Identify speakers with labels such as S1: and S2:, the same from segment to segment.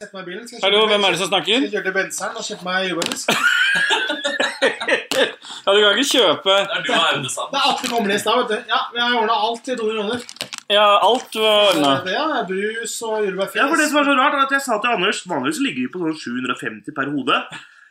S1: Sett meg i bilen. Skal jeg
S2: Hallo,
S1: kjøre til
S2: hvem er det som
S1: Benz-
S2: snakker?
S1: Skal jeg kjøre til Benseren og kjøpe meg jordbærbrus?
S2: Ja, du kan ikke kjøpe
S3: Det er du og Aune sammen.
S1: Det er Atle Kommelis da, vet du. Ja, jeg har ordna alt til 200 kroner.
S2: Ja, alt var ordna.
S1: Det er brus og jordbærfjes.
S4: Ja, for det som er så rart, er at jeg sa til Anders Vanligvis ligger vi på sånn 750 per hode.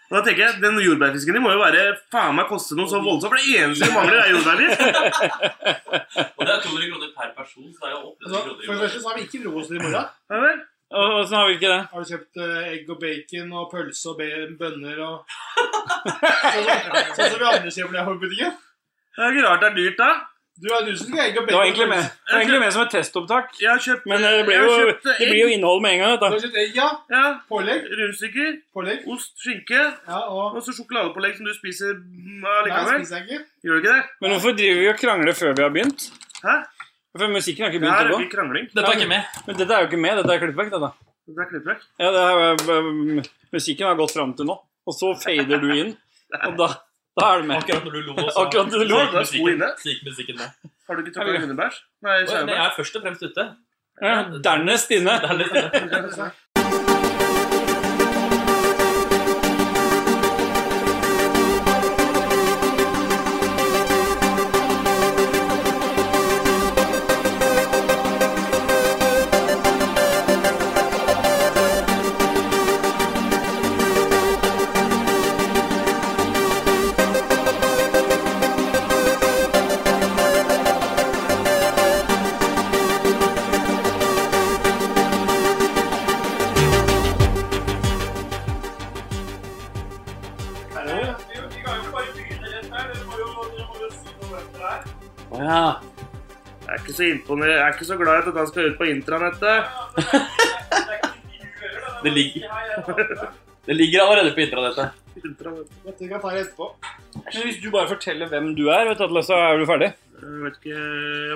S4: Og da tenker jeg, Den jordbærfisken din må jo være faen meg koste noe så voldsomt, for det eneste vi mangler, er liksom. jordbærfisk.
S3: Og det er 200 kroner per person, så det er jo
S1: Altså, for
S3: 800 kroner. i
S1: det
S3: måneden.
S1: første så har vi ikke frokost i morgen.
S4: Ja vel?
S2: Og Åssen har vi ikke det?
S1: Har du kjøpt eh, egg og bacon og pølse og be- bønner og Sånn som- sånn som vi andre kjøper det på butikken?
S4: Det er ikke rart det er dyrt, da.
S1: Du har du som skal ha egg og bacon.
S2: Det var egentlig med, det var egentlig med som et testopptak.
S4: Jeg har kjøpt
S2: Men eh, det blir
S4: jeg har
S2: jo,
S4: kjøpt, eh,
S2: det blir jo innhold med en gang.
S1: Du
S2: dette.
S1: har kjøpt egg, ja.
S4: Ja,
S1: Pålegg.
S4: Rundstykker,
S1: Pålegg.
S4: ost, skinke
S1: Ja, og
S4: og så sjokoladepålegg som du spiser mm,
S1: Nei,
S4: allikevel.
S1: spiser jeg ikke.
S4: Gjør du ikke det?
S2: Men hvorfor driver vi og krangler før vi har begynt?
S4: Hæ?
S2: For musikken har ikke
S4: Det
S2: begynt
S4: her
S2: å
S4: er
S2: gå.
S4: ikke krangling.
S3: Dette er ikke med.
S2: Men dette er jo ikke med, dette er klippvekk. Dette.
S4: Det er klippvekk.
S2: Ja, det er, um, musikken har gått fram til nå, og så fader du inn. Og da, da er det med.
S3: Akkurat når du lo, så
S2: Akkurat når du lo,
S3: snek
S4: da er sko
S3: musikken,
S4: inne.
S3: snek musikken med.
S4: Har du ikke
S2: Er
S4: tukla
S2: det-
S4: hundebæsj?
S3: Oi,
S4: Nei,
S3: men jeg
S4: sauebæsj.
S3: er først og fremst ute.
S2: Ja, Dernest inne.
S3: Det er litt sånn det.
S2: Å ja.
S4: Jeg er ikke så imponert. Jeg er ikke så glad i at han skal ut på intranettet.
S3: Det ligger, det ligger allerede på intranettet.
S4: Intranettet.
S1: Dette kan jeg ta det etterpå.
S2: Men hvis du bare forteller hvem du er, vet du, Atle, så er du ferdig.
S4: Jeg vet ikke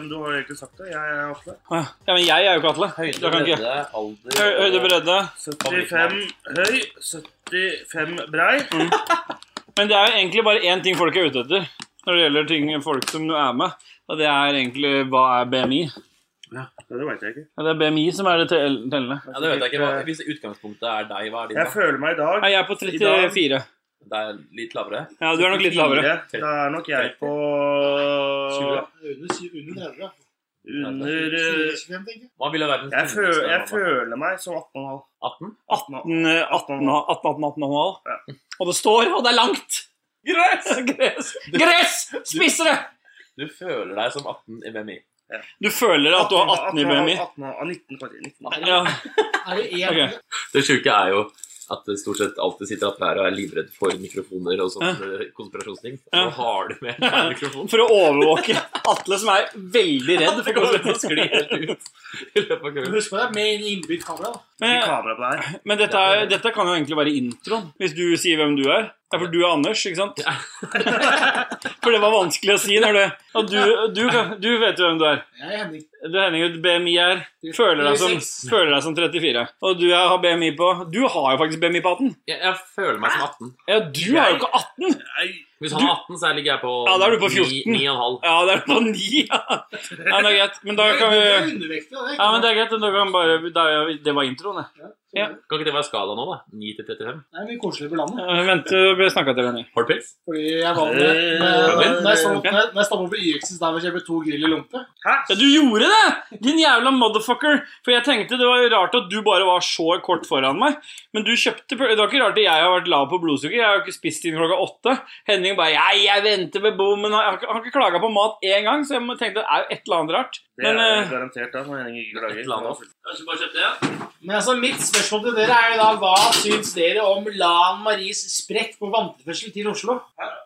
S4: om du har egentlig sagt det. Jeg er Atle.
S2: Å Ja, Ja, men jeg er jo ikke Atle.
S3: Høyde,
S2: Da kan ikke-
S3: bredde, alder
S2: Høy- Høyde, bredde.
S4: 75 høy, 75 brei.
S2: Men det er jo egentlig bare én ting folk er ute etter når det gjelder ting folk som er med, og det er egentlig hva er BMI?
S4: Det veit jeg ikke.
S2: Ja, Det er BMI som er det tell- tellende.
S3: Ja, det vet jeg ikke. Hva- Hvis utgangspunktet er deg, hva er din?
S4: Jeg
S3: da?
S4: føler meg i dag
S2: Nei, jeg er på 34.
S3: Det er litt lavere.
S2: Ja, du er nok litt lavere.
S4: fire. Da er nok jeg på
S1: Under syv- under 30. ja.
S4: under eh,
S1: 25, tenker jeg.
S3: Man vil ha verdens
S4: jeg føler, jeg
S3: mamma.
S4: føler meg som 18,5.
S3: 18?
S2: 18, 18,
S4: 18,5.
S2: 18, 18 og en halv. Og det står, og det er langt! Gress! Gress! Gress! Spiser det!
S3: Du føler deg som 18 i BMI.
S2: Du føler at du har 18 i BMI.
S4: 18, 19, faktisk. 19.
S2: Ja.
S1: Er det én
S2: Ok.
S3: Det sjuke er jo at det stort sett alltid sitter at her og er livredd for mikrofoner og sånne konspirasjonsting. Og
S2: Ja.
S3: så har du med en mikrofon.
S2: For å overvåke Atle, som er veldig redd
S3: Det
S2: for
S3: kommer til å
S2: konsekvenser.
S3: skli helt ut i løpet av kvelden.
S1: Husk på det er med innbygd kamera. da.
S4: Ikke
S2: Men,
S4: kamera på det her.
S2: men dette, er, dette kan jo egentlig være introen, hvis du sier hvem du er. Ja, for du er Anders, ikke sant? For det var vanskelig å si når du Og du, du, kan- du vet jo hvem du er.
S1: Jeg er Henning.
S2: Du Henning, ut BMI er føler deg, som,
S1: 36.
S2: føler deg som 34. Og du er- har BMI på Du har jo faktisk BMI på 18.
S3: Jeg, jeg føler meg som 18.
S2: Ja, du er jo ikke 18!
S4: Nei,
S3: Hvis han er 18, så ligger jeg på
S2: Ja, da er du på
S3: 9,
S2: 14.
S3: 9,5.
S2: Ja, det er på 9, ja. Nei, det er greit. Men da kan vi
S1: Det er undervektig, da. Det er ikke
S2: Ja, men det er greit. Da kan vi bare da, Det var introen, jeg. ja.
S3: Kan ikke det være skala nå, da? 9 til 35?
S1: Det er mye koseligere på landet.
S2: Eh, Vent, du blir snakka til, Henning.
S3: Har du pils?
S1: Fordi jeg var med
S4: Øh,
S1: Når når jeg
S2: øh,
S1: stod
S2: ok.
S1: opp- når jeg stoppa på YX i stad og kjøpte to grill i lompe
S4: Hæ?
S2: Ja, du gjorde det! Din jævla motherfucker. For jeg tenkte det var jo rart at du bare var så kort foran meg. Men du kjøpte pøl- Det var ikke rart at jeg har vært lav på blodsukker. Jeg har jo ikke spist siden klokka åtte. Henning bare Jeg, jeg venter ved bommen. Han har ikke- han har ikke klaga på mat én gang, så jeg må- tenkte det er jo et eller annet rart.
S4: Det er
S2: Men eh,
S4: garantert da, når Henning ikke klager.
S3: Et eller annet. Kanskje bare kjøpte det?
S1: Men altså, mitt spørsmål til dere er jo da hva syns dere om Lan Maries sprekk på vanntilførsel til Oslo?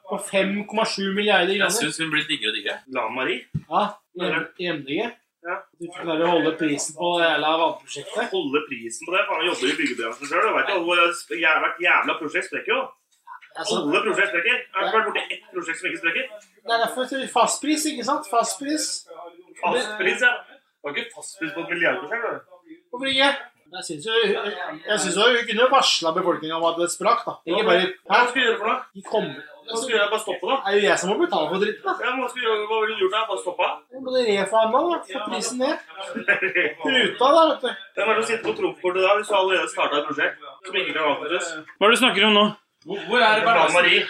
S1: På 5,7 milliarder
S3: Jeg
S1: kroner.
S3: syns hun blir diggere og diggere.
S4: Lan Marie.
S1: Ja, i M- i MDG.
S4: Ja.
S1: Du klarer å holde prisen på det jævla vannprosjektet.
S4: Holde prisen på det. Faen, jeg jobber i byggebransjen sjøl. Hvert jævla prosjekt sprekker jo.
S1: Altså,
S4: Alle prosjekt sprekker. Jeg har ikke vært borti ett prosjekt som ikke sprekker.
S1: det er derfor jeg tror fastpris, ikke sant? Fastpris
S4: Fastpris, ja. Det var ikke fastpris på et milliardprosjekt. var det?
S1: på Brygge. Jeg syns jo jeg synes jo hun kunne varsla befolkninga om at det sprakk, da. Ikke bare
S4: Hva
S1: Hæ?
S4: skal vi gjøre for noe?
S1: De kom,
S5: Hva skulle jeg bare stoppe, da?
S1: Det er jo jeg som må betale for dritten, da.
S5: Ja, men hva, skulle, jeg- hva ville du gjort da? Bare stoppa?
S1: Jeg må reforhandle, da. Få prisen ned. Ruta, da, vet du.
S5: Hvem er det som sitter på trumfkortet da, hvis du allerede starta et prosjekt som ikke kan avsluttes?
S2: Hva er det du snakker om nå?
S6: Hvor, hvor er det
S5: Anne
S6: balansen?
S5: Marie.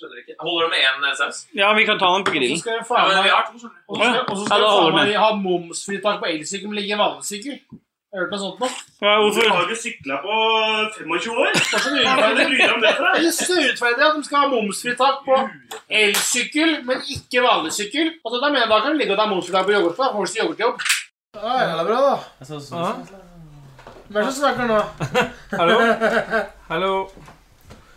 S6: Skjønner ikke. Holder det med én eh, saus?
S2: Ja, vi kan ta den på
S1: Så
S2: grillen.
S1: skal jeg
S6: Ja,
S1: faen
S6: men vi
S1: meg
S6: har to, skjønner du.
S1: Og så skal- og så skal
S2: Ja, da
S1: jeg
S2: holder
S1: faen
S2: det.
S1: meg ha momsfritak på elsykkel, men ligge i vannsykkel. Har du hørt noe sånt nå?
S2: Hva,
S5: Du
S2: hvorfor?
S5: har jo ikke sykla på 25 år!
S1: Det er så
S5: Hva er det
S1: urettferdig.
S5: du bryr deg om det for? deg?
S1: Det er så urettferdig at de skal ha momsfritak på elsykkel, men ikke vanlig sykkel. Altså, da mener jeg da kan det ligge og ta momsfritak på yoghurt, da. Får du yoghurtjobb. Ja, ja, det er bra, da. Hvem er det som snakker nå?
S2: Hallo? Hallo?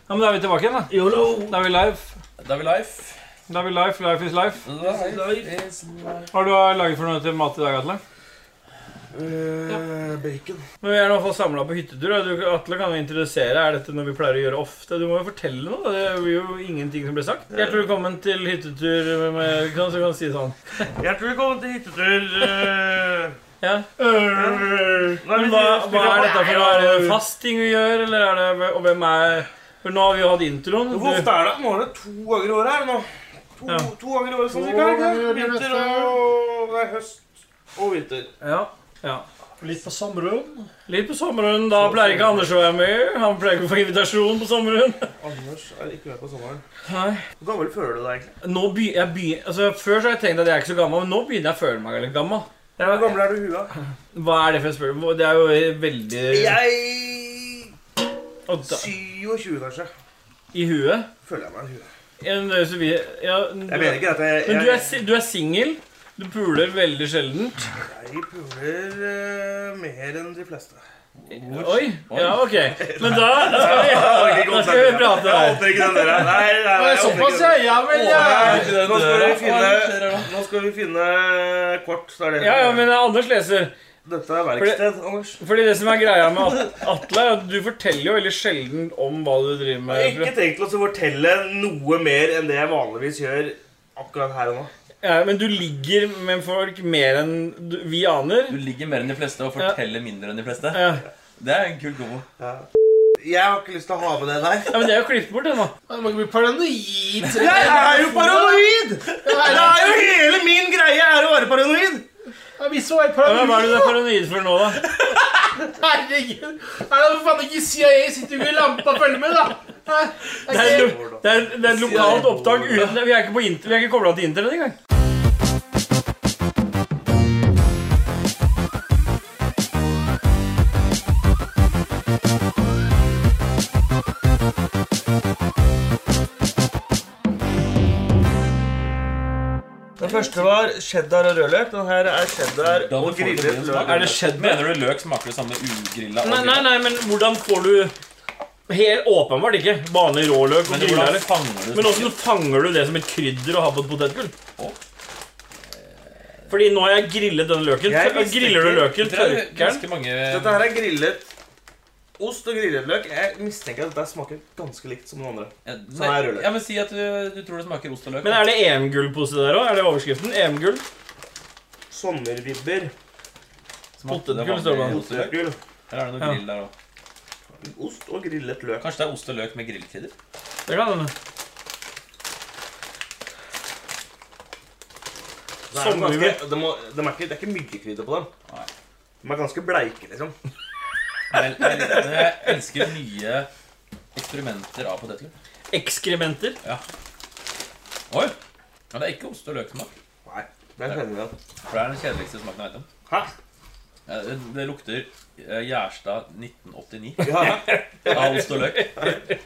S2: Ja, men da er vi tilbake igjen, da. Da er vi live.
S4: Da er vi live.
S2: Da er vi live. Life is life.
S4: Live is
S2: Hva har du laget for noe til mat i dag, Atle?
S4: Eh, Bacon.
S2: Men Vi er i hvert fall samla på hyttetur. og Du, Atle kan jo introdusere. Er dette noe vi pleier å gjøre ofte? Du må jo fortelle noe. da. Det blir jo ingenting som blir sagt. Hjertelig velkommen til hyttetur med, med kan, Så kan du si sånn.
S5: Hjertelig velkommen til hyttetur. eh,
S2: Ja.
S4: Eh,
S5: Nei,
S2: Men
S5: vi
S2: hva, hva
S5: spiller-
S2: er dette for noe? Er det fast ting vi gjør, eller er det Og hvem er For nå har vi jo hatt introen.
S4: Hvor ofte er det? Nå er det to ganger i året her nå. To,
S2: Ja.
S4: to ganger i året, sånn
S1: To
S4: cirka. ikke?
S1: ganger i året,
S4: Vinter
S1: vet du.
S4: og nei, høst og vinter.
S2: Ja. ja.
S1: Litt på sommerrom.
S2: Litt på sommeren. Da pleier ikke Anders å være med. Han pleier ikke å få invitasjon på sommeren.
S4: Anders er ikke med på sommeren.
S2: Nei.
S4: Hvor gammel føler du deg egentlig?
S2: Nå by, jeg by, altså, før så har jeg tenkt at jeg er ikke så gammel, men nå begynner jeg å føle meg litt gammel. Det
S4: Hvor
S2: er,
S4: gammel er du i huet?
S2: hva er det for et spørsmål? Det er jo veldig
S4: Jeg
S2: Og da,
S4: 27, kanskje.
S2: I huet?
S4: Føler jeg meg i huet.
S2: Ja, men det er jo så vi- ja,
S4: Jeg mener ikke at jeg
S2: Men du er,
S4: jeg-
S2: si- du er singel. Du puler veldig sjeldent.
S4: Jeg puler eh, mer enn de fleste.
S2: Oi. Ja, ok. Men da, da skal vi Da skal vi prate
S5: Jeg
S2: der.
S5: åpner ikke den døra. Nei, nei, nei, jeg åpner ikke
S1: Såpass,
S5: den.
S1: ja. Ja vel, ja.
S4: Nå skal vi finne, nå skal vi finne kort. Så er det.
S2: Ja, ja, men Anders leser.
S4: Dette er verksted, Anders.
S2: Fordi det som er greia med At- Atle, er at du forteller jo veldig sjelden om hva du driver
S4: Jeg har
S2: med.
S4: ikke tenkt å fortelle noe mer enn det jeg vanligvis gjør akkurat her og nå.
S2: Ja, men du ligger med folk mer enn du- vi aner.
S7: Du ligger mer enn de fleste og forteller mindre enn de fleste.
S2: Ja.
S7: Det er en kul kombo.
S4: Jeg har ikke lyst til å ha med det der.
S2: Ja, men det er jo klippet bort, det nå.
S1: Du må ikke bli paranoid.
S4: Jeg er jo paranoid! Det
S1: Ja,
S4: er jo hele min greie er å være paranoid!
S1: Vi så helt
S2: Ja, men hva er
S1: paranoid.
S2: det du er paranoid for nå, da?
S1: Herregud. Er det for faen ikke CIA sitter jo i lampa og følger med, da? Hæ?
S2: Det er, et lo- det er, det er et lokalt opptak uten Vi er ikke, på inter- vi er ikke kobla til internett engang.
S4: Den første var cheddar og rødløk. Den her er cheddar
S7: Da må
S4: og
S7: folk
S4: grillet
S7: bli
S4: løk.
S7: en smak. Mener du løk smaker det samme ugrilla? og
S2: Nei, nei,
S7: grilla?
S2: nei, men hvordan får du Helt åpenbart ikke. Vanlig råløk og
S7: Men hvordan
S2: grillere.
S7: fanger du
S2: Men
S7: smaken?
S2: åssen fanger du det som et krydder å ha på et potetgull? Fordi nå har jeg grillet den løken.
S4: Jeg
S2: Tør-
S4: visste
S2: Griller du
S4: ikke.
S2: løken,
S7: Det er
S2: tørker den
S7: ganske mange
S4: Dette her er grillet ost og grillet løk. Jeg mistenker at dette smaker ganske likt som den andre.
S7: Ja,
S4: Sånn er rødløk.
S7: Ja, men Si at du, du tror det smaker ost og løk.
S2: Men er det EM-gullpose der òg? Er det overskriften? EM-gull?
S4: Sommervibber.
S7: Smakte det
S2: potetgull står det
S7: vanlig
S2: på.
S7: ost og løk?
S4: Potetgull.
S7: Eller er det noe
S2: Ja.
S7: grill der òg?
S4: Ost og grillet løk.
S7: Kanskje det er ost og løk med grillkrydder?
S2: Det kan hende.
S4: Det er, jo
S2: Sommervibber.
S4: ganske, det, må, det, er ikke, det er ikke mye krydder på dem.
S7: Nei.
S4: De er ganske bleike, liksom.
S7: Jeg, jeg, jeg elsker nye eksperimenter av potetgull.
S2: Ekskrementer.
S7: Oi! Ja, det er ikke ost og løksmak.
S4: Nei, det kjenner jeg at
S7: For det er den kjedeligste smaken jeg vet om.
S4: Hæ?
S7: Ja, Det, det lukter eh, Gjerstad 1989
S4: Ja, ja.
S7: av ost og løk.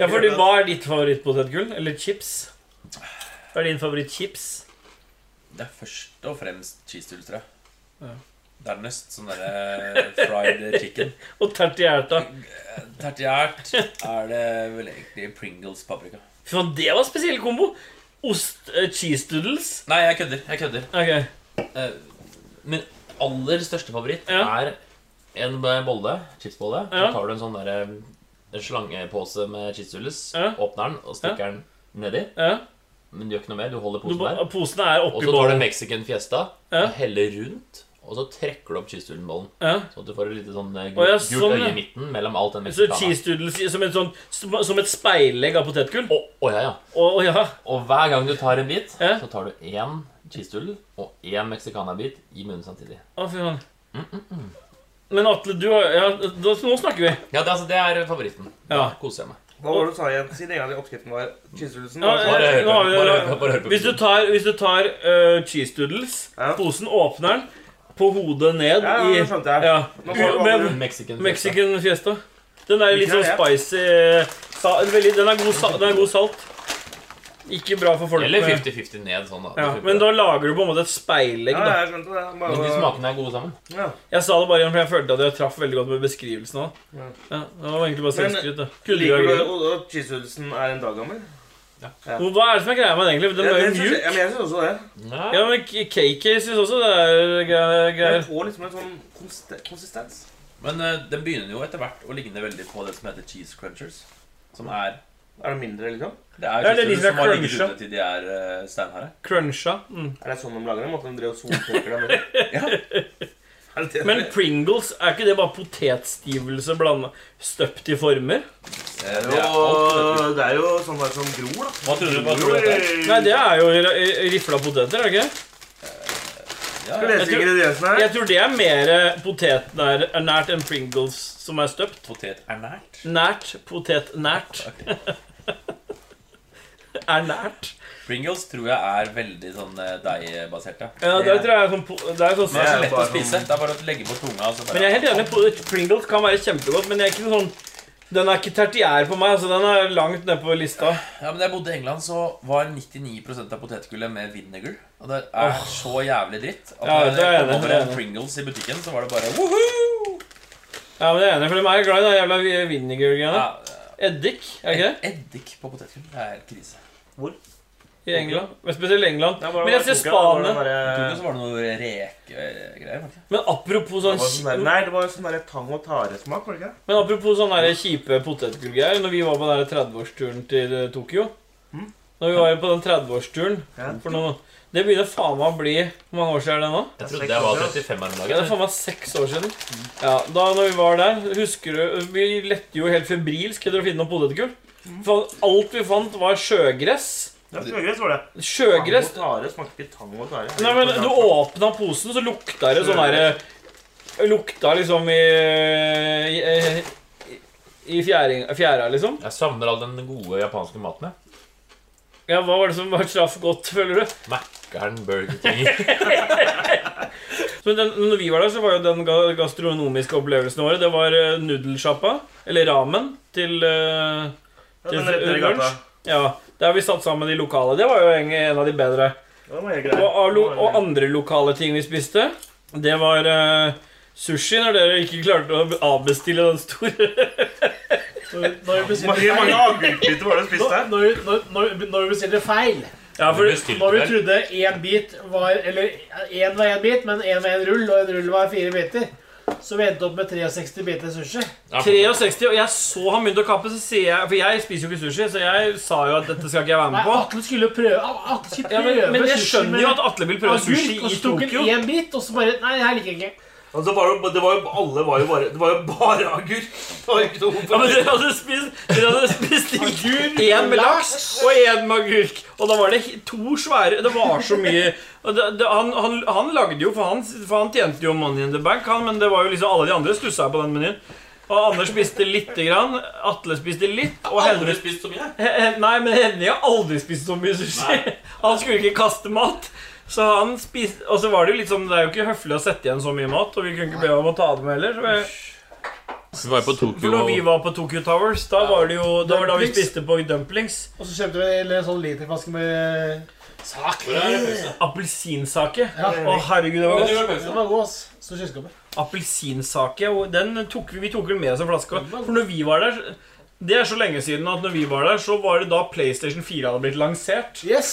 S2: Ja, fordi hva er ditt favorittpotetgull? Eller chips? Hva er din favorittchips?
S7: Det er først og fremst cheesedoodle, tror jeg. Dernest sånn derre fried chicken.
S2: Og tertiærta.
S7: Tertiært er det vel egentlig Pringles paprika.
S2: Fy faen, det var spesiell kombo. Ost eh, cheese doodles.
S7: Nei, jeg kødder. jeg kødder
S2: Ok.
S7: Eh, Min aller største favoritt
S2: Ja.
S7: er en bolle, chipsbolle.
S2: Ja.
S7: Så tar du en sånn derre en slangepose med cheesedoodles,
S2: Ja.
S7: åpner den og stikker den nedi.
S2: Ja.
S7: Men du gjør ikke noe mer. Du holder
S2: Du,
S7: posen der.
S2: posene er
S7: Og
S2: oppi
S7: så tar du
S2: bollen.
S7: Mexican fiesta
S2: Ja.
S7: og heller rundt.
S3: Og så trekker du opp cheesedoodle-bollen.
S8: Ja.
S3: Så at du får et lite sånn eh,
S8: Å, ja,
S3: gult, gult
S8: sånn,
S3: øye
S8: ja.
S3: i midten mellom alt den
S8: Så
S3: meksikanen.
S8: cheese doodles i- som, en sånn, som et speilegg av potetgull?
S3: Å, å, ja, ja.
S8: Å ja.
S3: Og hver gang du tar en bit,
S8: Ja.
S3: så tar du én cheesedoodle og én meksikanerbit i munnen samtidig.
S8: Å, fy faen. Men Atle, du har ja, da, Nå snakker vi.
S3: Ja, det, altså, det er favoritten. Da
S8: Ja.
S3: koser jeg meg.
S9: Hva var det du sa igjen? Si det en gang til oppskriften var cheesedoodlesen.
S8: Ja,
S3: Bare hør på.
S8: Nå har vi-
S3: Bare hør på. Bare hør på.
S8: Hvis du tar, hvis du tar eh, cheese doodles,
S9: Ja.
S8: posen åpner den, på hodet ned
S9: Ja,
S8: i
S9: ja, det skjønte jeg.
S8: Ja.
S9: Nå får du
S8: Men-
S9: over-
S3: Mexican.
S8: Mexican fiesta. Den er litt
S9: Hvilken
S8: sånn
S9: er
S8: spicy eh, sa, veldig, den, er god, sa- den er god salt. Ikke bra for folk
S3: Eller
S8: med-
S3: 50-50 ned sånn, da.
S8: Ja, men da lager du på en måte et speilegg,
S9: Ja,
S8: da.
S9: jeg skjønte det. Bare,
S3: Men de smakene er gode sammen.
S8: Jeg sa det bare igjen, for jeg følte at jeg traff veldig godt med beskrivelsen av det.
S9: Ja.
S8: Ja, det var egentlig bare
S9: Men-
S8: selvskryt. da. Kunne
S9: Liker
S8: du
S9: du
S8: ha
S9: og- og cheesedoodlesen er en dag gammel?
S8: Hvor- Hva er det som er greia med den egentlig? Den
S9: Ja,
S8: er jo
S9: det synes jeg-
S8: mjuk.
S9: Ja, men jeg syns også det.
S8: Ja, men KK syns også det er greier.
S9: Den
S8: greier.
S9: får liksom en sånn konste- konsistens.
S7: Men eh, den begynner jo etter hvert å ligne veldig på det som heter cheese crunchers. Som er
S9: Er det mindre, liksom?
S7: Det er jo
S8: Ja, det er de
S7: cheese
S8: som er
S7: som har ligget
S8: crunchet.
S7: ute til de er eh, steinharde.
S8: Cruncha. Mm.
S9: Er det sånn de lager dem? At de drev og soltørker dem? eller? Er det det?
S8: Men Pringles, er ikke det bare potetstivelse blanda støpt i former?
S7: Eh,
S9: Det
S7: det er alt
S9: er jo- det er jo sånn der som gror, da.
S7: Hva tror du hva tror du det er?
S8: Nei, det er jo ri- rifla poteter, er det ikke?
S7: Ja, ja.
S9: Skal vi lese
S8: Jeg tror-
S9: ingrediensene her?
S8: Jeg tror det er mer eh, potetnært eh, enn Pringles som er støpt.
S7: Potet er nært.
S8: Nært. Potetnært. er nært.
S7: Pringles tror jeg er veldig sånn eh, deigbasert. Ja.
S8: Ja, det tror jeg er sånn, po- det er sånn
S7: Men det er så
S9: Det er
S7: lett å
S9: bare
S7: spise. Det er bare å legge på tunga. og så bare-
S8: Men jeg er helt enig. po- Pringles kan være kjempegodt, men jeg er ikke sånn den er ikke tertiær på meg. altså Den er langt nede på lista.
S7: Ja, men Da jeg bodde i England, så var 99 av potetgullet med vinegar. Og det er så jævlig dritt at
S8: Ja,
S7: når
S8: det
S7: jeg
S8: er jeg enig,
S7: kom over
S8: det er
S7: en
S8: jeg
S7: Pringles i butikken, så var det bare woohoo!
S8: Ja, men jeg er enig, for De er glad i den jævla vi- vinegar-greiene.
S7: Ja,
S8: Eddik, er det ikke det?
S7: eddik på potetgull. Det er helt krise.
S8: I England. Men spesielt England.
S9: Det er bare
S8: Men jeg
S9: å
S8: ser
S9: koke, da. Det eh,
S8: Spania.
S9: var
S7: Jeg tror
S9: bare-
S7: ikke så var det noe rekegreier. var det ikke?
S8: Men apropos
S9: det var sånn der-
S8: sånn
S9: Nei, det var jo sånn der tang og tare-smak, var det ikke?
S8: Men apropos sånne der kjipe potetgullgreier Når vi var på den der 30-årsturen til eh, Tokyo Når vi var på den 30-årsturen
S9: Mm. Ja.
S8: for noe- Det begynner faen meg å bli Hvor mange år siden er det nå?
S3: Jeg trodde det var 35 her om
S8: Ja, det er
S3: dagen.
S8: faen meg seks år siden
S9: Mm.
S8: Ja, da når vi var der Husker du, vi lette jo helt febrilsk Etter å finne noen potetgull
S9: Mm.
S8: For alt vi fant var sjøgress
S9: Det var sjøgress, var det.
S8: Sjøgress
S9: Tang og tare smakte ikke tang og tare.
S8: Nei, men du åpna posen, så lukta det sånn derre Lukta liksom i I, i, i fjæring, fjæra, liksom.
S3: Jeg savner all den gode japanske maten. jeg.
S8: Ja, Hva var det som var traff godt, føler du?
S3: Mækkern, Burger King
S8: Men den, når vi var der, så var jo den ga- gastronomiske opplevelsen vår Det var eh, nudelsjappa, eller ramen, til, eh,
S9: Ja,
S8: til
S9: den rett ned i
S8: lunsj.
S9: gata.
S8: Ja, Der vi satt sammen i lokalet. Det var jo en, en av de bedre.
S9: Ja, den var helt
S8: Og,
S9: grei.
S8: av lo- og andre lokale ting vi spiste, det var eh, sushi, når dere ikke klarte å avbestille den store
S1: Når vi
S9: Hvor
S1: bestilte
S9: mange
S1: feil.
S9: agurkbiter var det du spiste?
S1: Når, når, når, når, når vi bestilte feil.
S8: Ja, for
S1: Når vi trodde én bit var Eller én var én bit, men én var én rull, og en rull var fire biter. Så vi endte opp med 63 biter sushi.
S8: 63, og jeg så han begynte å kappe, så sier jeg For jeg spiser jo ikke sushi, så jeg sa jo at dette skal ikke jeg være
S1: Nei,
S8: med på.
S1: Atle skulle prøve Atle skulle
S8: Ja,
S1: prøve
S8: men, men jeg
S1: sushi
S8: skjønner
S1: med
S8: jo at Atle vil prøve
S1: agurk,
S8: sushi
S1: og
S8: i
S1: så tok han
S8: Tokyo.
S1: én bit, og så bare Nei, det her liker jeg ikke.
S9: Og så var Altså, det, jo- det var jo, alle var jo bare Det var jo bare agurk. Det var jo ikke noe
S8: Ja, men dere hadde spist, dere hadde spist én med laks og én med agurk. Og da var det he- to svære Det var så mye og det, det, han, han, han lagde jo, for han, for han tjente jo money in the bank, han, men det var jo liksom alle de andre stussa på den menyen. Og Anders spiste lite grann, Atle spiste litt, og Henrik
S7: Aldri spist så mye.
S8: He- he- Nei, men Henning har aldri spist så mye sushi. Han skulle ikke kaste mat. Så han spiste, Og så var det jo litt sånn Det er jo ikke høflig å sette igjen så mye mat, og vi kunne ikke be om å ta det med heller. Så jeg,
S3: Vi var jo på
S8: for
S3: Tokyo
S8: når vi var på Tokyo Towers, da var det jo Da var det da vi
S1: Dumplings.
S8: spiste på dumplings.
S1: Og så kjøpte vi en sånn literflaske med
S8: Appelsinsake.
S1: Ja,
S8: Å, herregud, det var godt.
S1: Den var god, ass. Står i kjøleskapet.
S8: Appelsinsake. og Den tok vi, vi tok vel med oss en flaske. For når vi var der Det er så lenge siden at når vi var der, så var det da PlayStation 4 hadde blitt lansert.
S1: Yes!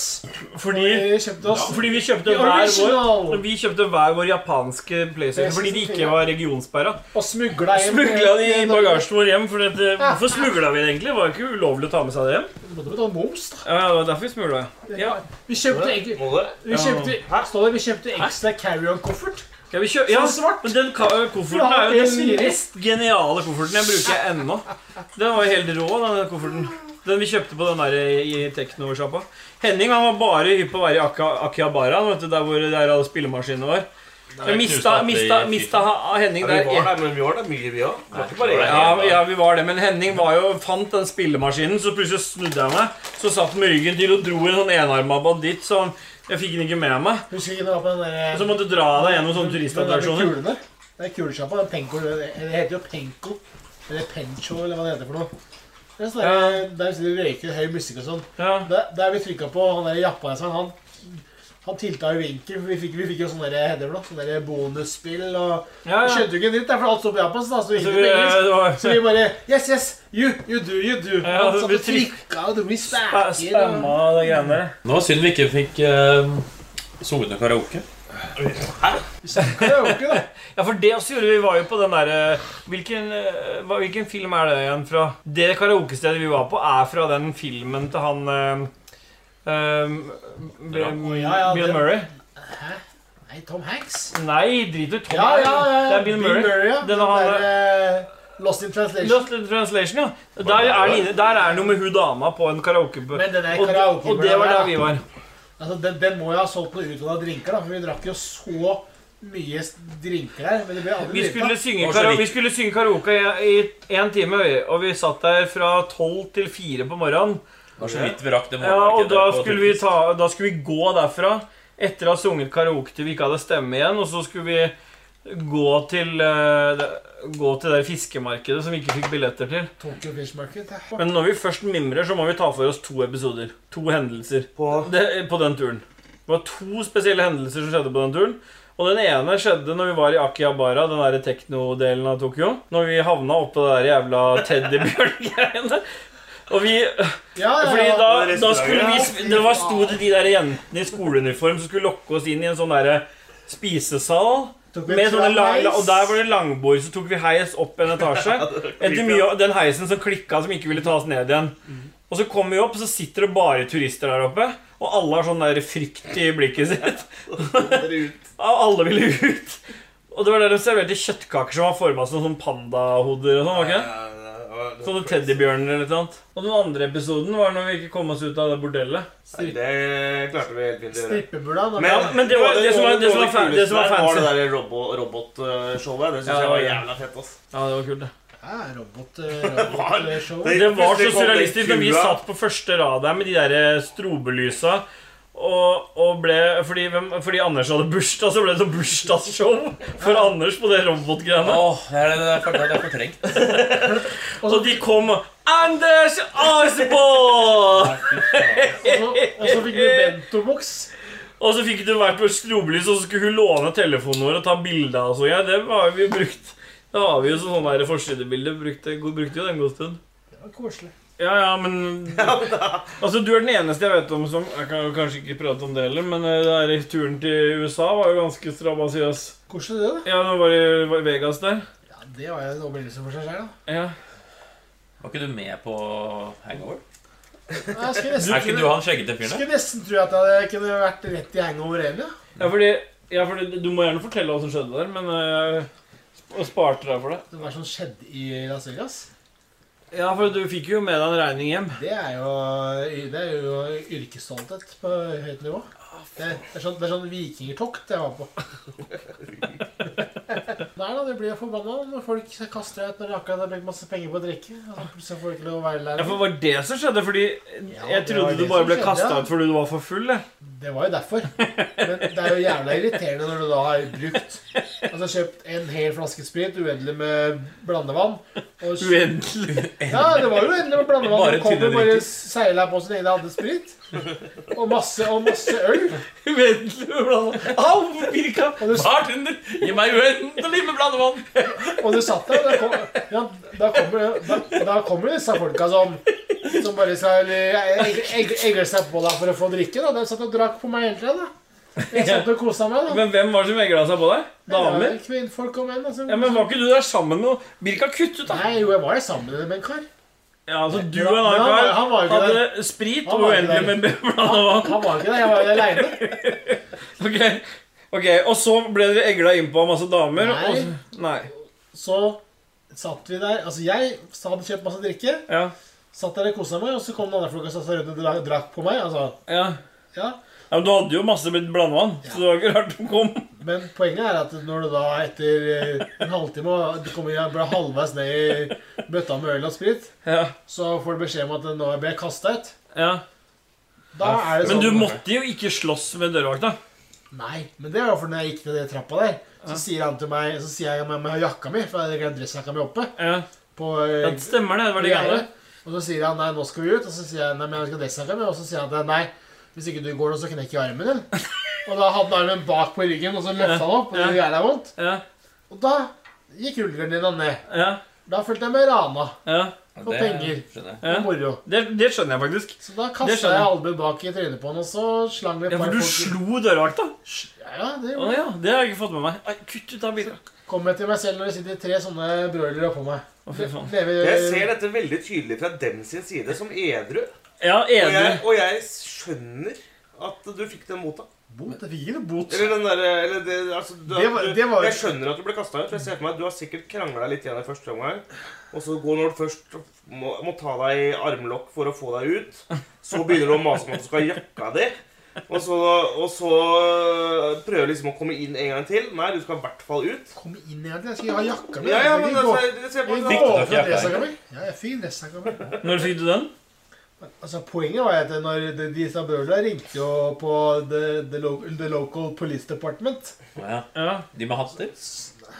S8: Fordi
S1: Vi kjøpte oss
S8: Fordi vi kjøpte
S1: The
S8: hver vår
S1: original.
S8: Vi kjøpte hver vår japanske PlayStation fordi de ikke var regionsperra.
S1: og smugla hjem.
S8: Smugla de i bagasjen vår hjem. For det, hvorfor smugla vi det egentlig? Var det ikke ulovlig å ta med seg det hjem?
S1: Du måtte betale moms, da.
S8: Ja, det var derfor vi smugla. Ja.
S1: Vi kjøpte egentlig
S9: Molde?
S1: Vi kjøpte, Står det, vi kjøpte ekstra carry-on-koffert.
S8: Ja, vi kjø ja,
S9: Så svart.
S8: Men den ka- kofferten er jo den mest geniale kofferten jeg bruker ennå. Den var jo helt rå, den kofferten. Den vi kjøpte på den der eh, i i Tekno-sjappa. Henning han var bare hypp på å være i Aka- Akihabara, vet du, der hvor der alle spillemaskinene var. Jeg mista, mista, mista ha- Henning
S9: Vi
S8: der.
S9: var der, men vi var der mye, vi òg. Det var ikke bare jeg.
S8: Ja, ja, vi var det, men Henning var jo, fant den spillemaskinen, så plutselig snudde jeg meg. Så satt han med ryggen til og dro en sånn enarma banditt, så han, jeg fikk den ikke med meg.
S1: Husker ikke det var på den der
S8: Og så måtte jeg dra deg gjennom sånne turistattraksjoner.
S1: Den der kulene. Det er kulesjappa. den Penko, Det det heter jo Penko. Eller Pencho, eller hva det heter for noe. Det er sånn der, der sitter de og røyker høy musikk og sånn.
S8: Ja.
S1: Der, der vi trykka på han der japaneseren, han, han tilta jo vinkel. for Vi fikk, vi fikk jo sånne der, heter det for noe, sånne der bonusspill og
S8: Ja,
S1: Vi
S8: ja.
S1: skjønte jo ikke en dritt, det er for alt står på japansk. da, så vi
S8: Så
S1: gikk
S8: vi, eh,
S1: det på engelsk.
S8: det var,
S1: Så vi bare Yes, yes, you, you do, you do.
S8: Ja,
S1: han satt
S8: vi
S1: og trykka og dro i staker. og-
S8: spamma og de greiene der.
S3: Det var synd vi ikke fikk uh, sunget noe karaoke.
S1: Det er jo ikke det.
S8: Ja, for det også gjorde vi, var jo på den derre hvilken, eh, hva- hvilken film er det igjen fra? Det karaokestedet vi var på, er fra den filmen til han eh, eh,
S1: Å,
S8: Bill
S1: ja, ja,
S8: Bill
S1: det-
S8: Murray.
S1: Hæ? Nei, Tom Hanks?
S8: Nei, drit i Tom.
S1: Ja, ja, ja.
S8: Det er Bill Murray.
S1: ja.
S8: Den har-
S1: Den der, eh, Lost in Translation.
S8: Lost in Translation, ja. Der er, den inne, der er noe med hun dama på en karaoke...
S1: Men den der
S8: og,
S1: karaoke-
S8: og det var der vi var.
S1: Altså, den, den må jo ha solgt noe ut av drinker, da, for vi drakk jo så mye s- drinker her. Men det ble aldri
S8: Vi skulle synge,
S3: Og så
S8: kara
S3: vidt.
S8: vi skulle synge karaoke i én time, og vi satt der fra tolv til fire på morgenen.
S3: Det var så vidt vi rakk det
S8: Ja, og
S3: målmarkedet
S8: da
S3: på
S8: skulle, vi
S3: turkis.
S8: ta, da skulle vi gå derfra etter å ha sunget karaoke til vi ikke hadde stemme igjen, og så skulle vi gå til, eh, det- gå til det fiskemarkedet som vi ikke fikk billetter til.
S1: Tokyo Fish Market. Ja.
S8: Men når vi først mimrer, så må vi ta for oss to episoder. To hendelser
S9: På-
S8: det, på den turen. Det var to spesielle hendelser som skjedde på den turen. Og den ene skjedde når vi var i Akihabara, den der teknodelen av Tokyo. Når vi havna oppå det der jævla teddybjørn-greiene. Og vi
S1: Ja, ja,
S8: fordi
S1: ja.
S8: da,
S9: det er
S8: da skulle vi
S1: restaurant.
S8: sp- Det var sto det de der jentene i skoleuniform som skulle lokke oss inn i en sånn derre spisesal.
S1: Tok vi
S8: Med
S1: et
S8: sånne lang,
S1: heis.
S8: og der var det langbord, så tok vi heis opp en etasje. Etter mye av den heisen som klikka, som ikke ville ta oss ned igjen.
S1: Mm.
S8: Og så kommer vi opp, så sitter det bare turister der oppe. Og alle har sånn der frykt i blikket sitt. Og alle ville ut. Og det var der de serverte kjøttkaker som var forma som sånn pandahoder og sånn. var ikke det? Sånne teddybjørner eller noe annet. Og den andre episoden var når vi ikke kom oss ut av det bordellet.
S9: Nei, Det klarte vi helt fint å gjøre.
S1: Strippebula. da-
S8: Men, men det, var, det, som var, det, som var, fa- det som var
S9: var det
S8: fancy.
S9: der robo- robotshowet. Det
S8: Ja,
S9: syns jeg var
S8: ja.
S9: jævla fett. ass.
S8: Ja, det var kult, det.
S1: Ja, robot, eh, robotshow.
S9: Det-
S8: Det var så
S9: Plutselig kom det
S8: surrealistisk når vi
S9: kua.
S8: satt på første rad der med de der strobelysa. Og, og ble, fordi, hvem, fordi Anders hadde bursdag, så ble det sånn bursdagsshow for Anders på det robotgreiene.
S3: Åh, det er det er for- det er fortrengt.
S8: Og de kom og Anders Aasborg!
S1: Og så- og så fikk vi bentoboks.
S8: Og så fikk du vært på strobelys, og så skulle hun låne telefonen vår og ta bilder av oss. og greier. det har vi jo brukt. Da har vi jo sånn der forsidebilde. Brukte, brukte jo det en god stund.
S1: Det var koselig.
S8: Ja, ja, men Altså, du er den eneste jeg vet om som Jeg kan jo kanskje ikke prate om det heller, men eh, det der turen til USA var jo ganske strabasiøs.
S1: Koselig det, da.
S8: Ja, det var i var i Vegas der.
S1: Ja, Det var jo en opplevelse for seg selv, da.
S8: Ja.
S3: Var ikke du med på Hangover?
S1: Nei, Jeg skulle nesten,
S3: Er ikke du han skjeggete fyren der?
S1: skulle nesten tro at jeg kunne vært rett i hangover igjen, ja.
S8: ja, fordi ja, fordi Du må gjerne fortelle hva som skjedde der, men eh, sp- jeg sparte deg for det.
S1: Det var sånn skjedde i Las Vegas.
S8: Ja, for du fikk jo med deg en regning hjem.
S1: Det er jo, det er jo yrkesstolthet på høyt nivå. Det, det, er sånn, det er sånn vikingtokt jeg var på. Nei da, du blir jo forbanna når folk kaster deg ut når de akkurat har brukt masse penger på å drikke. Og så plutselig får du ikke lov å være
S8: Ja, for
S1: lærer.
S8: var det som skjedde? Fordi
S1: Ja,
S8: jeg
S1: det var
S8: trodde du
S1: det
S8: bare
S1: som
S8: ble
S1: skjedde,
S8: kasta
S1: ja.
S8: ut fordi du var for full. jeg.
S1: Det var jo derfor. Men det er jo jævla irriterende når du da har brukt Altså kjøpt en hel flaske sprit, uendelig med blandevann og kjøpt-
S8: Uendelig.
S1: Ja, det var jo endelig med blandevann.
S3: Bare
S1: Bare kom jo
S3: tynne
S1: bare
S3: drikker.
S1: seila på sin egen andre sprit. Og masse, og masse øl.
S8: Uendelig med blandevann. Au, Birka!
S1: Og du,
S3: Bartender, gi meg uendelig med blandevann!
S1: og du satt der. og Da, kom, ja, da kommer da, da kommer disse folka som som bare skal eh, egg- egg- egle seg på deg for å få drikke. da De satt og drakk på meg hele tida. da. Jeg satt og kosa meg. da
S8: Men hvem var det som egla seg på deg? Damer?
S1: Kvinnfolk og menn. Altså.
S8: Ja, men Var ikke du der sammen med noe? Birka, kutt ut, da!
S1: Nei, jo, jeg var jo sammen med en kar.
S8: Ja, altså, du
S1: Men
S8: og en
S1: han-
S8: annen
S1: han var jo
S8: kar
S1: ikke
S8: hadde sprit
S1: Han
S8: og
S1: var ikke
S8: uendelig
S1: der.
S8: med blanda vann.
S1: Han var ikke der, jeg var aleine.
S8: Ok, Ok, Og så ble dere egla innpå av masse damer?
S1: Nei.
S8: Og, nei.
S1: Så satt vi der Altså, jeg hadde kjøpt masse drikke.
S8: Ja.
S1: Satt der og kosa meg, og så kom den andre flokka og satte seg rundt og dra- drakk på meg. altså.
S8: ja.
S1: Ja.
S8: Ja, men Du hadde jo masse blitt blandevann, så det var ikke rart de kom.
S1: Men poenget er at når du da etter eh, en halvtime og du kommer igjen, bare halvveis ned i bøtta med øl og sprit,
S8: Ja,
S1: så får du beskjed om at nå ble jeg kasta ut.
S8: ja.
S1: Da er det
S8: Men
S1: sånn
S8: du måtte jo ikke slåss med dørvakta.
S1: Nei, men det var for når jeg gikk ned den trappa der. Så sier han til meg Så sier jeg med, med jakka mi, for jeg hadde glemt dressjakka mi oppe.
S8: Ja.
S1: På,
S8: ja,
S1: eh,
S8: det stemmer det. det var det
S1: greier.
S8: greiene.
S1: Og så sier han nei, nå skal vi ut. Og så sier jeg nei, men jeg skal dressjakka mi. Og så sier han til meg, nei, hvis ikke du går nå, så knekker jeg armen din. Og da hadde han armen bak på ryggen, og så løfta han opp. Og det gjør jævla vondt.
S8: Ja,
S1: Og da gikk rullegardina ned.
S8: ja,
S1: Da følte jeg meg rana.
S8: ja.
S3: Og
S1: For
S3: det
S1: penger.
S3: skjønner jeg.
S1: og Moro.
S8: Det, det skjønner jeg faktisk.
S1: Så da
S8: Det
S1: kasta
S8: skjønner
S1: jeg
S8: jeg.
S1: albuen bak i trynet på han, og så slang vi et
S8: Ja,
S1: par
S8: For du
S1: folk-
S8: slo dørvakta?
S1: Ja, det
S8: Å
S1: gjorde jeg.
S8: ja, det har jeg ikke fått med meg. Ai, kutt ut av bildet.
S1: Kom jeg til meg selv når det sitter tre sånne broilere oppå meg.
S8: Å, fy faen.
S1: Lever-
S9: Jeg ser dette veldig tydelig fra dem sin side, som edru.
S8: Ja,
S9: Og jeg,
S8: edru.
S9: og jeg skjønner at du fikk den mota.
S1: Bot? Jeg fikk ikke noe bot.
S9: Eller den derre eller det, altså, du,
S1: Det var- det var-
S9: Jeg skjønner at du ble kasta ut. for Jeg ser for meg at Du har sikkert krangla litt igjen i første omgang. Og så går når du først må, må ta deg i armlokk for å få deg ut. Så begynner du å mase om at du skal ha jakka di. Og så, og så prøver du liksom å komme inn en gang til. Nei, du skal i hvert fall ut.
S1: Kom inn igjen. Jeg skal ha jakka mi.
S9: Ja, ja, men
S1: jeg
S9: altså,
S1: går-
S9: jeg, jeg ser på
S1: jeg
S9: det.
S1: går
S3: du
S1: for
S3: jakka?
S1: dressjakka mi. Ja, jeg fikk dressjakka mi.
S8: Når fikk du den?
S1: Altså, poenget var at når de, disse broilerne ringte jo på the, the, lo- the local police department
S3: Å, ja.
S8: Ja,
S3: De med hatter?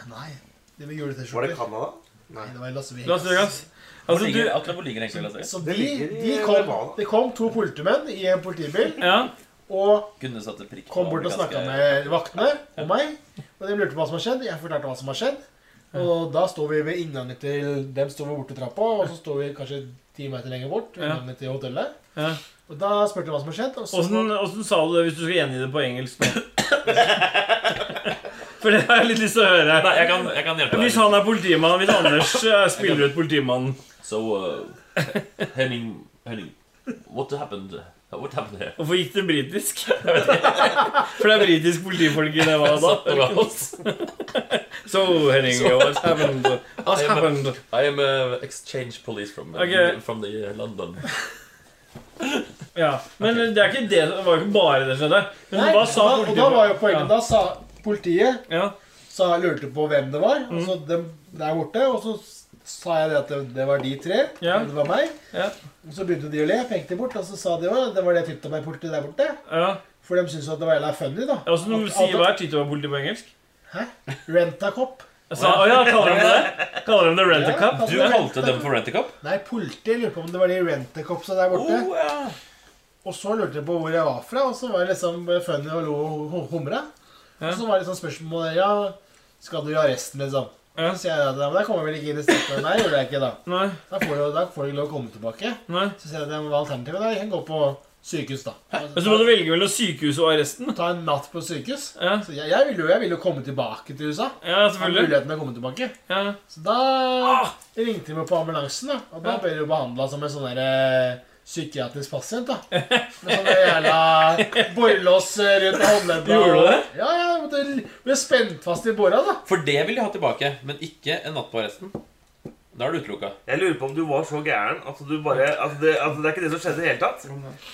S1: Nei, det var juleteskjorter.
S9: Var det Canada?
S1: Nei, det var i Las Vegas.
S8: Las Vegas.
S3: Hvor
S8: Altså, du,
S3: ligger, akkurat hvor ligger egentlig altså? Las Vegas?
S1: Så de,
S9: Det ligger i eh,
S1: de kom,
S9: Nevada.
S1: det kom to politimenn i en politibil
S8: ja,
S1: og
S3: Kunne satt et prikk på
S1: kom bort og snakka
S3: amerikanske-
S1: med vaktene og meg. Og de lurte på hva som har skjedd. Jeg fortalte hva som har skjedd. Og da står vi ved inngangen til Dem står vi borte i trappa, og så står vi kanskje ti meter lenger bort. ved
S8: Ja.
S1: inngangen til hotellet.
S8: ja.
S1: Og da spurte de hva som har skjedd. Og så
S8: Åssen åssen sa du det hvis du skal gjengi det på engelsk nå? For det har jeg litt lyst til å høre.
S3: Nei, jeg kan, jeg kan hjelpe deg.
S8: Hvis han er politimann, hvis Anders eh, spiller ut politimannen
S3: So, uh, Henning, Henning, what happened? What happened here?
S8: Hvorfor gikk det britisk? For det er britisk politifolk i det hva da?
S3: Satt over oss.
S8: So, Henning, what happened? What happened?
S3: I am uh, exchange police from, uh,
S8: Okay.
S3: from the uh, London.
S8: Ja, Men det, er ikke det, det var jo ikke bare det som skjedde. Men hva sa
S1: da, og da var jo poenget
S8: da.
S1: Da sa politiet
S8: Ja. Mm.
S1: sa, lurte på hvem det var. Og så dem der borte. Og så s- sa jeg det at det, det var de tre.
S8: Ja.
S1: og Det var meg.
S8: Ja.
S1: Og så begynte de å le. Jeg pekte bort, og så sa de jo det var det tytta meg politiet der borte.
S8: ja.
S1: For de syntes jo at det var jævla funny, da.
S8: Og så
S1: At-
S8: sier
S1: at-
S8: hva er Tito-politi på engelsk?
S1: Rent-a-cop.
S8: Jeg sa, å ja, kaller de det Kaller de det rent a cup?
S1: Ja,
S3: Du
S1: altså,
S3: kalte dem for Rent-A-Cup?
S1: Nei, politi. Lurer på om det var de rentekopsa der borte.
S3: Oh,
S1: Og så lurte jeg på hvor jeg var fra, og så var det liksom funny og lo og hu- humra. Og så var det sånn spørsmål Ja, skal du i arresten, liksom?
S8: Ja.
S1: Så sier jeg at ja, men da kommer jeg vel ikke inn i stedet. Nei, gjorde jeg ikke, da.
S8: Nei,
S1: Da får du, da får du ikke lov å komme tilbake.
S8: nei.
S1: Så sier jeg at ja, men hva er alternativet? Da? Jeg kan gå på sykehus, da.
S8: Men så må du velge mellom sykehuset og arresten.
S1: Ta en natt på sykehus.
S8: Ja,
S1: Så jeg, jeg ville jo, jeg ville jo komme tilbake til USA.
S8: ja
S1: Ha
S8: selvfølgelig.
S1: muligheten til å komme tilbake.
S8: Ja.
S1: Så da
S8: Ah!
S1: ringte de meg på ambulansen, da. Og da
S8: Ja.
S1: ble du behandla som en sånn der eh, psykiatrisk pasient, da. Med sånne jævla borrelås eh, rundt håndleddet.
S8: Gjorde du det?
S1: Ja, ja. Jeg måtte, ble spent fast i båra, da.
S3: For det vil de ha tilbake, men ikke en natt på arresten. Da er du utelukka.
S9: Jeg lurer på om du var så gæren at du bare at det, at det er ikke det som skjedde i det hele tatt.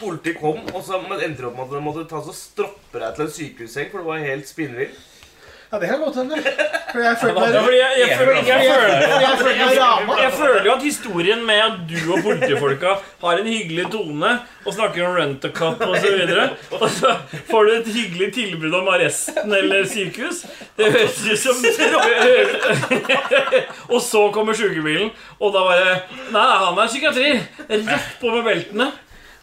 S9: Politiet kom, og så men endte det opp med at de måtte ta og stroppe deg til en sykehusseng, for du var helt spinnvill.
S1: Ja, det kan godt hende. For jeg følte
S8: Ja,
S1: meg
S8: fordi jeg, jeg, føler, jeg, føler,
S1: jeg følte meg rama.
S8: jeg føler jo at historien med at du og politifolka har en hyggelig tone og snakker om rent a cup og så videre og så får du et hyggelig tilbud om arresten eller sykehus Det høres ut som Og så kommer sykebilen, og da bare Nei, nei, han er psykiatri. Rett på med beltene.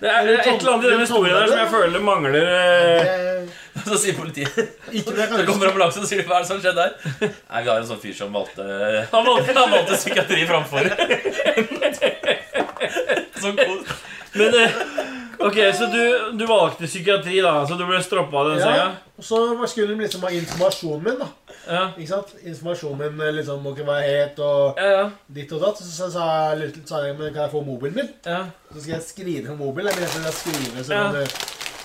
S8: Det er et eller annet i den historien der som jeg føler mangler eh,
S1: Eh,
S3: Så sier politiet
S1: Ikke noe jeg
S3: Så
S1: kan huske.
S3: kommer ambulansen og sier de, 'hva er det som skjedde her?' Nei, vi har en sånn fyr som valgte
S8: Han valgte-
S3: Han valgte psykiatri framfor. Sånn kos.
S8: Men eh, Ok, så du, du valgte psykiatri, da. Så du ble stroppa av den senga?
S1: Ja. Og så skulle de liksom ha informasjonen min, da.
S8: Ja.
S1: Ikke sant? Informasjonen min eh, liksom må ikke være het og
S8: Ja, ja,
S1: ditt og datt. Så sa- sa jeg lurte litt, sa jeg, men kan jeg få mobilen min?
S8: ja.
S1: Så skal jeg skrive på mobilen. Jeg mener jeg skal skrive sånn
S8: Ja.
S1: at det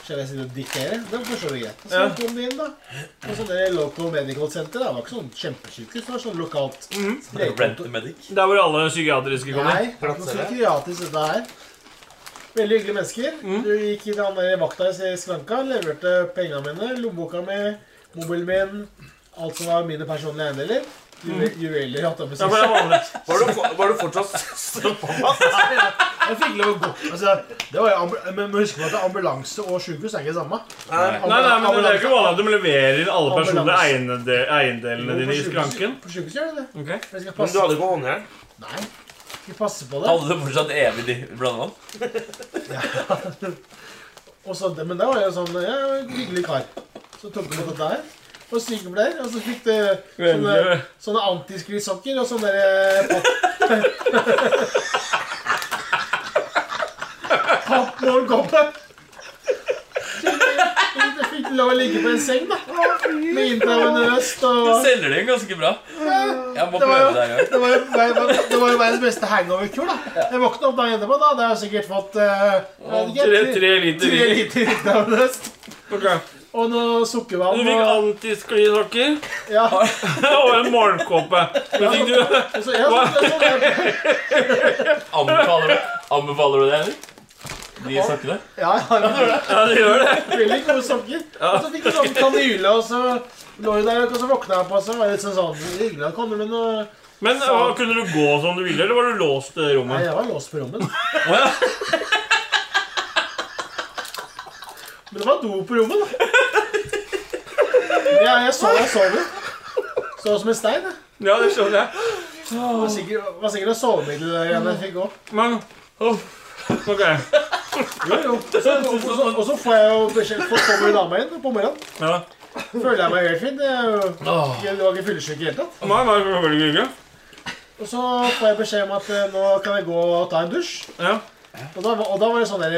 S1: Selv jeg sitter og dikterer. Det forstår du greit. Så kom de inn, da. Og så det Local Medical Center det var ikke sånn kjempesykehus. Det var sånn lokalt
S8: Mhm.
S7: Rent
S1: legekontor.
S7: a medic.
S8: Der hvor alle psykiatriske kommer.
S1: Nei, det var noe psykiatrisk dette her. Veldig hyggelige mennesker.
S8: Mhm.
S1: Du gikk i det andre vakta i skranka, leverte pengene mine, lommeboka mi, mobilen min, alt som var mine personlige eiendeler. Juve- Juveler hatt av med
S8: Mhm. Ja, for det er vanlig.
S9: Var du, for- var du fortsatt
S1: Jeg fikk lov å gå. Altså, det var jo ambu- men men husk på at ambulanse og sykehus er ikke det samme.
S8: Nei, nei, men det er jo ikke vanlig at de leverer inn alle
S1: Ambulanse.
S8: personlige eiendel- eiendelene
S1: På
S8: dine i
S1: sykehus-
S8: skranken.
S1: På sykehus gjør de det.
S8: Ok.
S1: For Jeg skal
S9: Men du
S1: passe,
S9: hadde ikke håndjern?
S1: nei, skal passe på det.
S7: Hadde du fortsatt evig di- blandevann?
S1: Og så, men da var jeg jo sånn ja, jeg var en hyggelig kar. Så tok vi på dette her. Og sykepleier. Og så fikk det sånne,
S8: Vennlig.
S1: sånne antiskrittsokker og sånne der, eh, papp... Pappmålkoppe. Jeg fikk lov å ligge på en seng, da. Med intravenøst og
S7: Selger de den ganske bra. Jeg må
S1: Det var
S7: prøve
S1: jo-
S7: det en gang.
S1: Det var jo, det var jo verdens beste hangover-kur, da. Jeg våkna opp dagen etterpå, da hadde jeg sikkert fått eh, jeg
S8: Tre,
S1: vet ikke,
S8: tre liter
S1: tre
S8: vin.
S1: liter intravenøst.
S8: Ok.
S1: Og noe sukkervann.
S8: Du fikk
S1: og-
S8: antisklisokker
S1: Ja,
S8: og en morgenkåpe. Men fikk du
S1: så, ja, så, så, så,
S7: Anbefaler du, anbefaler du det, eller? De snakkene?
S1: ja, ja,
S8: Ja, det gjør det.
S1: veldig gode sokker. Og så fikk jeg sånn kanyle, og så lå jeg der, og så våkna jeg på, og så var jeg litt sånn sånn Hyggelig at kommer med noe
S8: Men hva, kunne du gå som du ville, eller var du låst i det
S1: Nei,
S8: rommet?
S1: jeg var låst på rommet.
S8: ja.
S1: Men det var do på rommet, da. Ja, jeg så jeg sov jo. Sov som en stein. jeg.
S8: Ja, det skjønner jeg.
S1: Det var sikkert, var sikkert noe sovemiddel der igjen jeg fikk òg.
S8: Men uff. Ok.
S1: Jo, jo. Og så- og så- Og så får jeg jo beskjed for så mye dame inn på morgenen.
S8: Ja.
S1: Føler jeg meg helt fin. Det er jo ikke, det var ikke fyllesyk i det hele tatt.
S8: Nei, nei, selvfølgelig ikke.
S1: Og så får jeg beskjed om at eh, nå kan jeg gå og ta en dusj.
S8: Ja.
S1: Og da, var- og da var det sånn der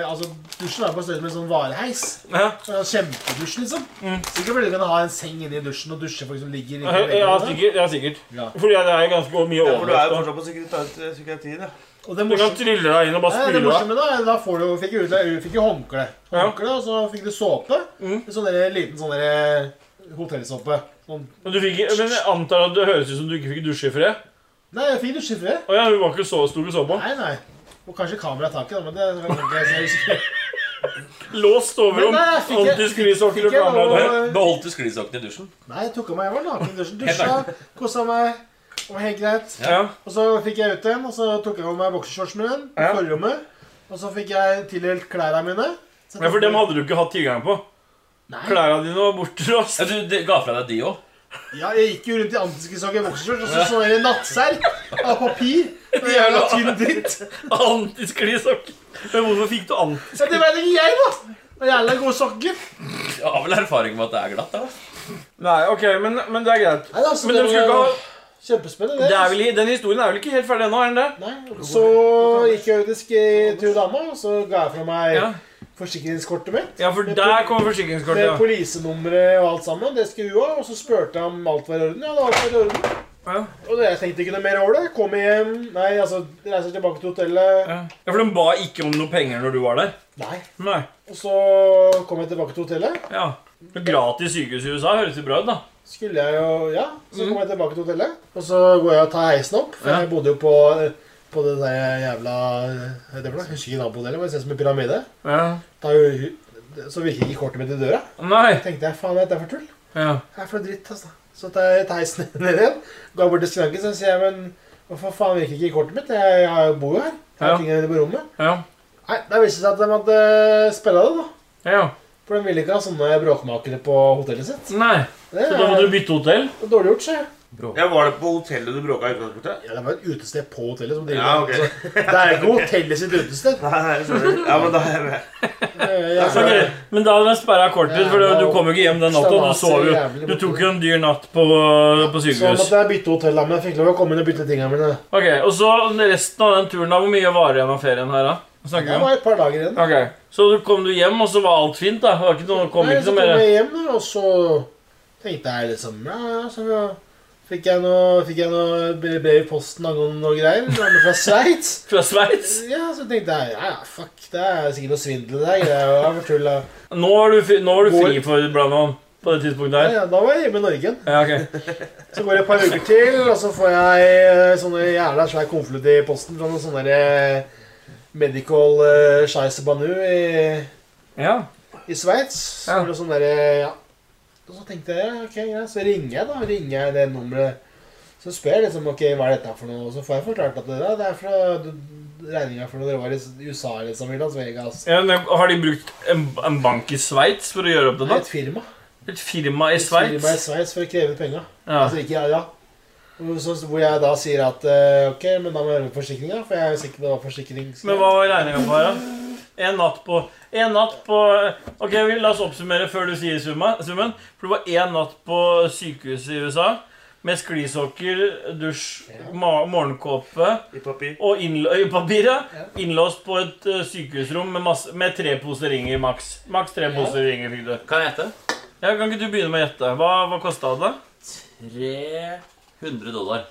S1: eh, Altså, dusjen var på størrelse med en sånn vareheis.
S8: Ja. Mm.
S1: Det var en Kjempedusj, liksom. Sikkert fordi du kan ha en seng inni dusjen og dusje folk som ligger inni
S8: Ja,
S1: veggene.
S8: sikkert. Ja, sikkert.
S1: Ja.
S8: Fordi det er ganske mye
S9: Ja, for du er jo
S8: overlast. da.
S9: fortsatt på psykiatri- psykiatrien, ja.
S1: Og det
S8: Du kan
S1: morsomme
S8: trille deg inn og bare
S1: Nei, det
S8: spyle deg.
S1: morsomme da, er da får du, fikk du ut, fikk jo håndkle. Håndkle, Og så fikk du såpe.
S8: Mm.
S1: En sånn der liten sånn der hotellsåpe. Sånn.
S8: Men, du fikk, men jeg antar at det høres ut som du ikke fikk dusje i fred?
S1: Nei, jeg fikk dusje før.
S8: Å ja, hun var ikke så stor du så på?
S1: Nei, nei. Og kanskje kameraet tar ikke, da, men det det kan ikke jeg se.
S8: Låst
S1: Men
S8: overrom,
S1: nei, jeg fikk-
S8: antisklisokker
S1: fikk
S8: og
S1: jeg
S8: kamera
S1: noe-
S8: der.
S7: Beholdt du sklisokkene i dusjen?
S1: Nei, jeg tok av meg, jeg var naken i dusjen. Dusja, kosa meg. Det var helt greit.
S8: Ja.
S1: Og så fikk jeg ut igjen, og så tok jeg av meg boksershortsen min. i Forrommet. Og så fikk jeg tildelt klærne mine. Så
S8: ja, for dem hadde du ikke hatt tilgang på.
S1: Nei.
S8: Klærne dine var bortblåst.
S7: Ja, du de, ga fra deg de òg?
S1: Ja, jeg gikk jo rundt i antiskrisokker i boksershorts og så sånn der nattserk av papir. Og jævla tynn dritt.
S8: Antisklisokker. Men hvorfor fikk du an...
S1: Så det vet ikke jeg, da. Og jævla gode sokker.
S7: Du har vel erfaring med at det er glatt? da?
S8: Nei, ok, men, men det er greit.
S1: Nei, da, så
S8: Men de skulle ikke ha...
S1: Kjempespennende.
S8: Det er vel, den historien er vel ikke helt ferdig ennå, er den det?
S1: Nei, Så gikk jeg ut i sk- til dama, og så ga jeg fra meg
S8: Ja.
S1: forsikringskortet mitt.
S8: Ja, for der kommer
S1: Med
S8: forsikringskortet.
S1: polisenummeret og alt sammen. Det skulle hun ha. Og så spurte jeg om alt var i orden. Ja, det var alt var i orden.
S8: Ja.
S1: Og det, jeg tenkte ikke noe mer over det. Kommer hjem Nei, altså, reiser tilbake til hotellet.
S8: Ja, Ja, for de ba ikke om noe penger når du var der.
S1: Nei.
S8: Nei.
S1: Og så kom jeg tilbake til hotellet.
S8: Ja. Men gratis sykehus i USA høres jo bra ut, da.
S1: Skulle jeg jo Ja,
S10: Mm.
S1: så kom jeg tilbake til hotellet. Og så går jeg og tar heisen opp. For
S8: Ja.
S1: jeg bodde jo på på det der jævla hva heter det for noe? Jeg Husker ikke navnet på hotellet, men det ser ut som en pyramide.
S8: Ja.
S1: Da er jo, hu- så virker ikke kortet mitt i døra.
S8: Nei.
S1: tenkte jeg, faen, dette er for tull.
S8: Ja.
S1: Det er for noe dritt, altså. Så tar jeg heisen ned igjen, går bort til skranken, så sier jeg, men hvorfor faen virker ikke kortet mitt? Jeg, jeg bor jo her. Jeg
S8: Ja.
S1: har tingene mine på rommet.
S8: Ja.
S1: Nei, da viste det seg at de hadde spilla det, da.
S8: Ja.
S1: For de ville ikke ha sånne bråkmakere på hotellet sitt.
S8: Nei.
S1: Det
S8: Så da må
S1: er
S8: du bytte hotell?
S1: dårlig gjort, sier jeg.
S9: Ja, Var det på hotellet du bråka i utgangspunktet?
S1: Ja, det var et utested på hotellet som driver
S9: Ja, ok.
S1: med det, altså. Det er ikke hotellet sitt utested.
S9: Nei, jeg skjønner. Ja, men da er jeg med.
S1: Eh, jeg-
S8: Ok, Men da hadde de sperra kortet ditt, for
S1: Ja,
S8: du
S1: da-
S8: kom jo ikke hjem den natta. Du sov jo. Du tok jo en dyr natt på, på
S1: Så
S8: sykehus.
S1: måtte jeg bytte hotell, da, men jeg fikk lov å komme inn og bytte tingene mine.
S8: Ok, Og så resten av den turen, da. Hvor mye varer igjen av ferien her, da? Hva snakker vi
S1: Det
S8: om?
S1: var et par dager igjen.
S8: Ok, Så du kom du hjem, og så var alt fint? da? Det liksom var ikke noe, kom
S1: Nei,
S8: ikke
S1: så
S8: noe
S1: kom
S8: mer?
S1: jeg hjem, da, og så tenkte jeg liksom ja, ja, så
S10: Fikk jeg noe, fikk jeg noe brev i posten angående noe greier. Det var fra Sveits.
S8: Fra Sveits?
S10: Ja, så tenkte jeg ja, ja, fuck, det er sikkert noe svindel der. greier og jeg var tull, da.
S8: Nå var du, fri- nå var du
S10: Hvor-
S8: fri for Brannan på det tidspunktet
S10: Ja,
S8: her.
S10: ja, da var jeg hjemme i Norge.
S8: Ja, ok.
S10: Så går det et par uker til, og så får jeg eh, sånne jævla svær konvolutt i posten fra noen sånne der, eh, medical eh, scheisebanu i,
S8: Ja.
S10: i Sveits. Så
S8: Ja.
S10: var det sånn der, eh, ja. Og så tenkte jeg ok, greit, så ringer jeg da, ringer jeg det nummeret. Så spør jeg liksom ok, hva er dette her for noe, og så får jeg forklart at det, ja, det er fra regninga for når dere var i USA liksom, i Las Vegas.
S8: Ja, men har de brukt en, en bank i Sveits for å gjøre opp det? da?
S10: Et firma.
S8: Et firma i
S10: Et firma i
S8: Sveits?
S10: Sveits for å kreve penga.
S8: Ja.
S10: Altså ikke ja, ja. Og Så, hvor jeg da sier at eh, ok, men da må jeg gjøre forsikringa, for jeg er sikker på hva forsikring
S8: Men hva var regninga på her, da? En natt på En natt på Ok, vi, la oss oppsummere før du sier summa, summen. For det var én natt på sykehuset i USA. Med sklisokker, dusj, ma morgenkåpe
S9: I papir.
S8: og innløypapir.
S10: Ja.
S8: Innlåst på et eh, sykehusrom med, masse, med tre poser ringer maks. Maks tre
S10: Ja.
S8: poser ringer fikk du.
S11: Kan jeg hete?
S8: Ja, kan ikke du begynne med å gjette? Hva, hva kosta det?
S11: 300 dollar.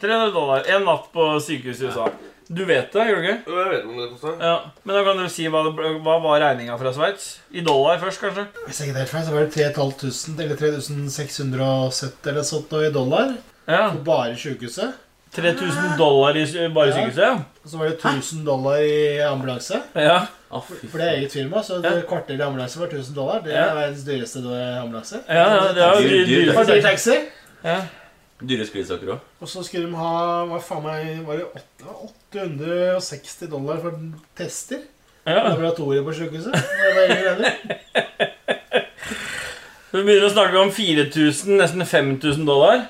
S8: 300 dollar. En natt på sykehuset i USA. Du vet det, gjør du ikke?
S9: Jeg vet om det koster.
S8: Ja, Men da kan du si hva, det, ble- hva var regninga fra Sveits? I dollar først, kanskje?
S10: Hvis jeg ikke tar feil, så var det 3500 eller 3670 eller sånt noe i dollar.
S8: Ja.
S10: For bare sykehuset.
S8: 3000 dollar i sy- bare
S10: Ja.
S8: sykehuset?
S10: Og så var det 1000 dollar i ambulanse.
S8: Ja. ja.
S11: Å, fy
S10: For det er eget firma, så
S8: Ja.
S10: et kvarter i ambulanse var 1000 dollar. Det
S8: Ja.
S10: er verdens dyreste da- ambulanse.
S8: Ja, ja, det er jo
S11: Dyr-
S8: dyr,
S11: dyr
S10: Det var dyr
S8: dyr.
S10: taxi.
S8: Ja.
S11: Dyre sklisokker òg.
S10: Og så skulle de ha hva faen meg, var det åtte- 860 dollar for tester.
S8: Ja.
S10: Laboratoriet på sykehuset. Det var ingen regning.
S8: Vi begynner å snakke om 4000, nesten 5000 dollar.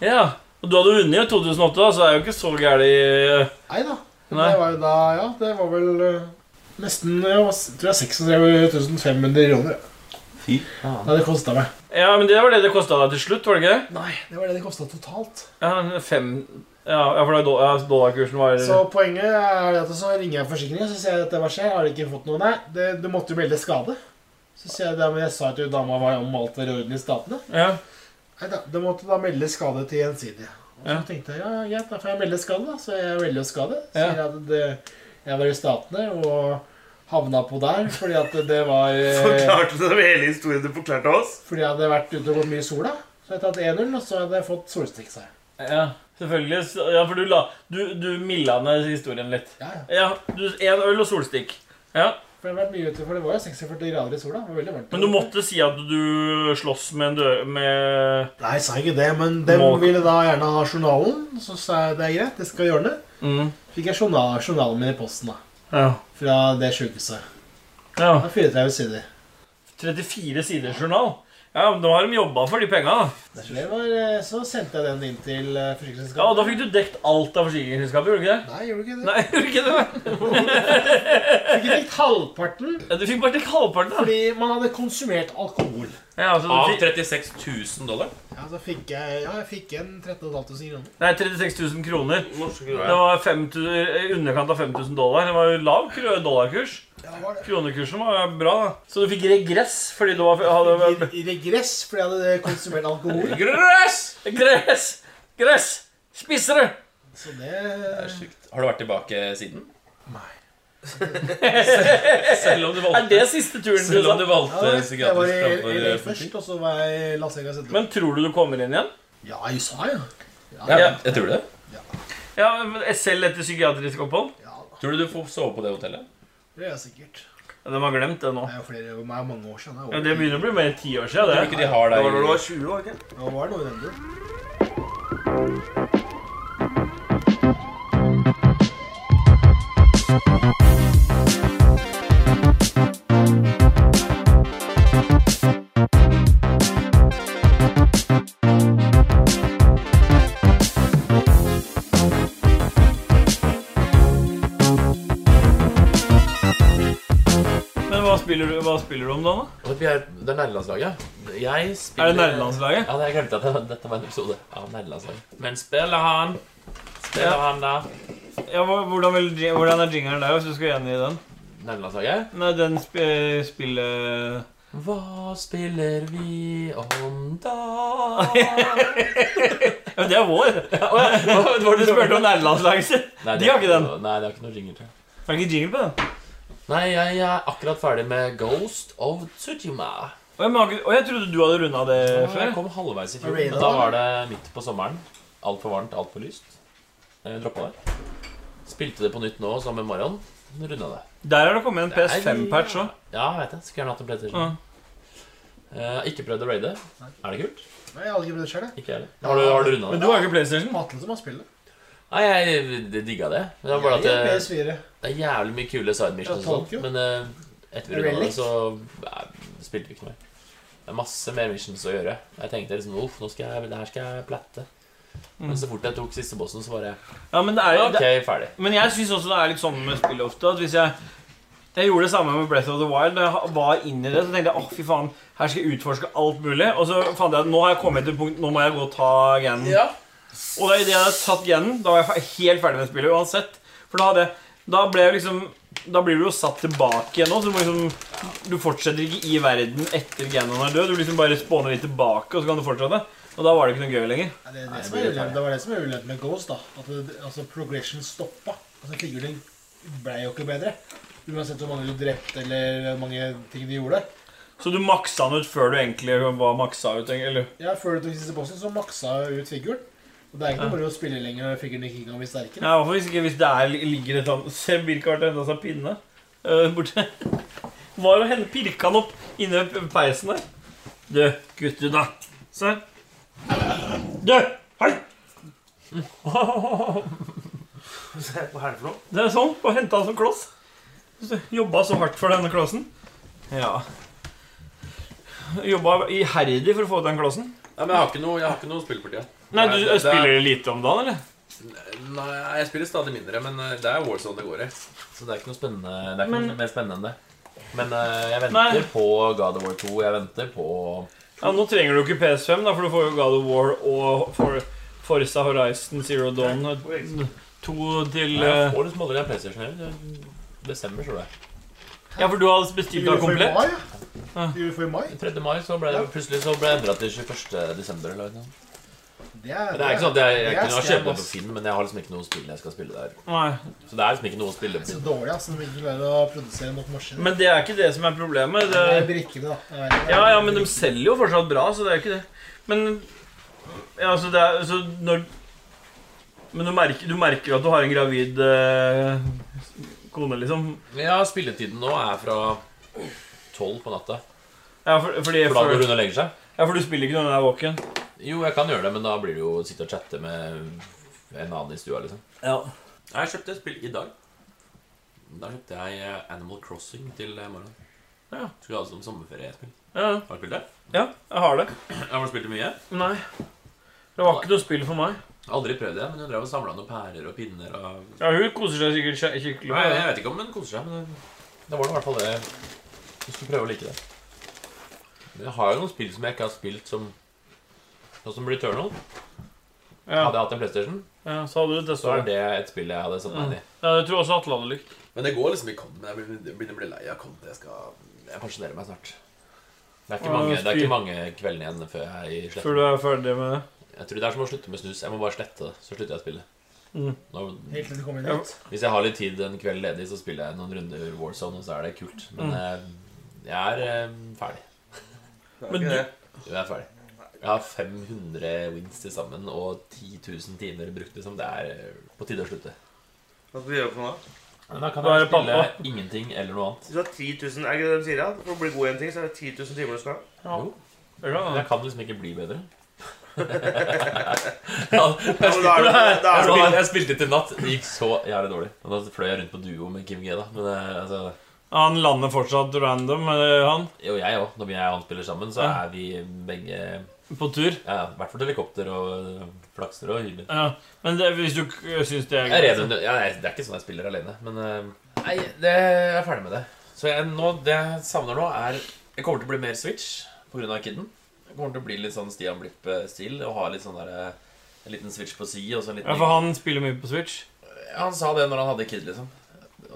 S8: Ja. Og du hadde vunnet i 2008, da, så det er jo ikke så gæli
S10: Nei da.
S8: Nei.
S10: Det var jo da Ja, det var vel eh, nesten jeg var, tror jeg 36 500 kroner.
S11: Fy
S10: Det hadde kosta meg.
S8: Ja, men det var det det kosta deg til slutt, var det ikke? det?
S10: Nei, det var det det kosta totalt.
S8: Ja, men fem Ja, ja, for da do- ja, dollarkursen var
S10: Så poenget er at så ringer jeg forsikringen så sier jeg at hva skjer, har du ikke fått noe? Nei, det, du måtte jo melde skade. Så sier jeg det, men jeg sa til dama hva om alt var i orden i statene.
S8: Ja.
S10: Nei da, du måtte da melde skade til gjensidige. Og så
S8: Ja.
S10: tenkte jeg ja, greit, da får jeg melde skade, da. Så jeg melder jo skade.
S8: Ja.
S10: Sier at det, jeg var i statene og havna på der fordi at det var eh,
S9: Forklarte du dem hele historien du forklarte oss?
S10: Fordi jeg hadde vært ute og gått mye i sola. Så hadde jeg tatt 1-0, og så hadde jeg fått solstikk seg.
S8: Ja, selvfølgelig. Så- Ja, for du, la, du, du milla ned historien litt.
S10: Ja, ja.
S8: Ja, du, En øl og solstikk. Ja,
S10: For jeg hadde vært mye ute, for det var jo 46 grader i sola. Det var veldig varmt.
S8: Men du måtte si at du sloss med en dør... Med
S10: Nei, jeg sa ikke det, men dem
S8: Må-
S10: ville da gjerne ha journalen. Så sa jeg det er greit, det skal jeg ordne.
S8: mm.
S10: Fikk jeg journal, journalen min i posten da.
S8: ja.
S10: Fra det sjukehuset.
S8: ja.
S10: Det var 34 sider.
S8: 34 siders journal. Ja, men Nå har de jobba for de penga. da.
S10: Så, det var, eh, så sendte jeg den inn til
S8: Ja,
S10: eh,
S8: og
S10: forsikringsselskapet.
S8: Da fikk du dekt alt av forsikringsselskapet, gjorde du ikke det?
S10: Nei, gjorde du ikke det?
S8: Nei, gjorde du ikke det?
S10: Fikk jeg dekt halvparten
S8: Ja, Du fikk bare dekt halvparten. da.
S10: fordi man hadde konsumert alkohol.
S8: Ja, så
S3: Av
S8: du fikk,
S3: 36 000 dollar?
S10: Ja, så fikk jeg, ja, jeg fikk igjen 13.500 kroner.
S8: nei, 36 000 kroner.
S9: Norske
S8: Det
S9: greier.
S8: var 5000 i underkant av 5000 dollar. Det var jo lav kro- dollarkurs.
S10: Ja, det var det.
S8: Kronekursen var bra, da. Så du fikk regress fordi du var, hadde
S10: I, I regress fordi jeg hadde konsumert alkohol.
S3: Gress!
S8: Gress! Gress! Spisere!
S10: Så det
S3: Det er sykt. Har du vært tilbake siden? Selv om du
S8: Er
S3: valgte,
S8: det siste turen til
S3: selv om
S8: USA?
S3: du valgte
S10: Ja, jeg var
S3: psykiatrisk
S10: i LA
S3: framfor eh,
S8: eh,
S10: først, og så var jeg i Las Vegas etterpå.
S8: Men tror du du kommer inn igjen?
S10: Ja, i USA, ja.
S3: Ja, jeg tror det.
S8: Ja, men Selv etter psykiatrisk opphold?
S10: Ja da,
S3: Tror du du får sove på det hotellet?
S10: det er jeg sikkert.
S8: Ja, De har glemt det nå.
S10: Det er jo flere, det er mange år siden.
S8: Ja,
S10: Det
S8: Det
S10: er over.
S8: begynner å bli mer enn ti år siden.
S3: Tror du
S8: det.
S3: ikke de har
S9: Det var da du
S3: deg
S9: var 20 år, ikke?
S10: Ja, det var noe i den duren.
S8: Men hva spiller du, hva spiller du om da? da?
S11: Det er nerdelandslaget. Jeg spiller
S8: Er det nærlandslaget?
S3: Ja, jeg glemte at det- dette var en episode av Nerdelandslaget. Men spiller han? Spiller
S8: Ja.
S3: han da?
S8: Ja, hva- hvordan, vil, hvordan er jingeren der, hvis du skal gjengi den? eh,
S3: Nerdelandslaget?
S8: Nei, den sp spille...
S3: Hva spiller vi om da?
S8: Ja, men det er vår. Hva var det du spurte om nærlandslaget?
S3: Nei,
S8: De har ikke den.
S3: noe- Nei, det har ikke noe jingle til.
S8: Får jeg ikke jingle på den?
S3: Nei, jeg er akkurat ferdig med Ghost of Tsushima.
S8: Og jeg, mager, og jeg trodde du hadde runda det
S3: Og Jeg
S8: før.
S3: kom halvveis i fjor.
S10: Arena,
S3: men Da var det midt på sommeren. Altfor varmt, altfor lyst. Jeg droppa det. Spilte det på nytt nå samme morgen. Runda det.
S8: Der har det kommet en PS5-patch òg.
S3: Ja, jeg vet det. Skulle gjerne hatt en PlayStation. Eh, ikke prøvd å raide. Er det kult?
S10: Nei, jeg har aldri prøvd det selv, jeg.
S3: Ikke jeg heller. Har du, har du runda
S8: Men
S3: det?
S8: du har ikke PlayStation.
S10: Atle som har spilt det.
S3: Nei, jeg d- digga det. Men det var bare at
S10: Jeg er
S3: det,
S10: PS4.
S3: det er jævlig mye kule side missions og
S10: Ja, Tokyo.
S3: sånt. Men eh, etter vi runda det,
S10: Relic.
S3: så nei, spilte vi ikke noe mer. Det er masse mer missions å gjøre. Jeg tenkte liksom uff, nå skal jeg, det her skal jeg platte. Men så fort jeg tok siste bossen, så var jeg
S8: Ja, men, det er, jo-
S3: OK, ferdig.
S8: det, men jeg syns også det er litt sånn med spill ofte at hvis jeg jeg gjorde det samme med Breath of the Wild. Da jeg ha- var inne i det, så tenkte jeg åh, fy faen, her skal jeg utforske alt mulig. Og så fant jeg at nå har jeg kommet til punkt, nå må jeg gå og ta Ganon. Og da idet jeg hadde tatt Ganon, da var jeg fe- helt ferdig med spillet uansett. For da hadde jeg Da ble jeg liksom Da blir du jo satt tilbake igjen nå, så du må liksom Du fortsetter ikke i verden etter Ganon er død. Du liksom bare spåner litt tilbake, og så kan du fortsette. Og da var det ikke noe gøy lenger.
S10: Nei, Det, er det, som er ulempe, det var det som var ulempen med Ghost. da At det, altså progression stoppa. Altså Figuren ble jo ikke bedre. Uansett hvor mange du drepte eller hvor mange ting de gjorde.
S8: Så du maksa den ut før du egentlig var maksa ut? Eller?
S10: Ja, Før du tok siste bossen, så maksa jeg ut figuren. Og det er ikke noe bare å spille lenger når figuren ikke kan bli sterkere.
S8: Ja, i hvert fall hvis, ikke, hvis det er, ligger et sånt Se, Birk har vært og hentet seg pinne øh, borte. Var jo henne pirka han opp inni p- peisen der. Du, gutter, da. Se. Du! Hei!
S9: Hva er det for noe?
S8: Det er sånn. Og henta han som kloss. Så Jobba så hardt for denne klossen. Ja. Jobba iherdig for å få den klossen.
S11: Nei, men jeg har ikke noe, jeg har ikke noe spill for tida.
S8: Nei,
S11: Nei,
S8: du
S11: det- det er-
S8: spiller lite om dagen, eller?
S11: Nei, jeg spiller stadig mindre, men eh, det er Warzone det går i.
S3: Så det er ikke noe spennende Det er ikke
S8: Men-
S3: noe mer spennende enn det. Men eh, jeg venter
S8: Nei.
S3: på God of War 2. Jeg venter på
S8: Ja, Nå trenger du ikke PS5, da, for du får jo God of War og For Forza Horizon Zero Dawn eh, to til
S3: Nei, Jeg
S8: eh,
S3: får liksom aldri en PlayStation heller. Det Desember, tror jeg.
S8: Ja, for du har bestilt deg
S10: for i
S8: komplett?
S10: mai, ja. Det gjorde vi for i mai.
S3: 3. mai så ble det plutselig så ble det endra til 21. desember. Eller noe. sånt.
S10: Det er,
S3: Men det er ikke sånn at jeg, jeg
S10: det er
S3: kunne ha
S10: stjerne,
S3: kjøpt meg på
S10: ass.
S3: Finn, men jeg har liksom ikke noe spill jeg skal spille der.
S8: Nei.
S3: Så det er liksom ikke noe å spille
S10: Så
S3: på.
S10: dårlig altså, når vi ikke klarer å produsere nok maskiner.
S8: Men det er ikke det som er problemet.
S10: Det er
S8: Det,
S10: brikkene, da. Det er-
S8: ja, ja, men de selger jo fortsatt bra, så det er ikke det. Men ja, altså, det er, så når Men du merker, du merker at du har en gravid eh, kone, liksom.
S3: Ja, spilletiden nå er fra 12 på natta.
S8: Ja, for, fordi,
S3: For da går hun og legger seg.
S8: ja, for du spiller ikke når hun er våken.
S3: Jo, jeg kan gjøre det, men da blir det jo å sitte og chatte med en annen i stua, liksom.
S8: Ja.
S3: Jeg kjøpte et spill i dag. Da kjøpte jeg eh, Animal Crossing til eh, morgenen.
S8: Ja.
S3: Skulle ha det som sommerferiespill.
S8: ja.
S3: Har du spilt det?
S8: Ja, jeg har det.
S3: Har du spilt det mye?
S8: Nei. Det var ikke noe spill for meg.
S3: Aldri prøvd det, men hun drev og samla noen pærer og pinner og
S8: Ja, Hun koser seg sikkert skje- skikkelig.
S3: Nei,
S8: med
S3: Jeg
S8: det.
S3: vet ikke om hun koser seg, men det det var nå i hvert fall det Hvis du prøver å like det. Men jeg har jo noen spill som jeg ikke har spilt som Sånn som Returnal. Hadde
S8: Ja.
S3: jeg hatt en PlayStation,
S8: ja, Så hadde du
S3: så
S8: testa
S3: er
S8: det.
S3: det et spill jeg hadde satt meg inn i.
S8: Ja, det tror jeg også Atle hadde likt.
S11: Mm. Men det går liksom i kont. Men jeg begynner- jeg begynner å bli lei av kont. Jeg skal
S3: Jeg pensjonerer meg snart. Det er ikke
S8: Ja,
S3: mange, det er
S8: fy.
S3: ikke mange kveldene igjen før jeg sletter.
S8: Før du er ferdig med det.
S3: Jeg tror det er som å slutte med snus. Jeg må bare slette det. Så slutter jeg å spille.
S8: Mm.
S3: Nå,
S10: Helt til det kommer
S8: Ja.
S10: inn hit.
S3: hvis jeg har litt tid en kveld ledig, så spiller jeg noen runder Warzone, og så er det kult.
S8: Mm.
S3: Men eh, jeg er eh, ferdig.
S8: Men
S9: ikke
S8: du-
S9: det.
S3: Jo, Jeg er ferdig. Jeg har 500 wins til sammen og 10 000 timer brukt. Liksom. Det er eh, på tide å slutte.
S9: Hva skal vi gjøre for noe? da?
S3: Men da kan
S8: Da er
S3: jeg
S8: det
S3: spille
S8: pappa.
S3: ingenting eller noe annet.
S9: Hvis du har 10 000, er det ikke det de sier? Ja? For å bli god i en ting, så er det 10 000 timer du skal ha.
S3: Jo,
S8: Det kan
S3: men
S8: hende.
S3: jeg kan liksom ikke bli bedre.
S9: Ja, men da er det- da
S3: Jeg
S9: er det-
S3: spilte, jeg spilte til natt. Det gikk så jævlig dårlig. Og da fløy jeg rundt på duo med Kim G, da. Men eh, altså
S8: Han lander fortsatt random, eh, han.
S3: Jo, jeg òg. Når vi og han spiller sammen, så
S8: Ja.
S3: er vi begge
S8: På tur.
S3: ja, I hvert fall helikopter og eh, flakser og hyler.
S8: Ja. Men det, hvis du k- syns det er
S3: Jeg er redd, under- ja, jeg- det er ikke sånn jeg spiller alene, men eh, Nei, det, jeg er ferdig med det. Så jeg, nå, det jeg savner nå, er Jeg kommer til å bli mer Switch pga. kidden. Jeg kommer til å bli litt sånn Stian Blipp-stil og ha litt sånn der, eh, en liten Switch på si og så en liten
S8: Ja, for han spiller mye på Switch.
S3: Ja, Han
S7: Eh,
S3: sa det når han hadde kid, liksom.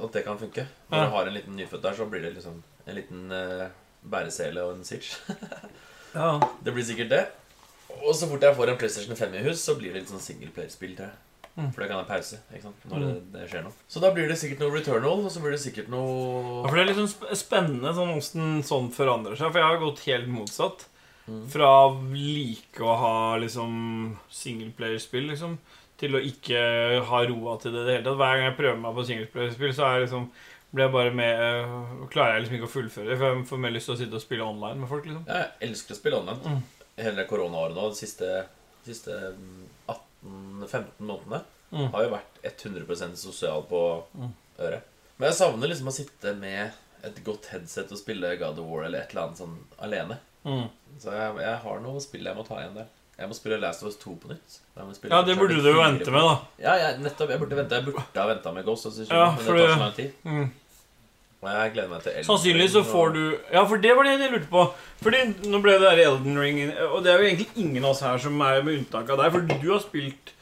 S3: At det kan funke. Når
S8: Ja.
S3: du har en liten nyfødt der, så blir det liksom en liten eh,
S7: bæresele og en Switch.
S8: Ja.
S7: Det blir sikkert det. Og så fort jeg får en PlayStation 5 i hus, så blir det litt sånn singleplayerspill, tror jeg.
S3: Mm.
S7: For det kan være pause ikke sant? når det, det skjer noe. Så da blir det sikkert noe Returnal, og så blir det sikkert
S8: Ja,
S7: noe
S8: for Det er litt sånn sp- spennende sånn hvordan sånn forandrer seg. For jeg har gått helt motsatt. Fra å like å ha liksom singleplayerspill liksom, til å ikke ha roa til det i det hele tatt. Hver gang jeg prøver meg på singleplayerspill, så er jeg liksom blir jeg bare med øh, Klarer jeg liksom ikke å fullføre det. For jeg får mer lyst til å sitte og spille online med folk. liksom
S7: Ja, jeg elsker å spille online.
S8: Mm.
S7: Hele koronaåret nå, de siste, siste 18-15 månedene,
S8: Mm.
S7: har jo vært 100 sosial på øret. Men jeg savner liksom å sitte med et godt headset og spille God of War eller et eller annet sånn alene.
S8: Mm.
S7: Så jeg, jeg har noe spill jeg må ta igjen der. Jeg må spille Last of Us 2 på nytt. Jeg må spille
S8: Ja, det
S7: Uncharted
S8: burde du jo
S7: 4
S8: vente
S7: på
S8: med, da.
S7: Ja, jeg, nettopp. Jeg burde vente Jeg burde ha venta med Ghost. Altså,
S8: Ja,
S7: men
S8: for
S7: det tar
S8: det-
S7: så lang tid.
S8: Mm.
S7: Og jeg gleder meg til Elden
S8: Sannsynligvis så
S7: Ring,
S8: får
S7: og-
S8: du Ja, for det var det jeg lurte på. Fordi nå ble det der Elden Ring Og det er jo egentlig ingen av oss her som er med unntak av deg, for du har spilt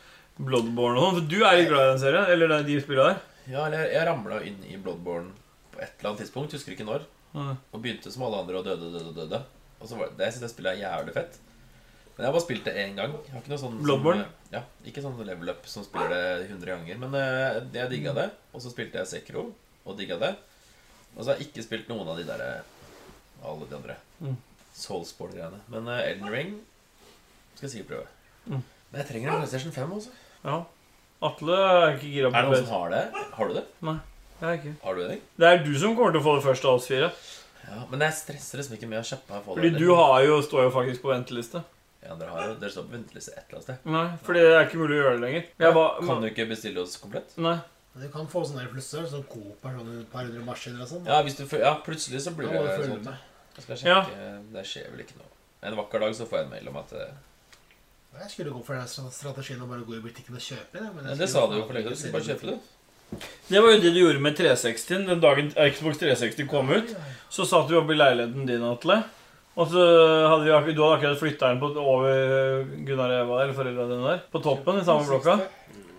S8: Bloodborne og sånn. For du er litt glad i den serien? Eller det er de spillene der?
S7: Ja, eller jeg, jeg ramla inn i Bloodborne på et eller annet tidspunkt. Husker ikke når.
S8: Nei.
S7: Og begynte som alle andre og døde, døde, døde. Og så var det, Jeg synes det spillet er jævlig fett. Men jeg har bare spilt det én gang. Jeg har ikke noe sånn
S8: Bloodborne?
S7: Sånn, ja, ikke sånn level up som spiller det 100 ganger. Men eh, jeg digga det. Og så spilte jeg Sekro og digga det. Og så har jeg ikke spilt noen av de der eh, Alle de andre
S8: Mm.
S7: Soulsport-greiene. Men eh, Elden Ring skal jeg sikkert prøve.
S8: Mm.
S7: Men jeg trenger en PlayStation 5 også.
S8: Ja. Atle er ikke gira
S7: Er det
S8: på
S7: noen som
S8: det.
S7: har det? Har du det?
S8: Jeg er ikke.
S7: Har du det?
S8: Det er du som kommer til å få det først av oss fire.
S7: Ja, men jeg stresser liksom ikke med å kjappe her.
S8: Fordi du har jo, står jo faktisk på venteliste.
S7: Ja, dere har jo Dere står på venteliste et eller annet sted.
S8: Nei, fordi det er ikke mulig å gjøre det lenger. Jeg
S7: Kan
S8: var,
S7: du ikke bestille oss komplett?
S8: nei.
S10: Men Du kan få sånne der plusser, sånn Coop er sånn et par hundre maskiner og sånn.
S7: Ja, hvis du føl- ja, plutselig så blir
S10: Da
S7: det
S10: må du følge
S7: sånn.
S10: med.
S7: Jeg skal
S8: Ja.
S7: sjekke. Det skjer vel ikke noe. En vakker dag så får jeg en mail om at eh,
S10: Jeg skulle gå for den stra- strategien å bare gå i butikken og kjøpe. det, Men
S7: ja,
S10: jeg
S7: Det
S10: skulle
S7: sa du
S10: faen
S7: jo for lenge siden.
S10: ikke
S7: Du skulle bare
S10: se
S7: kjøpe det.
S8: Det var jo det du gjorde med 360-en den dagen Xbox 360 kom ut. Så satt du oppe i leiligheten din, Atle. Og så hadde vi, akkur- du hadde akkurat flytta den på, over Gunnar og Eva, eller foreldrene dine der. På toppen i samme blokka.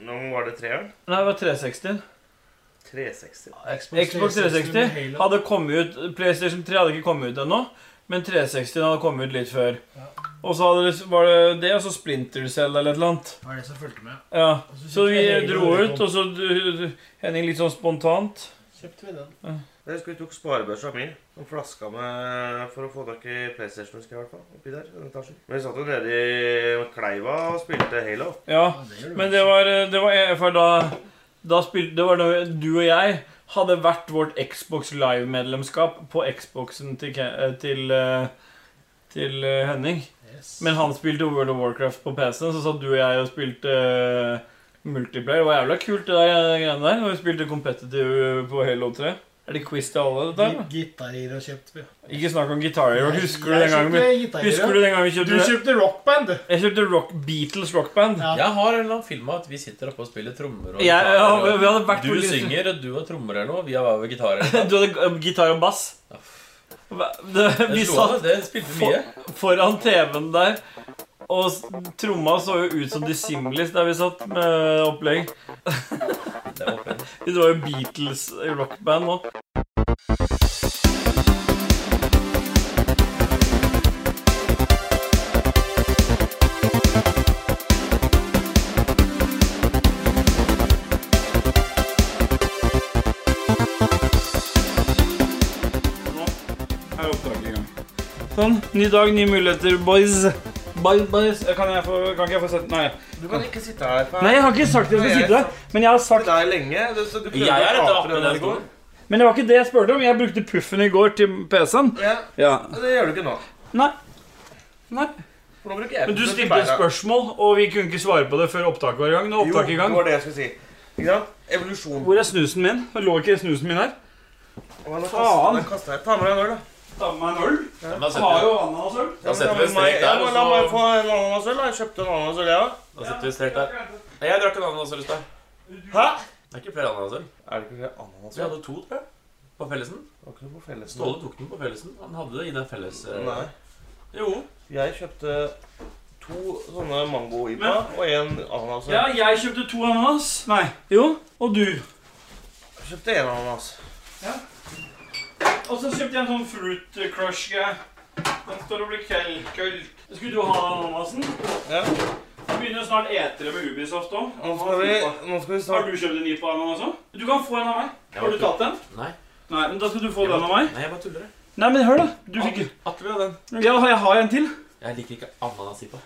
S9: Nå var det treeren.
S8: Nei, det var 360.
S9: 360.
S8: Xbox 360
S10: med Halo.
S8: hadde kommet ut PlayStation 3 hadde ikke kommet ut ennå, men 360 hadde kommet ut litt før. Og så hadde det, var det det, og så Splinter Cell eller et eller annet.
S10: Det var det som fulgte med.
S8: Ja.
S10: Og
S8: Så vi
S10: kjøpte jeg
S8: dro
S10: Halo
S8: ut, og så du- Henning litt sånn spontant.
S10: Kjøpte vi den.
S9: Jeg husker vi tok sparebørsa mi og flaska med for å få tak i PlayStation. husker jeg i hvert fall, oppi der, i den etasjen. Men vi satt jo nede i kleiva og spilte Halo.
S8: Ja.
S10: Ja, det gjør du
S8: Men
S10: vel.
S8: det var, eh, det var for da, da spil, Det var da du og jeg hadde hvert vårt Xbox Live-medlemskap på Xboxen til, Ke- eh, til, eh, til eh, Henning.
S10: Yes.
S8: Men han spilte World of Warcraft på PC-en, så satt du og jeg og spilte eh, multiplayer. Det var jævla kult, det der eh, greiene der. Når vi spilte competitive eh, på Halo 3. Er det quiz til alle, dette? her,
S10: Gi- Gitarer og kjøpte vi.
S8: da? Ikke snakk om gitarer. Husker du
S10: Jeg
S8: den gangen vi,
S10: kjøpte gitarer,
S8: husker du den gangen vi
S10: ja. Du
S8: kjøpte
S10: kjøpte rockband.
S8: Jeg kjøpte rock, Beatles rockband.
S10: Ja.
S7: Jeg har en eller annen film av at vi sitter oppe og spiller trommer og
S8: Jeg, ja, vi
S7: gitarer.
S8: vi hadde
S7: og
S8: vært
S7: Du
S8: på-
S7: synger, og du har trommer eller noe. Vi har vært gitarer.
S8: Du hadde eh, gitar og bass. Hva- Det, vi
S7: Det slo
S8: satt
S7: av, det spilte vi mye.
S8: foran TV-en der, og s- tromma så jo ut som The Simlies der vi satt med opplegg.
S7: Det var fett.
S8: Det var jo Beatles i rockband nå. Sånn. Ny dag, nye muligheter, boys. Boys, boys. Eh, Kan, jeg få, kan ikke jeg få sette Nei.
S9: Du kan ikke sitte her for
S8: Nei, jeg har ikke sagt at jeg skal sitte der. Men jeg har sagt
S9: Det er lenge. Du, så du prøver
S7: Jeg er
S9: å
S7: etter
S9: kapre
S7: appen
S9: den
S7: den
S9: går.
S8: Men det var ikke det jeg spurte om. Jeg brukte puffen i går til PC-en.
S9: Ja,
S8: Ja.
S9: Det gjør du ikke nå.
S8: Nei. Nei.
S9: For nå bruker jeg
S8: Men du
S9: den til
S8: stilte et
S9: beina.
S8: spørsmål, og vi kunne ikke svare på det før opptaket var i gang. Nå er
S9: Jo,
S8: opptaket i gang.
S9: det var det jeg skulle si. Ikke sant? Evolusjon.
S8: Hvor er snusen min? Lå ikke snusen min her?
S9: Å, nå kastet-
S8: faen.
S9: nå kastet jeg. Ta med deg en øl, da.
S8: Ta med meg en øl.
S7: Men da setter vi-
S8: jo ananas øl.
S7: da setter vi en strek
S9: Ja,
S7: der,
S9: men
S7: og
S9: La meg
S7: så
S9: få en ananasøl. da. Jeg kjøpte en ananasøl, jeg òg.
S7: Da setter vi en strek der. Jeg drakk en ananasøl i stad.
S9: Hæ?
S7: Det er ikke flere ananasøl.
S9: Er det ikke det ananas?
S7: Vi hadde to, tror jeg. På fellesen.
S9: Var ikke noe på felles
S7: Ståle tok den på fellesen. Han hadde det i den felles... eh,
S9: Nei.
S7: Jo.
S9: Jeg kjøpte to sånne mango-ipa
S8: Men-
S9: og en ananas.
S8: Ja, jeg kjøpte to ananas. Nei. Jo. Og du.
S9: Jeg kjøpte en ananas.
S8: Og så kjøpte jeg en sånn Fruit Crush-greie. Den står og blir køll, køll. Skulle du ha den, Hansen?
S9: Ja.
S8: Så begynner jo snart etere med Ubisoft òg.
S9: Nå skal vi, nå skal vi
S8: Har
S9: snart
S8: du kjøpt en ny på den også? Du kan få en av meg.
S3: Jeg
S8: Har du
S3: bare-
S8: tatt den?
S3: Nei.
S8: Nei, men Da skal du få den av meg.
S3: Nei, jeg bare tuller. jeg.
S8: Nei, men hør, da. Du fikk
S3: Atle- Atle vil ha den.
S8: Ja, jeg har en til.
S3: Jeg liker ikke ananasippa.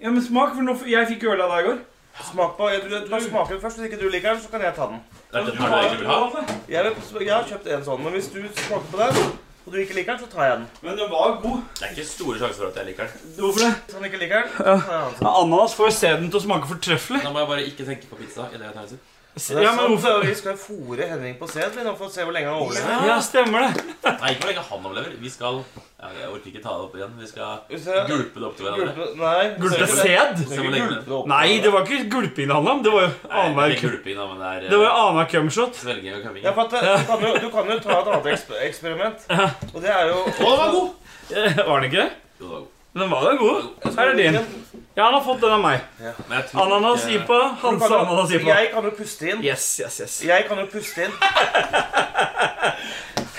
S8: Ja, men smak, for nå, jeg fikk øl av deg i går.
S9: smake på Du, du kan smake den først. Hvis ikke du liker den, så kan jeg ta den.
S3: Det er
S8: men
S3: den
S8: du
S3: du
S8: har-
S3: egentlig vil ha.
S9: Jeg, vil, jeg har kjøpt en sånn, men hvis du smaker på den, og du ikke liker den, så tar jeg den.
S8: Men den var god.
S3: Det er ikke store sjanser for at jeg liker den.
S8: Hvorfor det?
S9: Hvis han ikke liker den, så tar jeg den.
S8: Ja, Ananas får jo sæden til å smake fortreffelig.
S3: Da må jeg bare ikke tenke på pizza. i det jeg tar en sipp.
S9: Det er
S8: Ja, men
S9: sant,
S8: hvorfor?
S9: Vi skal fôre Henning på sæd vi nå, for å se hvor lenge han overlever.
S8: Ja, stemmer det.
S3: Nei, ikke hvor lenge han overlever. Vi skal ja, Jeg orker ikke ta det opp igjen. Vi skal
S9: Hvis jeg-
S3: gulpe det opp til hverandre.
S9: Gulpe Nei. ser du
S8: Gulpe
S9: det?
S8: sæd?
S3: Se hvor lenge
S9: Gulpe det opp.
S8: Nei, det var ikke gulping det handla om. Det var jo
S3: Nei, det er
S8: annenhver
S3: ikke
S8: cum-
S3: gulping, da, men det er eh,
S8: Det var jo annenhver cumshot.
S3: svelging og
S9: Ja,
S3: kamming.
S9: for at det, du, kan jo, du kan jo ta et annet eksper eksperiment. Og det er jo
S8: Eh, Var den ikke det?
S3: Jo, det var god.
S8: Men Den var jo god. Her er din. Ja, han har fått den av meg.
S3: Men jeg tror
S8: Ananas
S3: ikke-
S8: ipa.
S9: Du kan
S8: Hanse
S9: jo-
S8: ananas ipa.
S9: Jeg kan jo puste inn.
S8: Yes, yes, yes.
S9: Jeg kan jo puste inn.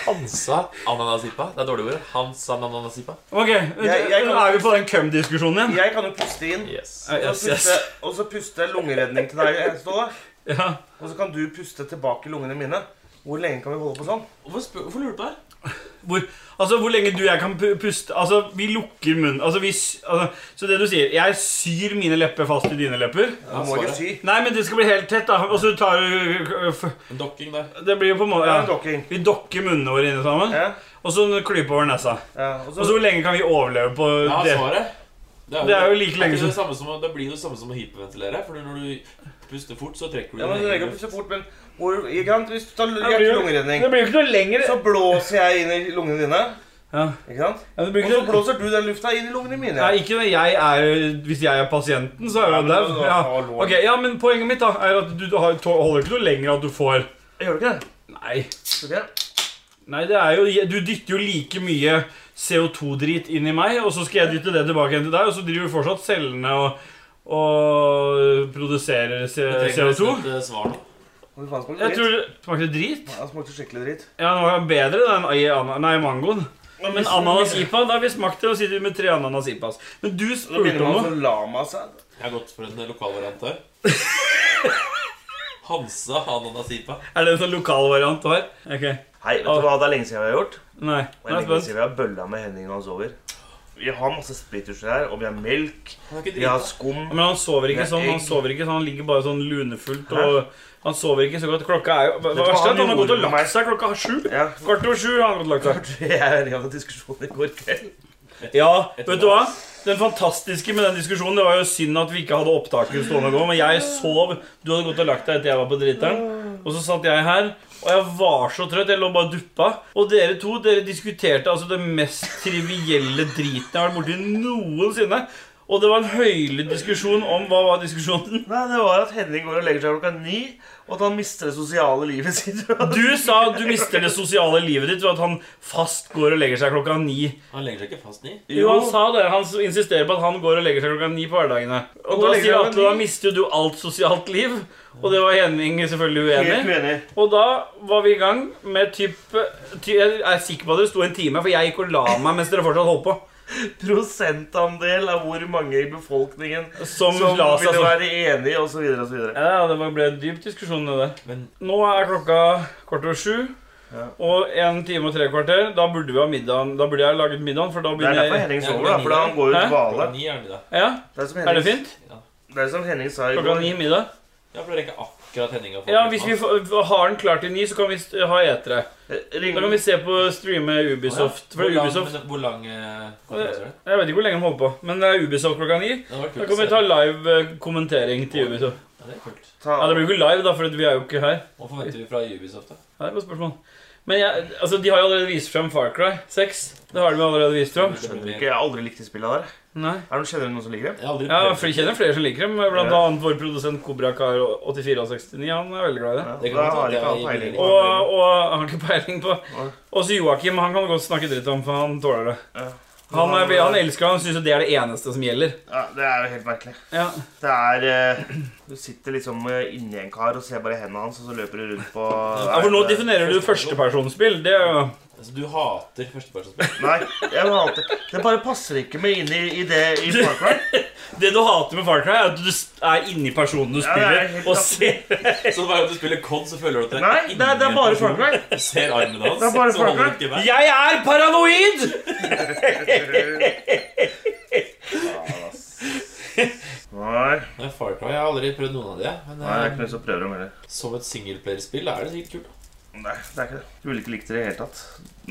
S3: Hansa ananasippa. Det er dårlig ord. Hansa ananasippa.
S8: Ok,
S9: jeg kan-
S8: er vi på den cum-diskusjonen igjen?
S9: Jeg kan jo puste inn.
S3: Yes.
S8: Eh,
S9: Og
S8: Yes,
S9: så
S8: yes.
S9: puste, og så puste lungeredning til deg, Ståle.
S8: Ja.
S9: Og så kan du puste tilbake i lungene mine. Hvor lenge kan vi holde på sånn?
S3: Hvorfor, spør, hvorfor lurer du på det? her?
S8: Hvor, altså, hvor lenge du og jeg kan pu- puste Altså, vi lukker munnen altså, vi, sy- altså, Så det du sier Jeg syr mine lepper fast i dine lepper
S9: Du må ikke
S3: svaret.
S9: sy.
S8: Nei, men det skal bli helt tett da Og så tar du
S3: En dokking der.
S8: Det blir jo på en måte
S9: Ja,
S8: ja.
S9: en dokking.
S8: Vi dokker munnene våre inne sammen
S9: Ja,
S8: Og så klyper over nesa
S9: ja. Og
S8: Og
S9: så
S8: så hvor lenge kan vi overleve på
S3: Ja,
S8: det
S3: svaret.
S8: Det er jo like lenge
S3: som
S8: som-
S3: det, samme som å- det blir jo det samme som å hyperventilere. For når du puster fort, så trekker du
S9: ja, men
S3: din
S9: Du
S3: egen
S9: legger opp
S3: luft.
S9: så fort, men hvor, ikke sant? Hvis du tar
S8: blir jo-
S9: hjerte-lungeredning,
S8: Det blir jo ikke noe lenger
S9: så blåser jeg inn i lungene dine.
S8: Ja.
S9: Ikke sant?
S8: Ja, det blir
S9: Og
S8: ikke
S9: så
S8: noe
S9: blåser du den lufta inn i lungene mine.
S8: Nei, ikke når jeg er Hvis jeg er pasienten, så er
S9: Ja,
S8: jeg
S9: men
S8: jo
S9: da-
S8: dau.
S9: da-
S8: Ja.
S9: hallo.
S8: Ok, ja, men poenget mitt da er at du har, holder ikke noe lenger at du får
S9: Gjør du ikke det?
S8: Nei
S9: Tror ikke det?
S8: Nei, det er jo, du dytter jo like mye CO2-drit inn i meg, og så skal jeg dytte det tilbake igjen til deg, og så driver vi fortsatt cellene og, og produserer
S3: Du
S8: C-
S3: trenger
S8: CO2.
S3: nesten et eh, svar nå.
S9: Hvor faen smakte
S8: Jeg
S9: det
S8: tror
S9: dritt?
S8: det smakte drit.
S9: Ja, det smakte skikkelig dritt.
S8: Ja, den var bedre den i ana- nei, mangoen. Men ananas ipa, da har vi smakt det, og sitter vi med tre ananas ipas. Men du
S9: Så
S8: spurte
S9: begynner
S8: om
S9: man
S8: noe.
S9: å sånn lama seg.
S3: Jeg har gått for en eh, lokal variant her. Hansa ananasipa.
S8: Er det en sånn lokal variant du har? Ok,
S9: Hei, vet du hva? Det er lenge siden vi har gjort.
S8: nei.
S9: Og jeg
S8: Nå er Ah. jeg
S9: lenge
S8: spent.
S9: siden vi har bølla med Henning når han sover. Vi har masse splitters her, og vi har melk,
S3: Han er ikke
S9: vi har
S3: drita.
S9: skum.
S8: Men han sover ikke sånn, han sover ikke sånn, han ligger bare sånn lunefullt, og han sover ikke så godt. Klokka er jo, det
S9: hva
S8: verste er
S9: han
S8: at han har gått og
S9: gjorde med meg?
S8: lagt seg klokka sju.
S9: Ja,
S8: Kvart over sju har han gått lagt seg.
S9: jeg er enig i den diskusjonen i går kveld.
S8: Ja, vet du hva? Den fantastiske med den diskusjonen Det var jo synd at vi ikke hadde opptaket stående gå. Men jeg sov. Du hadde gått og lagt deg etter jeg var på driteren. Og så satt jeg her, og jeg var så trøtt. Jeg lå bare og duppa. Og dere to dere diskuterte altså det mest trivielle driten jeg har vært borti noensinne. Og det var en høylytt diskusjon om Hva var diskusjonen?
S9: Nei, det var at Henning går og legger seg klokka ni, og at han mister det sosiale livet sitt.
S8: Du sa at du mister det sosiale livet ditt ved at han fast går og legger seg klokka ni.
S3: Han legger seg ikke fast ni.
S8: Jo, han sa det. Han s- insisterer på at han går og legger seg klokka ni på hverdagene. Og,
S9: Og da
S8: da
S9: legger
S8: sier
S9: han
S8: Atle da
S9: ni.
S8: mister jo du alt sosialt liv. Og det var Henning selvfølgelig
S9: Helt
S8: uenig i.
S9: uenig.
S8: Og da var vi i gang med typ, ty, Jeg er sikker på at det sto en time, for jeg gikk og la meg mens dere fortsatt holdt på.
S9: Prosentandel av hvor mange i befolkningen
S8: Som,
S9: som
S8: la seg
S9: ville
S8: sånn.
S9: være enig, osv. osv.
S8: Ja, det var- ble en dyp diskusjon, det der.
S3: Men
S8: Nå er klokka kvart over sju. Og en time og tre kvarter. Da burde vi ha middagen. Da burde jeg laget middagen, for da
S9: Det er
S8: begynner
S9: derfor
S8: jeg
S9: Henning
S3: Ja,
S9: sover, da, for da han går ut
S8: Hæ?
S9: i dvale.
S3: klokka ni er den i dag.
S8: Ja,
S9: Det er som
S8: Er det
S9: Henning,
S8: fint?
S9: det er som Henning sa i
S8: Klokka
S9: går.
S8: ni middag?
S3: Ja, for det er ikke akkurat Henning har fått
S8: Ja,
S3: ut
S8: hvis
S3: nå.
S8: vi får- har den klar til ni, så kan vi st- ha etere. Da kan vi
S9: Ring,
S8: se på streame Ubisoft. For
S3: Hvor lang-
S8: Ubisoft
S3: men Hvor lang eh, konferanse er det?
S8: Jeg vet ikke hvor lenge de holder på, men det er Ubisoft klokka ni.
S3: Det hadde vært
S8: Da
S3: kult
S8: kan
S3: å se
S8: vi ta live eh, kommentering til Ubisoft.
S3: Ja, det er kult.
S9: ta,
S8: Ja, Det blir jo ikke live, da, for vi er jo ikke her.
S3: Hva forventer vi fra Ubisoft, da?
S8: Ja, Det er et godt spørsmål. Men jeg, altså, de har jo allerede vist frem Far Cry 6. Det har de jo allerede vist frem.
S3: Det blir
S9: skjønner
S3: mer-
S9: ikke, jeg har aldri likt de spillene der.
S8: Nei.
S9: Er det, kjenner du noen som liker det?
S3: Jeg har aldri
S8: Ja,
S3: prøvd
S8: for Jeg kjenner flere som liker dem, blant annet vår produsent Kobrakar8469. Han er veldig glad i det.
S9: Ja,
S3: Det kan
S9: da
S3: godt
S9: har
S3: være
S9: ikke
S3: at
S9: han
S3: jeg
S9: peiling.
S3: gir
S8: Og, og har ikke peiling på
S9: Nei.
S8: Også Joakim han kan godt snakke dritt om, for han tåler det.
S9: Ja.
S8: Han, er- han elsker det, han syns det er det eneste som gjelder.
S4: Ja, det er jo helt merkelig.
S8: Ja.
S4: Det er eh, Du sitter liksom eh, inni en kar og ser bare hendene hans, og så løper du rundt på
S8: Ja, for nå definerer du førstepersonsspill. Det er jo
S3: Altså, du hater førstepersonsspill.
S4: Nei, jeg må alltid Det bare passer ikke meg inn i, i det i Far Cry.
S8: Det du hater med Far Cry, er at du er inni personen du
S4: Ja, det er helt
S8: spiller, og ser
S3: Så hver gang du spiller COD, så føler du at det
S4: Nei, det er, det er bare Far Cry.
S3: Du ser armen hans,
S4: Det er bare
S3: så holder
S4: Far
S3: du
S4: Cry.
S3: ikke med.
S8: Jeg er paranoid!
S4: Nei,
S3: Nei, Far Cry, Jeg har aldri prøvd noen av de. jeg.
S4: nei, det er
S3: Men
S4: ikke noe som prøver dem heller.
S3: eh, som et singleplayerspill er det sikkert kult. da.
S4: Nei, det er ikke det. Du ville ikke likt det i det hele tatt.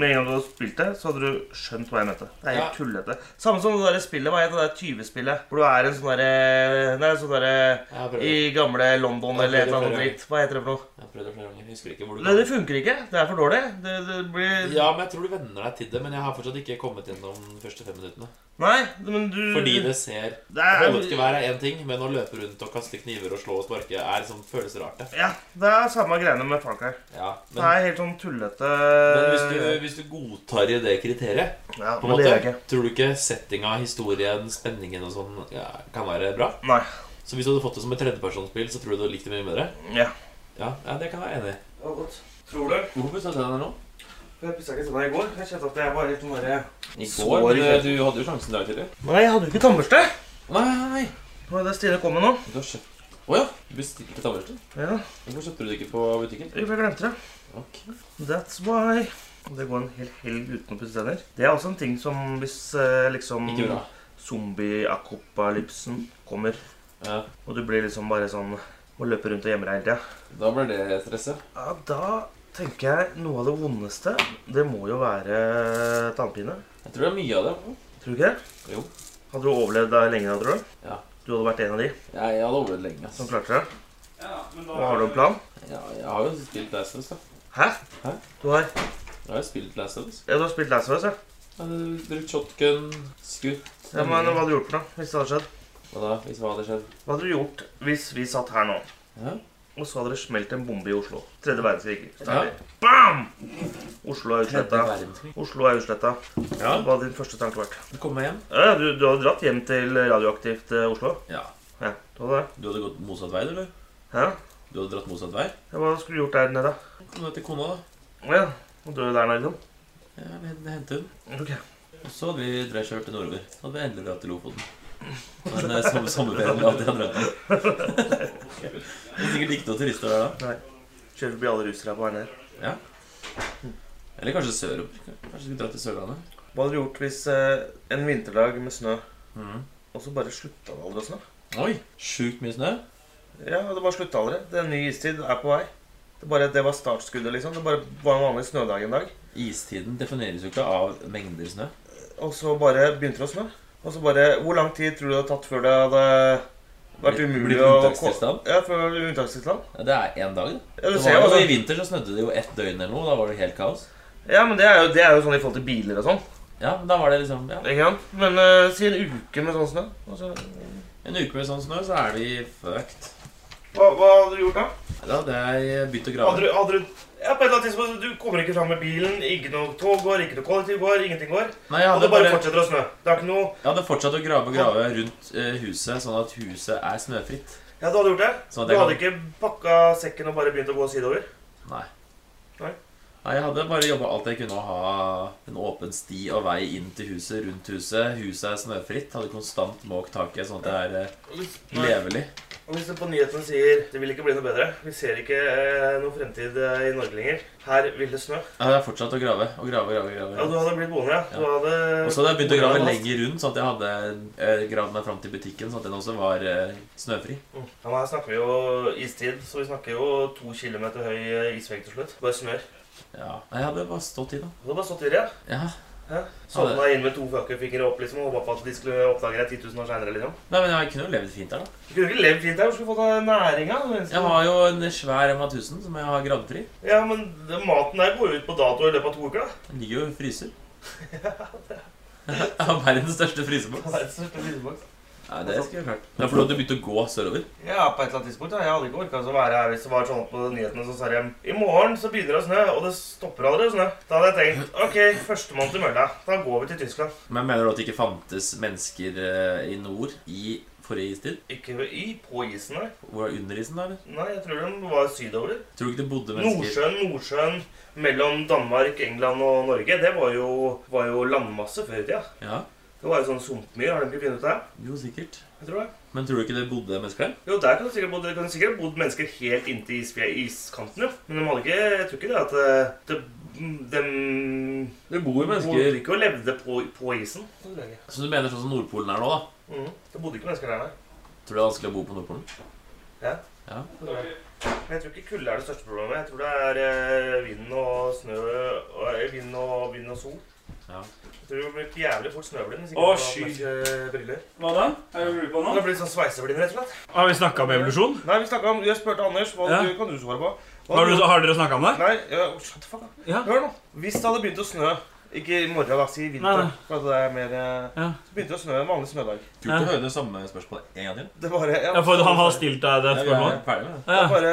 S4: Med en gang du hadde spilt det, så hadde du skjønt hva jeg mente. Det er helt
S3: Ja.
S4: tullete. Samme som det der spillet, hva heter det der 20-spillet? Hvor du er en sånn derre Nei, sånn derre
S3: Jeg har prøvd
S4: I
S3: det.
S4: gamle London
S3: Ja,
S4: eller
S3: flere,
S4: et eller annet
S3: flere.
S4: dritt. Hva heter det for noe?
S3: Jeg har prøvd det flere ganger. Jeg husker ikke hvor du
S4: Nei, det funker ikke. Det er for dårlig. Det, det blir
S3: Ja, men jeg tror du venner deg til det, men jeg har fortsatt ikke kommet gjennom de første fem minuttene.
S4: Nei, men du
S8: Mm.
S3: Fordi det ser
S4: det er,
S3: Voldtevær er én ting, men å løpe rundt og kaste kniver og slå og sparke er sånn, føles rart. det.
S4: Ja, det er samme greiene med Far Cry.
S3: Ja,
S4: Det
S3: men,
S4: er helt sånn tullete
S3: men hvis, du, hvis du godtar i det kriteriet,
S4: Ja,
S3: på en
S4: men det gjør jeg
S3: måte,
S4: ikke.
S3: tror du ikke settinga, historien, spenningen og sånn ja, kan være bra?
S4: Nei.
S3: Så hvis du hadde fått det som et tredjepersonsspill, så tror du du hadde likt det mye bedre?
S4: Ja.
S3: Ja, ja det kan jeg være enig i.
S9: Tror du?
S3: Hvorfor pussa du tennene nå?
S9: Jeg pussa ikke tenna i går. Jeg kjente at jeg var sånn litt mer
S3: I
S4: Sår
S3: går,
S4: i
S3: men du hadde jo sjansen der tidligere.
S4: Nei, jeg hadde jo ikke tannbørste.
S3: Nei, nei, nei.
S4: Det var det Stine kom med nå.
S3: Du har kjøpt Å ja. Du bestilte tannbørste?
S4: Ja,
S3: Hvorfor kjøpte du det ikke på butikken?
S4: jeg glemte det.
S3: Ok.
S4: That's why. Og Det går en hel helg uten å pusse tenner. Det er også en ting som hvis eh, liksom
S3: Ikke bra.
S4: zombie-akopalypsen kommer,
S3: Ja.
S4: og du blir liksom bare sånn Må løpe rundt og gjemme deg hele tida.
S3: Da ble det stresset.
S4: Ja, da tenker jeg noe av det vondeste, det må jo være tannpine.
S3: Jeg tror det er mye av det.
S4: Tror du ikke det?
S3: Jo.
S4: Hadde du overlevd deg lenge da, tror du?
S3: Ja.
S4: Du hadde vært en av de
S3: Jeg, jeg hadde overlevd lenge. altså. ass.
S4: som klarte det?
S8: Ja, men
S4: Og har du en plan?
S3: Ja, jeg har jo spilt Last of Us, da.
S4: Hæ?
S3: Hæ?
S4: Du har,
S3: Jeg har jo spilt Last of Us.
S4: ja, du har spilt Last of Us, ja.
S3: Jeg hadde brukt shotgun, skutt
S4: ja. Men hva hadde du gjort for noe hvis det hadde skjedd?
S3: Hva da, hvis hva hadde skjedd?
S4: Hva hadde du gjort hvis vi satt her nå,
S3: Ja.
S4: og så hadde det smelt en bombe i Oslo? Tredje verdenskrig.
S3: Ja.
S4: Bam! Oslo er
S3: Tredje
S4: utsletta.
S3: verdenskrig.
S4: Oslo er utsletta.
S3: Ja.
S4: Hva hadde din første tanke vært?
S3: Du kom meg hjem.
S4: Ja, ja, du, du hadde dratt hjem til radioaktivt eh, Oslo?
S3: Ja.
S4: Ja, du hadde det.
S3: Du hadde gått motsatt vei, du, eller?
S4: Ja.
S3: Du hadde dratt motsatt vei?
S4: ja, Hva skulle du gjort der nede?
S3: Kom ned til kona, da.
S4: Ja, og dø der nede, liksom?
S3: Ja, vi hen- hentet hun.
S4: Ok.
S3: Og så hadde vi dreid kjørt til nordover. Så hadde vi endelig dratt til Lofoten. Men eh, samme sommerferien hadde jeg dratt til. Det er sikkert ikke noen turister der da.
S4: Kjører forbi alle russere på vei ned.
S3: Eller kanskje sørover. Kanskje vi drar til Sørlandet.
S4: Hva hadde du gjort hvis eh, en vinterdag med snø,
S3: Mhm.
S4: og så bare slutta det aldri å snø?
S3: Oi, sjukt mye snø.
S4: Ja, og det bare slutta aldri. Det er en ny istid er på vei. Det, bare, det var startskuddet, liksom. Det bare var en vanlig snødag en dag.
S3: Istiden defineres jo ikke av mengder snø.
S4: Og så bare begynte det å snø. Og så bare Hvor lang tid tror du det hadde tatt før det hadde vært
S3: Blitt-
S4: umulig
S3: blitt
S4: å
S3: unntakstilstand?
S4: Ja, før det var unntakstilstand.
S3: Ja, Det er én dag, da.
S4: Ja, du
S3: Det
S4: ser
S3: var
S4: jo,
S3: jo, I
S4: altså.
S3: vinter så snødde det jo ett døgn eller noe. Da var det helt kaos.
S4: ja, men det er, jo, det er jo sånn i forhold til biler og sånn.
S3: Ja, men da var det liksom ja.
S4: Ikke sant? Men eh, si en uke med sånn snø. Og så,
S3: En uke med sånn snø, så er vi fucked.
S4: hva, hva hadde du gjort da?
S3: Da hadde jeg begynt å
S4: Hadde
S3: grave.
S4: du, hadde du ja, på et eller annet tidspunkt, Du kommer ikke fram med bilen. Ikke noe tog går, ikke noe kollektiv går, ingenting går.
S3: Nei, jeg
S4: Og
S3: hadde,
S4: det bare
S3: bare,
S4: fortsetter å snø. Det er ikke noe
S3: jeg hadde fortsatt å grave og grave rundt eh, huset, sånn at huset er snøfritt.
S4: Ja, du hadde gjort det?
S3: Sånn at
S4: Du
S3: jeg
S4: hadde
S3: kan-
S4: ikke pakka sekken og bare begynt å gå sideover?
S3: Nei.
S4: Nei.
S3: Nei, Jeg hadde bare jobba alt jeg kunne å ha en åpen sti og vei inn til huset, rundt huset. Huset er snøfritt. Hadde konstant måkt taket, sånn at det er eh, levelig.
S4: Og Hvis det på nyhetene sier det vil ikke bli noe bedre, vi ser ikke eh, noe fremtid eh, i Norge lenger, her vil det snø
S3: Jeg hadde fortsatt å grave og grave. grave,
S4: Ja,
S3: grave.
S4: du hadde blitt boende, ja. Du hadde
S3: Og så hadde jeg begynt å grave lenger rundt, sånn at jeg hadde eh, gravd meg fram til butikken, sånn at den også var eh, snøfri.
S4: Mm. Ja, men her snakker vi jo istid, så vi snakker jo to kilometer høy eh, isvegg til slutt. Bare snør.
S3: Ja. Nei, jeg hadde bare stått i, da.
S4: Du hadde bare stått i det, ja.
S3: Ja.
S4: Sovna inn med to fuckingfingre opp liksom, og håpa på at de skulle oppdage deg 10 000 år seinere. Liksom.
S3: Nei, men jeg kunne jo levd fint her, da.
S4: Du kunne ikke levd fint der. Hvor skulle du fått av næringa?
S3: Jeg har jo en svær Emma 1000 som jeg har gravd fri.
S4: Ja, men det- maten der går jo ut på dato i løpet av to uker, da.
S3: Den ligger jo og fryser. Jeg har verdens største fryseboks.
S4: Det er et stort fryseboks.
S7: Nei, det skulle jeg klart. Ja, for du hadde begynt å gå sørover?
S9: Ja, på et eller annet tidspunkt. Ja. Jeg hadde ikke orka å være her hvis det var sånn at på nyhetene så sa de I morgen så begynner det å snø, og det stopper aldri å snø. Da hadde jeg tenkt OK, førstemann til mølla. Da går vi til Tyskland.
S7: Men mener du at det ikke fantes mennesker eh, i nord i forrige istid?
S9: Ikke i, på isen, nei.
S7: Hvor er under isen, da? eller?
S9: Nei, jeg tror de var sydover.
S7: Tror du ikke det bodde mennesker
S9: Nordsjøen, Nordsjøen mellom Danmark, England og Norge, det var jo, var jo landmasse før i tida.
S7: Ja,
S9: Det var jo sånn sumpmyr, har de ikke funnet ut det?
S7: jo sikkert.
S9: Jeg tror det.
S7: Men tror du ikke det bodde mennesker der?
S9: Jo, der kan det sikkert bodd, det kan sikkert bodd mennesker helt inntil isfje, iskanten, jo. Men de hadde ikke, jeg tror ikke det at eh, det,
S4: mm,
S9: de
S7: Det bor
S9: bodde ikke og levde på, på isen. så lenge.
S7: Så du mener sånn som Nordpolen er nå, da?
S9: Mhm.
S4: Mm.
S9: Det bodde ikke mennesker der, nei.
S7: Tror du det er vanskelig å bo på Nordpolen?
S9: Men jeg tror ikke kulde er det største problemet. Jeg tror det er eh, vind og snø og, eh, vind, og, vind og sol.
S7: Ja.
S9: Jeg tror du blir jævlig fort snøblind hvis
S4: Å,
S9: ikke
S4: sky.
S9: du har nok, eh, briller.
S4: Hva da? Er det mulig på nå?
S9: Det blir sånn sveiseblind, rett og slett.
S8: Har vi snakka om evolusjon?
S9: Nei, vi snakket om, jeg spurte Anders, hva
S8: Ja.
S9: du, kan du svare på? Hva
S8: Har, du, har dere snakka om det?
S9: Nei, ja, shut the fuck up.
S8: Ja.
S9: Hør nå. Hvis det hadde begynt å snø ikke i morgen, da, si i
S8: Nei,
S9: vinter.
S8: nei.
S9: For at det er mer, eh,
S8: Ja.
S9: Så begynte det å snø en vanlig snødag.
S7: Kult å høre det samme spørsmålet en gang til.
S9: Det bare, ja,
S8: Ja, for han har stilt deg det
S7: Ja, vi er
S8: spørsmålet?
S7: ferdig med det.
S8: Ja.
S9: Det bare,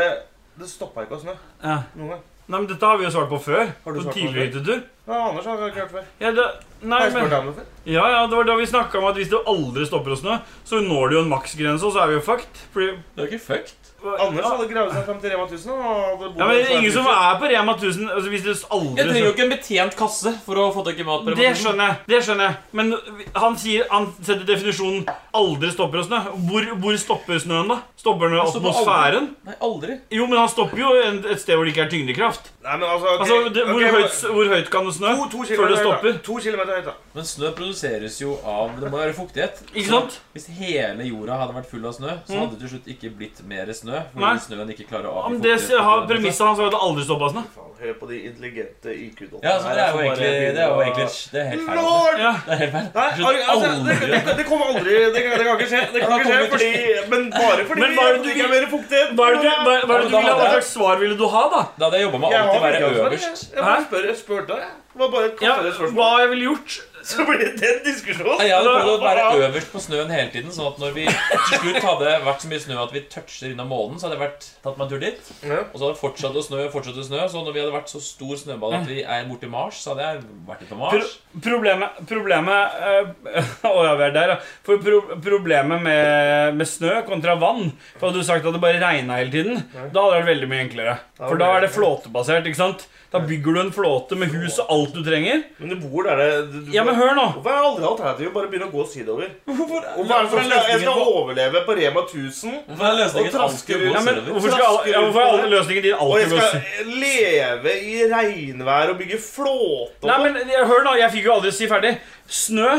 S9: det stoppa ikke å snø
S8: Ja.
S9: noen gang.
S8: Nei, men Dette har vi jo svart på før.
S9: Har du
S8: på
S9: svart på
S8: tidligere hyttetur.
S9: Ja, Anders har ikke hørt før.
S8: Ja, det, nei,
S9: Har jeg
S8: men,
S9: spurt deg om det før?
S8: ja, ja, det var da vi snakka om at hvis det aldri stopper å snø, så når du jo en maksgrense, og så er vi jo fucked. Fordi,
S7: Det er jo ikke fucked.
S9: Anders hadde gravd seg fram til Rema 1000. Og hadde bodd
S8: ja, men
S9: der svært
S8: Ingen som
S9: mye.
S8: er på Rema 1000 altså, hvis det aldri
S7: Jeg trenger jo ikke en betjent kasse for å få tak i mat. på
S8: Det
S7: remonteringen.
S8: skjønner jeg. det skjønner jeg Men han sier, han setter definisjonen 'aldri stopper å snø'. Hvor, hvor stopper snøen, da? Stopper den i
S7: Den stopper aldri.
S8: atmosfæren?
S7: Nei, aldri.
S8: Jo, men han stopper jo en, et sted hvor det ikke er tyngdekraft.
S9: Nei, men altså, ok,
S8: Altså, det, hvor,
S9: ok,
S8: høyt, hvor høyt kan det snø
S9: To, to
S8: før det
S9: kilometer høyt, da.
S8: stopper?
S9: To kilometer høyt, da.
S7: Men snø produseres jo av Det må være fuktighet.
S8: Ikke sant?
S7: Hvis hele jorda hadde vært full av snø, så hadde det til slutt ikke blitt mer snø. Fordi
S8: Nei.
S7: snøen ikke klarer å
S8: Ja,
S7: avgi
S8: men det
S7: fuktighet.
S8: har Premisset hans var at det aldri stoppa snø.
S9: Faen, hør på de intelligente IQ-dottene.
S7: Ja, så det er jo egentlig Det er jo egentlig Det er helt feil.
S9: Lord!
S8: Ja.
S7: Det er helt feil.
S9: Nei,
S7: Jeg skjønner
S9: altså, det,
S7: aldri.
S9: det, det kommer aldri Det kan, det kan ikke skje. Det kan ikke skje fordi, Men bare fordi
S8: Men hva er det du
S9: ikke er mer fuktighet.
S8: Hva er det du, hva, hva
S7: Ja, men
S8: er det du
S7: da
S8: ville,
S7: hadde
S8: hva
S7: jeg-
S8: slags svar ville du ha, da?
S7: Da hadde jeg jobba med å
S9: Jeg har
S7: alltid være
S9: ikke ansvar,
S7: øverst.
S9: Jeg, jeg bare spør, jeg spør deg. Det var bare et
S8: Ja,
S9: kvartere
S8: hva
S9: spørsmål.
S8: jeg ville gjort?
S9: Så blir det den diskusjonen.
S7: Nei, Jeg hadde prøvd å være
S9: Ja.
S7: øverst på snøen hele tiden, sånn at når vi til slutt hadde vært så mye snø at vi toucher innom månen, så hadde jeg vært, tatt meg en tur dit.
S9: Ja.
S7: Og så hadde det fortsatt å snø fortsatt å snø. Så når vi hadde vært så stor snøball at vi er borti Mars, så hadde jeg vært litt på Mars.
S8: Problemet Problemet eh, Å ja, vi er der, ja. For pro problemet med, med snø kontra vann For Hadde du sagt at det bare regna hele tiden, da hadde det vært veldig mye enklere. For da er det flåtebasert. ikke sant? Da bygger du en flåte med hus og alt du trenger.
S9: Men du bor der det du, du,
S8: Ja, men hør nå!
S9: Hvorfor er aldri alternativet bare å begynne å gå sydover? Og hva er det som skal, jeg skal overleve på Rema 1000,
S7: Hvorfor er
S9: Og
S7: løsningen
S9: trasker
S7: alltid å
S8: Ja,
S7: gå
S8: men
S7: sørover?
S8: Hvorfor skal alle, ja, hvorfor er alle løsningen din
S9: og jeg
S8: alltid løsning?
S9: skal leve i regnvær og bygge flåte
S8: Nei, men jeg, Hør nå, jeg fikk jo aldri si ferdig. Snø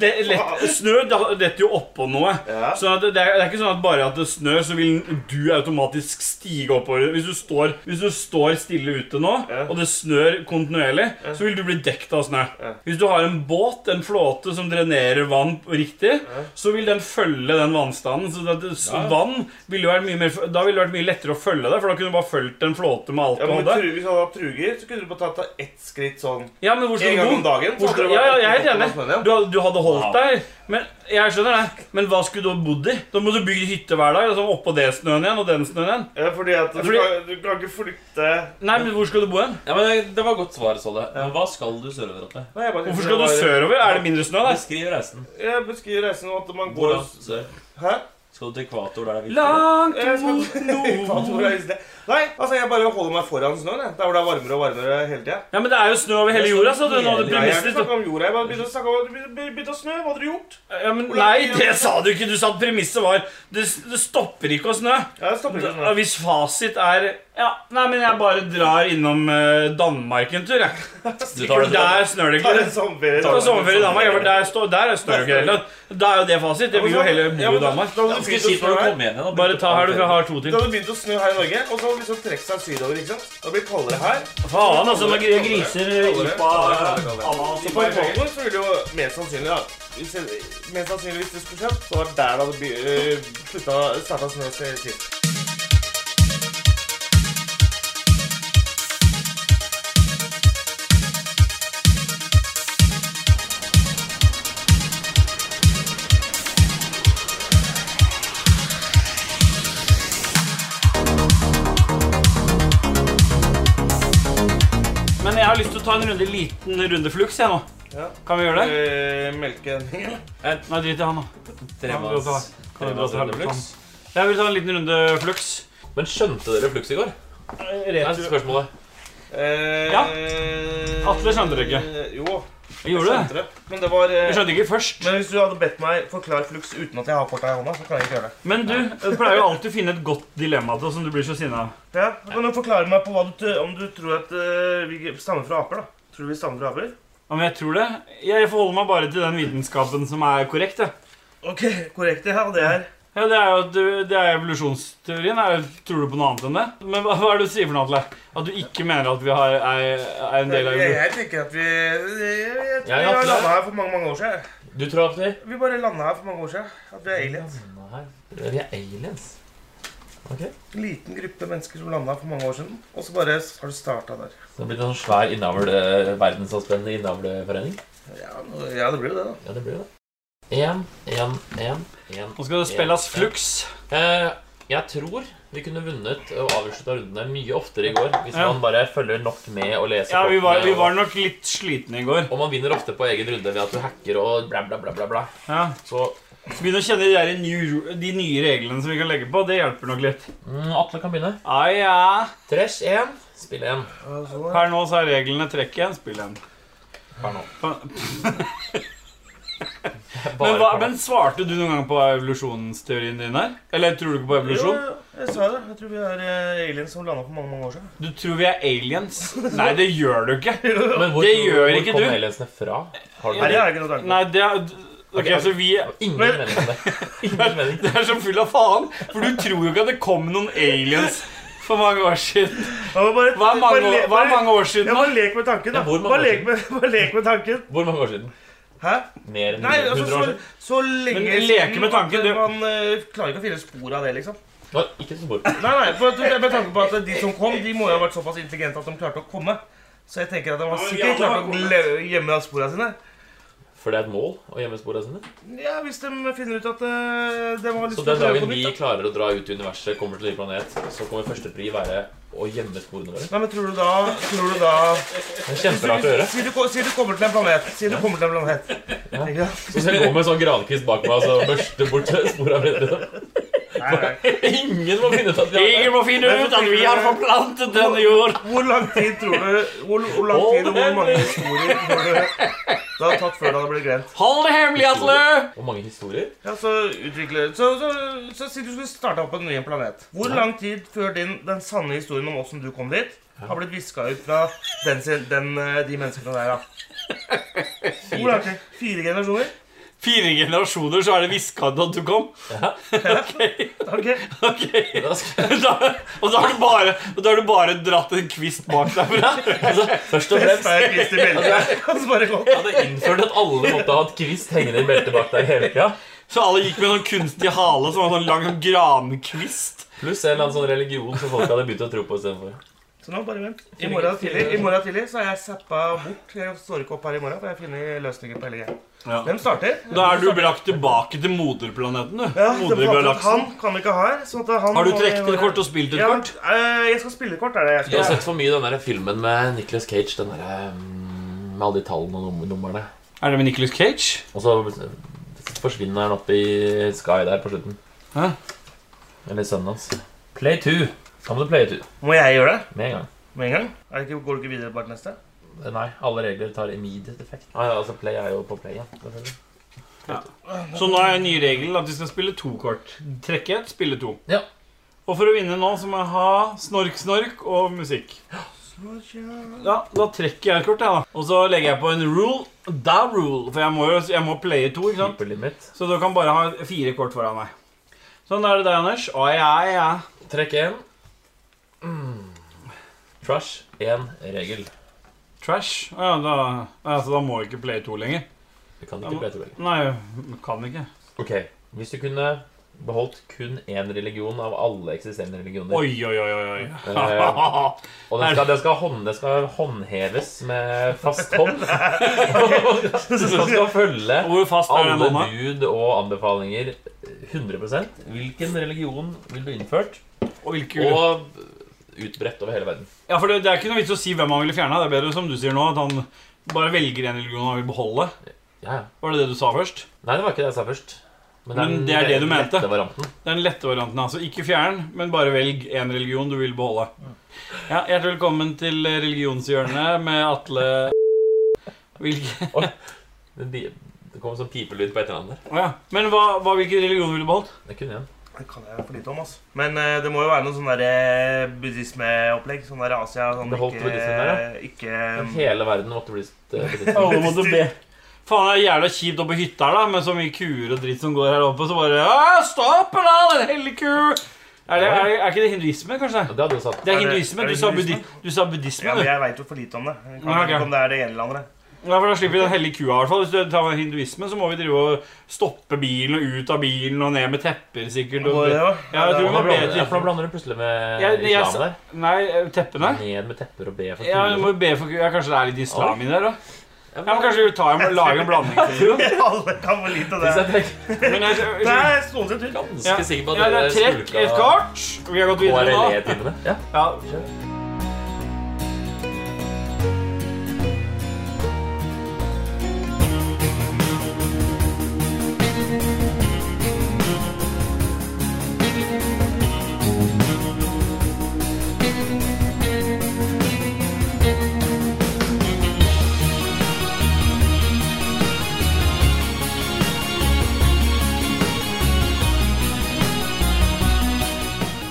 S8: det, lett, Snø da- detter jo oppå noe.
S9: Ja.
S8: Så at det, er, det er ikke sånn at bare at det snør, så vil du automatisk stige oppover. Hvis du står, hvis du står stille ute nå,
S9: Ja.
S8: og det snør kontinuerlig, så vil du bli dekt av snø.
S9: Ja.
S8: Hvis du har en båt, en flåte, som drenerer vann riktig, så vil den følge den vannstanden. Så det, det,
S7: Ja.
S8: vann ville jo vært mye mer, Da ville det vært mye lettere å følge det, for da kunne du bare fulgt en flåte med alt
S9: Ja,
S8: du
S9: men
S8: hadde.
S9: tru- Hvis du hadde hatt truger, så kunne du bare tatt deg ett skritt sånn
S8: Ja, men hvor
S9: en
S8: skal du
S9: gang
S8: bo?
S9: om dagen.
S8: Hvor
S9: så
S8: skal,
S9: hadde det
S8: ja,
S9: vært
S8: ja, jeg er helt
S9: oppå
S8: enig.
S9: snøen igjen.
S8: Du hadde, du hadde holdt deg. Men jeg skjønner det. Men hva skulle du ha bodd i? Da må du bygge hytte hver dag. Altså oppå det snøen igjen, og den snøen igjen.
S9: Ja, fordi at du,
S8: Fordi-
S9: Kan, du kan ikke flytte
S8: Nei, men hvor skal du bo hen?
S7: Ja, men Det var godt svar, Solle. Men hva skal du sørover til?
S9: Nei, jeg bare
S8: Hvorfor
S9: synes det
S8: skal du
S9: var-
S8: sørover? Er det mindre snø der?
S7: Beskriv reisen.
S9: Jeg beskriver reisen om at man går
S7: Hvordan sør?
S9: Hæ?
S7: Skal du til ekvator der det er vinter?
S8: Langt
S9: Jeg skal-
S8: mot
S9: Faen,
S8: nord.
S9: hvor er det? Nei, altså jeg bare holder meg foran snøen. jeg. Der hvor det er varmere og varmere hele tida.
S8: Ja, men det er jo snø over hele jorda, sa du. Nå hadde
S9: Jeg har ikke
S8: premisset
S9: snakket om jorda. Jeg bare begynte å snakke om at det begynte- begynte å snø. Hva hadde du gjort?
S8: ja, men, Nei, det sa du ikke. Du sa at premisset var det, det stopper ikke å snø.
S9: Ja, det stopper ikke å
S8: Da,
S9: snø.
S8: hvis fasit er Ja, nei, men jeg bare drar innom eh, Danmark en tur, jeg.
S7: Du tar
S8: For
S7: det
S8: der snør det
S9: Det er en
S8: ikke.
S9: sommerferie.
S8: Ta sommerferie i Danmark. ja, for Der, står- der er snør jo ikke heller. Da er jo det fasit. Det blir jo heller bo i Danmark.
S9: Da hadde
S7: Ganske
S9: det begynt å
S7: kjipt når du
S9: snø her.
S7: kommer igjen igjen. da.
S8: Bare ta her, du har to
S9: Det
S8: til.
S9: hadde begynt å snø her i Norge, og så hadde det liksom trukket seg sydover. ikke sant? Da blir det kaldere her.
S8: Faen, altså. Når gr- griser ipa
S9: Så på ekvator så ville jo mest sannsynlig da hvis, Mest sannsynlig hvis det skulle skjedd, så var det der det hadde by- øh, slutta- startet snø til sist.
S8: Men jeg har lyst til å ta en runde, liten runde flux, jeg nå.
S4: Ja.
S8: Kan vi gjøre det?
S4: Eh, melkehending, eller?
S8: Nei, drit i han, da.
S3: Tre
S8: Ja, vi går
S3: manns
S8: Kan vi
S3: Tremanns
S8: dra til
S3: runde
S8: helvete,
S3: flux.
S8: han? Jeg vil ta en liten runde flux.
S3: Men skjønte dere flux i går? Det er spørsmålet.
S4: Eh,
S8: Ja. Atle skjønte det ikke.
S4: eh, Jo,
S8: Gjorde du det?
S4: skjønte det. Men det var eh,
S8: Jeg skjønte ikke først.
S4: Men hvis du hadde bedt meg forklare flux uten at jeg har korta i hånda, så kan jeg ikke gjøre det.
S8: Men du jeg pleier jo alltid å finne et godt dilemma til oss som du blir så sinna av.
S4: Ja, da kan du forklare meg på hva du, t- om du tror at eh, vi stammer fra aper, da. Tror du vi stammer fra aper?
S8: Ja, Men jeg tror det. Jeg forholder meg bare til den vitenskapen som er korrekt. jeg.
S4: Ok, korrekt. Ja, det er
S8: Ja, det er jo at du- det er evolusjonsteorien. Er, jo- tror du på noe annet enn det? Men hva, hva er det du sier for noe, Atle? At du ikke mener at vi har, er, er en del av
S4: jeg,
S8: evolusjonen?
S4: jeg tenker at vi Jeg, jeg, jeg tror
S3: Ja, ja,
S4: vi har
S3: Atle.
S4: landa her for mange, mange år siden.
S3: Du tror at vi
S4: Vi bare landa her for mange år siden. At vi er aliens.
S3: Nei, Vi er aliens.
S4: En liten gruppe mennesker som landa her for mange år siden. Og så bare har du starta der.
S3: Så det blir en sånn svær innavle, verdensomspennende innavleforening.
S4: Ja, nå- ja, det blir jo det, da.
S3: Ja, det blir det. Én, én, én, én.
S8: Nå skal det spilles flux.
S3: Eh, jeg tror vi kunne vunnet og avslutta rundene mye oftere i går hvis
S8: Ja.
S3: man bare følger nok med og leser
S8: Ja, vi var,
S3: kortene,
S8: vi
S3: og-
S8: var nok litt slitne i går.
S3: Og man vinner ofte på egen runde ved at du hacker og bla, bla, bla, bla. bla.
S8: Ja.
S3: Så
S8: Så begynn å kjenne de, der nye, de nye reglene som vi kan legge på. Det hjelper nok litt.
S3: mm, Atle kan begynne.
S8: Ah, ja.
S3: Tresh én, spill én
S8: Per nå så er reglene trekk igjen, spill igjen.
S3: per nå.
S8: Faen.
S3: Bare
S8: Men, hva,
S3: per nå.
S8: men svarte du noen gang på evolusjonsteorien din her? Eller tror du ikke på evolusjon?
S4: Jo, jeg sa det. Jeg tror vi er eh, aliens som landa for mange, mange år siden.
S8: Du tror vi er aliens? Nei, det gjør du ikke.
S3: Men hvor,
S8: det gjør
S3: hvor
S8: ikke
S3: kom
S8: du.
S3: aliensene fra? Har du
S4: Nei, det har jeg ikke noe tanke på.
S8: Nei, det er Ok, så vi
S3: Ingen
S8: Men-
S3: mening om det. Ingen mening.
S8: Det er så full av faen. For du tror jo ikke at det kom noen aliens for mange år siden.
S4: Ja, men bare,
S8: Hva er mange,
S4: bare le-
S8: år- hva er
S4: bare-
S8: mange år
S4: Ja,
S8: siden?
S4: bare lek med tanken, da.
S3: Ja, hvor mange
S4: bare,
S3: år
S4: lek med, bare lek med tanken.
S3: Hvor mange år siden?
S4: Hæ?
S3: Mer enn
S4: Nei,
S3: 100
S4: altså,
S3: år
S4: så,
S3: siden?
S4: så lenge
S8: Men leke med tanken,
S4: at
S8: det-
S4: Man eh, klarer ikke å finne spor av det, liksom.
S3: Nei, ikke så bort.
S4: Nei, nei, for, at- Med tanke på at de som kom, de må jo ha vært såpass intelligente at de klarte å komme. Så jeg tenker at de har sikkert klart å le- gjemme sporene sine.
S3: For det er et mål å gjemme sporene sine.
S4: Ja, Hvis de finner ut at eh, de har lyst
S3: Så
S4: til
S3: den
S4: å prøve
S3: dagen
S4: på
S3: vi
S4: nytt. da.
S3: klarer å dra ut i universet, kommer til en ny planet, så kommer førstepri være å gjemme sporene våre.
S4: Nei, men tror du da, tror du da
S3: Det er kjemperart å gjøre.
S4: si, du, ko- si du kommer til en planet. Si du kommer til en planet. Ikke sant?
S3: Så skal jeg gå med en sånn grankvist bak meg og så børste bort sporene mine. liksom.
S4: Nei, nei.
S3: Ingen må finne ut at vi har
S8: Ingen må finne ut at vi har forplantet denne jord.
S4: Hvor lang tid tror du Hvor, hvor lang tid og hvor mange historier tror du det har tatt før det hadde blitt glemt?
S8: Hold det hemmelig, Atle.
S3: Hvor mange historier?
S4: Ja, Så utvikler Så, så, så, si du skulle starta opp på en ny planet. Hvor lang tid før din, den sanne historien om åssen du kom dit, har blitt viska ut fra den, sin- den, eh, de menneskene der, da? Hvor lang tid? Fire generasjoner?
S8: Fire generasjoner, så er det hviska at du kom.
S4: Ok.
S8: Ok,
S3: Da skal-
S8: da, Og da har du bare, og da har du bare dratt en kvist bak deg. for å-
S3: Altså, først og fremst
S4: Best er Christer Bjelke. Og så bare gått.
S3: jeg hadde innført at alle måtte ha et kvist hengende i beltet bak der hele tida.
S8: Så alle gikk med en sånn kunstig hale som var sånn lang sånn grankvist.
S3: Pluss en eller annen sånn religion som folk hadde begynt å tro på istedenfor.
S4: Så nå bare vent. I morgen tidlig, i morgen tidlig så er jeg zappa bort. Jeg står ikke opp her i morgen, for jeg finner løsninger på hele greia.
S8: Ja.
S4: Hvem starter?
S8: Da er du brakt tilbake til moderplaneten, du.
S4: Ja, det
S8: Moder
S4: var at han
S8: Galaksen.
S4: kan vi ikke ha her. Sånn at han
S8: Har du trukket et kort og spilt et
S4: Ja,
S8: kort?
S4: eh, jeg skal spille kort, er det jeg
S3: Jeg har
S4: skal.
S3: sett for mye den der filmen med Nicolas Cage. Den der, mm, med alle de tallene og num- numrene.
S8: Er det med Nicolas Cage?
S3: Og så forsvinner han opp i Sky der på slutten.
S8: Hæ?
S3: Eller sønnen hans. Play two. Da må du play two
S4: Må jeg gjøre det
S3: med en gang.
S4: med en gang? Er det ikke, går du ikke videre bare til neste?
S3: Nei, alle regler tar immediate effect. Nei, altså Play er jo på play igjen. selvfølgelig.
S8: Så nå er nye regelen at vi skal spille to kort. Trekke ett, spille to.
S3: Ja.
S8: Og for å vinne nå så må jeg ha snork, snork og musikk. Ja, Da trekker jeg et kort, jeg, da. Og så legger jeg på en rule. Da rule. For jeg må jo jeg må playe to, ikke sant?
S3: Hyper limit.
S8: Så du kan bare ha fire kort foran meg. Sånn da er det deg, Anders. Ai, ai, ai.
S3: Trekk én. Mm. Trash én regel.
S8: Trash. Å Ja, da, ja, så da må jeg ikke playe to lenger.
S3: Du kan ikke play two lenger.
S8: Nei, kan ikke.
S3: Ok, Hvis du kunne beholdt kun én religion av alle eksisterende religioner
S8: Oi, oi, oi, oi.
S3: Eh,
S8: oi.
S3: Og det skal, det, skal hånd, det skal håndheves med fast hånd. Så det skal følge
S8: Hvor fast er den
S3: alle
S8: hånda?
S3: bud og anbefalinger eh, 100 Hvilken religion vil du innført?
S8: Og hvilke
S3: Og utbredt over hele verden.
S8: Ja, for det, det er ikke noe vits å si hvem han ville fjerne. Det er bedre som du sier nå, at han bare velger en religion han vil beholde.
S3: Ja, ja.
S8: Var det det du sa først?
S3: Nei, det var ikke det jeg sa først.
S8: Men det er det du mente.
S3: Dette varianten.
S8: Det er den lette varianten. altså Ikke fjern, men bare velg én religion du vil beholde. Ja, Hjertelig velkommen til religionshjørnet med Atle Hvilke
S3: Det, bi- det kom sånn pipelyd på et eller annet der.
S8: Å ja. Men hva, hva, hvilken religion ville du beholdt?
S3: Det kunne jeg.
S4: Det kan jeg for lite om, altså. Men eh, det må jo være noe sånn der eh, buddhismeopplegg. Sånn der Asia sånn
S3: Beholdt
S4: ikke,
S3: buddhismen der,
S4: ikke
S8: Um,
S3: Men hele verden måtte bli st- eh, buddhist.
S8: Alle måtte be. Faen, det er jævla kjipt oppe på hytta her da med så mye kuer og dritt som går her oppe. Så bare «Å, Stopp da, den hellige ku! Er, det, er, er ikke det hinduisme, kanskje?
S3: Og det hadde jo satt
S4: Er
S8: Det er
S4: det-
S8: hinduisme.
S4: er
S8: Du
S4: det
S8: sa, buddi,
S4: hinduisme?
S8: du sa buddhisme,
S4: Ja, men
S8: du.
S4: jeg veit jo for lite om det. Jeg kan
S8: Ja,
S4: ikke
S8: ok.
S4: om det er det ene eller andre.
S8: Ja, for Da slipper vi den hellige kua. i hvert fall Hvis du tar hinduisme, så må vi drive og stoppe bilen og ut av bilen og ned med tepper, sikkert.
S4: Hva
S8: Og,
S4: er det,
S8: ja,
S4: da?
S8: jeg tror vi
S3: Da
S8: må be
S3: blander, ja, for da
S8: til
S3: blander du plutselig med
S8: Jeg- jeg
S3: islam
S8: sa-
S3: der.
S8: Nei, eh, teppene?
S3: Ned med tepper og be for
S8: Ja, du
S3: kuer.
S8: må jo be for ja, Kanskje det er litt islam i der, da?
S3: Ja,
S8: Ja, men
S3: men-
S8: Kanskje vi tar og lager en blanding?
S4: Alle kan for lite om det.
S3: Jeg er
S8: Men jeg,
S4: Det er stående sin tur.
S3: ganske
S8: ja.
S3: sikker på at
S8: ja, det er trekk,
S3: skulka
S8: et kart. Vi har gått videre nå.
S3: KRLE-timene. Ja.
S8: Ja,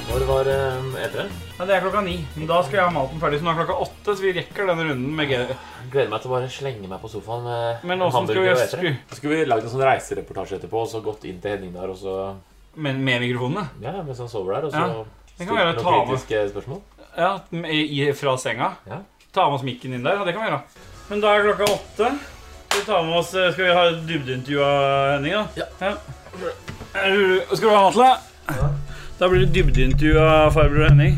S3: Når var eh, etere?
S8: ja, Det er klokka ni. Men da skal jeg ha maten ferdig. Så nå er klokka åtte, så vi rekker denne runden med G.
S3: Gleder meg til å bare slenge meg på sofaen med
S8: Men
S3: en
S8: åssen skal
S3: hamburger
S8: vi
S3: og
S8: gjøre
S3: etere. Så skulle vi lagd en sånn reisereportasje etterpå, og så gått inn til Henning der, og så
S8: Men med mikrofonene?
S3: Ja, mens han sover der, og
S8: Ja.
S3: så
S8: Det
S3: stilte
S8: kan vi gjøre,
S3: noen
S8: ta med.
S3: kritiske spørsmål.
S8: Ja, i, fra senga.
S3: Ja.
S8: Ta med oss mikken inn der. Ja, det kan vi gjøre. Men da er klokka åtte. Skal vi ta med oss eh, Skal vi ha et dybdeintervju av Henning, da? Ja. Er du- Skal du ha Matle? Da blir det dybdeintervju av farbror Henning.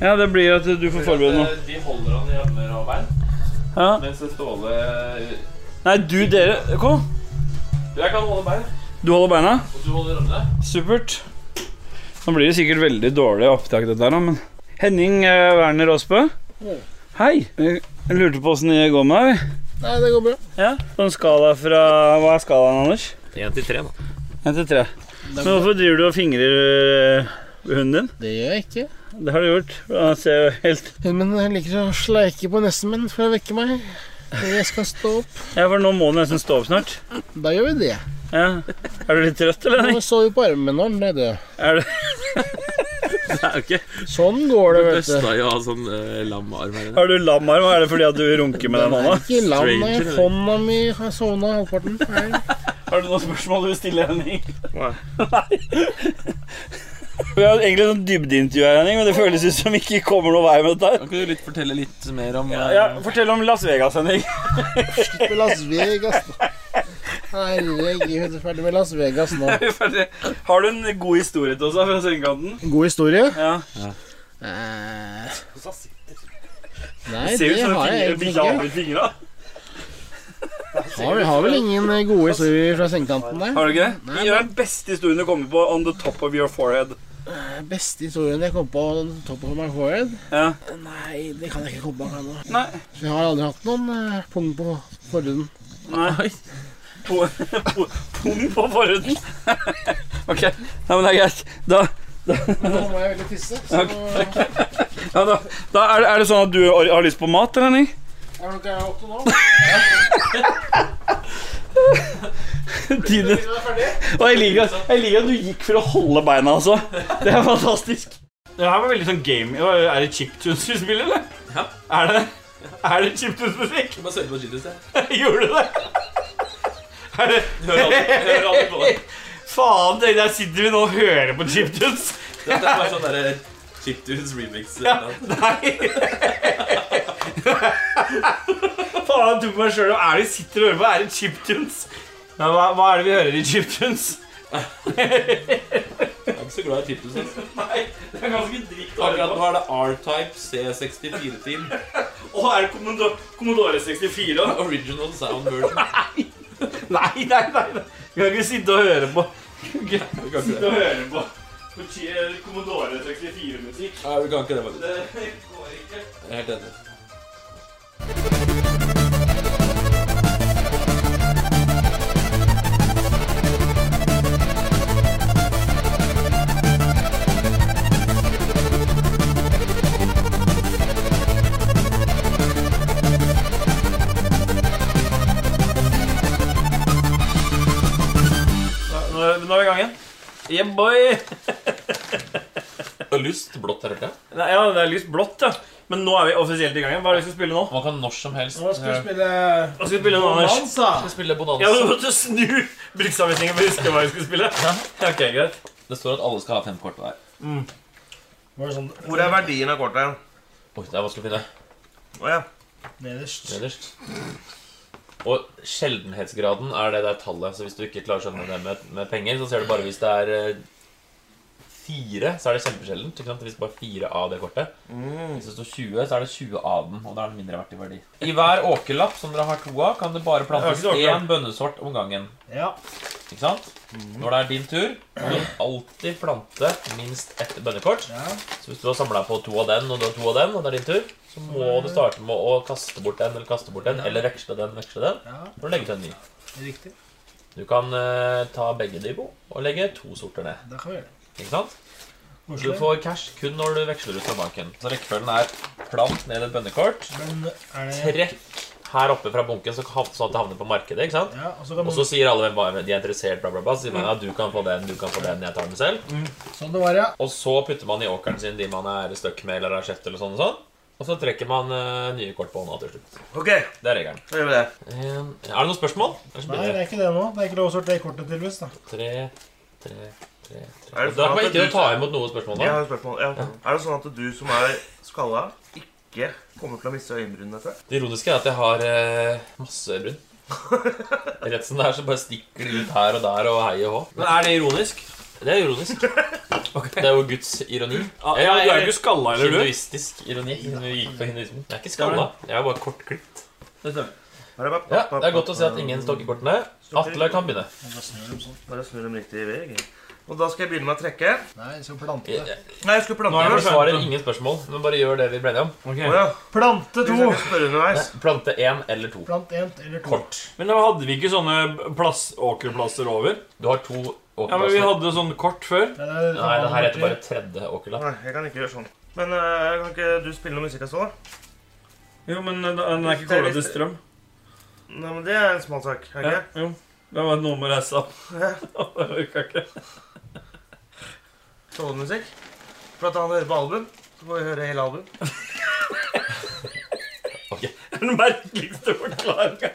S8: Ja, det blir at du får forberede noe.
S3: Eh, De holder han i armer og bein,
S8: Ja.
S3: mens Ståle
S8: Nei, du, dere Kom.
S3: Jeg kan holde bein,
S8: Du holder beina.
S3: og du holder armene.
S8: Supert. Nå blir det sikkert veldig dårlig opptak, dette her, nå, men Henning eh, Werner Aasbø. Hei. Jeg lurte på åssen det går med deg. vi.
S10: Nei, det går bra.
S8: Ja. På en skala fra Hva er skalaen, Anders?
S3: Én til tre, da.
S8: Én til tre. Men hvorfor driver du og fingrer eh, hunden din?
S10: Det gjør jeg ikke.
S8: Det har du gjort. Han ser jo helt
S10: Men jeg liker å sleike på nesten min for å vekke meg. Når jeg skal stå opp.
S8: Ja, for nå må du nesten stå opp snart.
S10: Da gjør vi det.
S8: Ja. Er du litt trøtt, eller?
S10: Nå
S8: Henning?
S10: sover vi på armen når den er død.
S8: Er du...
S10: Sånn går det, vet du.
S12: Østa jo ha sånn uh, lamarm her inne.
S8: Har du lam arm? Er det fordi at du runker med den hånda?
S10: Ikke lam, nei.
S12: Stranger, eller?
S10: Hånda mi har sovna halvparten. Nei.
S8: Har du noen spørsmål du vil stille, Henning? Nei. Vi har egentlig sånn dybdeintervju her, Henning, men det føles ut som vi ikke kommer noen vei med dette. her.
S7: Kan ikke du litt fortelle litt mer om
S8: Ja, fortell om Las Vegas, Henning.
S10: Med Las Vegas, da. Herregud, ferdig med Las Vegas nå.
S8: Har du en god historie til oss da, fra sengekanten?
S10: God historie.
S8: Ja.
S10: Eh, Nei,
S8: Ser
S10: det
S8: ut som
S10: har jeg
S8: en
S10: egentlig
S8: fingra
S10: ikke.
S8: ut fingra.
S10: Har, vi har vel ingen eh, gode historier fra sengekanten der.
S8: Har du ikke det? Gjør den beste historien du kommer på on the top of your forehead.
S10: Den beste historien jeg kom på topp of my forehead?
S8: Ja.
S10: Nei, det kan jeg ikke komme på akkurat nå.
S8: Nei.
S10: Jeg har aldri hatt noen eh, pung på forhuden.
S8: Nei. Po- po- Pung på forhuden. Ok. Nei, men det er greit. Da,
S10: Men nå må jeg veldig tisse, så jeg
S8: ja, da, da er, det, er det sånn at du har har lyst på mat, eller, Henning?
S10: er nok åtte nå.
S8: Tiden. Og jeg liker, at- jeg liker at du gikk for å holde beina, altså. Det er fantastisk. Det her var veldig sånn game Er det chiptunes vi spiller, eller?
S7: Ja.
S8: Er det Er det chiptunes-musikk?
S7: Bare søke på Chilius, jeg.
S8: Gjorde du det? Er det
S7: Du hører alltid- jeg hører alltid på det.
S8: Faen, det- der sitter vi nå og hører på chiptunes.
S7: Det er bare sånn derre Chiptunes remix.
S8: Ja, nei. Faen, jeg tok meg sjøl og er det vi sitter og hører på? Er det chiptunes? Ja, hva, hva er det vi hører i chiptunes?
S7: Jeg er ikke så glad i Chiptunes. altså.
S8: Nei, det er ganske dritt. å høre
S7: Akkurat
S8: på.
S7: nå er det R-Type C64-team.
S8: Å, er det Commodore, Commodore 64? da?
S7: Original sound version.
S8: Nei, nei, nei. nei. Vi kan ikke sitte og høre på.
S7: Vi kan ikke
S8: Sitte
S7: det.
S8: og høre på Commodore 64-musikk.
S7: Nei, vi kan ikke det, faktisk.
S8: Det går ikke.
S7: Jeg er helt enig.
S8: Nå er nå er vi i gang igjen. Yeah, boy!
S7: Og lyst, blått her, hørte jeg.
S8: Nei, ja, det er litt blått, ja. Men nå er vi offisielt i gang igjen. Hva er det vi skal spille nå?
S7: Man kan når som helst
S10: Nå skal vi
S7: eh,
S10: spille
S8: Hva skal vi spille nå, Anders?
S10: Bonanza.
S7: spille
S8: Ja, du
S7: bonanza.
S8: måtte snu bruksanvisningen for å huske hva vi skulle spille. Ok, greit.
S7: Det står at alle skal ha fem kort hver.
S8: Mm.
S10: Var det sånn
S9: Hvor er verdien av kortet?
S7: Oi, det er vanskelig å finne.
S9: Å ja.
S10: nederst?
S7: Nederst. Og sjeldenhetsgraden er det der tallet. Så hvis du ikke klarer å skjønne det med, med penger, så ser du bare hvis det er eh, fire, så er det kjempesjeldent. Ikke sant? Hvis det bare er fire av det kortet. Hvis det står 20, så er det 20 av den. Og da er den mindre verdt i verdi. I hver åkerlapp som dere har to av, kan det bare plantes
S8: Jeg har ikke åkerlapp.
S7: én bønnesort om gangen.
S10: Ja.
S7: Ikke sant? Når det er din tur, må du alltid plante minst ett bønnekort.
S10: ja.
S7: Så hvis du har samla på to av den, og du har to av den, og det er din tur, så må du starte med å kaste bort den, eller kaste bort den, eller veksle den, veksle den,
S10: Ja,
S7: og legge til en ny.
S10: riktig.
S7: Du kan eh, ta begge de i bo, og legge to sorter ned.
S10: Da kan vi gjøre det.
S7: Ikke sant? Du
S10: Koselig.
S7: får cash kun når du veksler ut fra banken. Så rekkefølgen er plant ned et bønnekort,
S10: Men er det
S7: trekk her oppe fra bunken så hav- sånn at det havner på markedet, ikke sant?
S10: Ja, og så kan
S7: Og
S10: man
S7: så sier alle hvem hva- de er interessert, bla, bla, bla. Så sier man ja, du kan få den, du kan få den, jeg tar den selv.
S10: Sånn det var, ja.
S7: Og så putter man i åkeren sin de man er stuck med eller har kjøpt eller sånn og sånn. Og så trekker man eh, nye kort på hånda til slutt.
S9: Ok,
S7: Det er regelen.
S9: da gjør vi det.
S7: En, er det noen spørsmål? Ellers
S10: Nei, det
S7: begynner jeg.
S10: er ikke det nå. Det er ikke lov å sortere kortet, tydeligvis. da.
S7: Tre, tre, tre, tre.
S9: Er
S7: Og Da
S9: det sånn
S7: kan
S9: at
S7: man ikke
S9: du-
S7: ta imot noen spørsmål
S9: Jeg
S7: da.
S9: har et spørsmål. Ja. Er det sånn at du som er skalla, ikke kommer til å miste øyenbrynene etter det?
S7: Det ironiske er at jeg har eh, masse brun. Rett som det er, så bare stikker det ut her og der og hei og hå.
S8: Men er det ironisk?
S7: Det er ironisk. Det er jo Guds ironi.
S8: Ja, ja, du er jo ikke skalla, eller du?
S7: Ah, Hinduistisk ironi. Hindu gikk på hinduismen. Jeg er ikke skalla. Jeg er bare kortklipt.
S9: Bare, bare,
S7: Ja, det er godt å se at ingen stokker kortene. Atle kan begynne.
S9: Bare snu dem riktig vei. Og da skal jeg begynne med å trekke.
S10: Nei, vi skal plante det.
S9: Nei, jeg skulle
S7: Nå
S9: plante
S7: er det
S9: først.
S7: forsvarer ingen spørsmål, men bare gjør det vi ble enige om.
S9: Å ja.
S10: Plante
S9: Hvis
S10: to!
S9: jeg kan spørre underveis.
S7: Plante én eller to.
S10: Plant én eller to.
S7: Kort.
S8: Men da hadde vi ikke sånne plass, åkerplasser over?
S7: Du har to
S8: Ja, men Vi
S7: åkerplasser.
S8: hadde sånn kort før.
S10: Nei, det er det som
S7: Nei,
S10: var
S7: det her heter
S10: nummer
S7: bare tredje åkerlapp.
S9: Nei, jeg kan ikke gjøre sånn. Men
S4: eh,
S9: øh, kan ikke du spille noe musikk også? da?
S8: Jo, men da- den er ikke kobla til strøm.
S9: Nei, men det er en smal sak. er det
S8: Ja,
S9: ikke?
S8: jo. Det var noe med reisa. Det orka ikke.
S9: Tålemusikk. For at han hører på album, så får vi høre hele album.
S8: Den merkeligste forklaringa.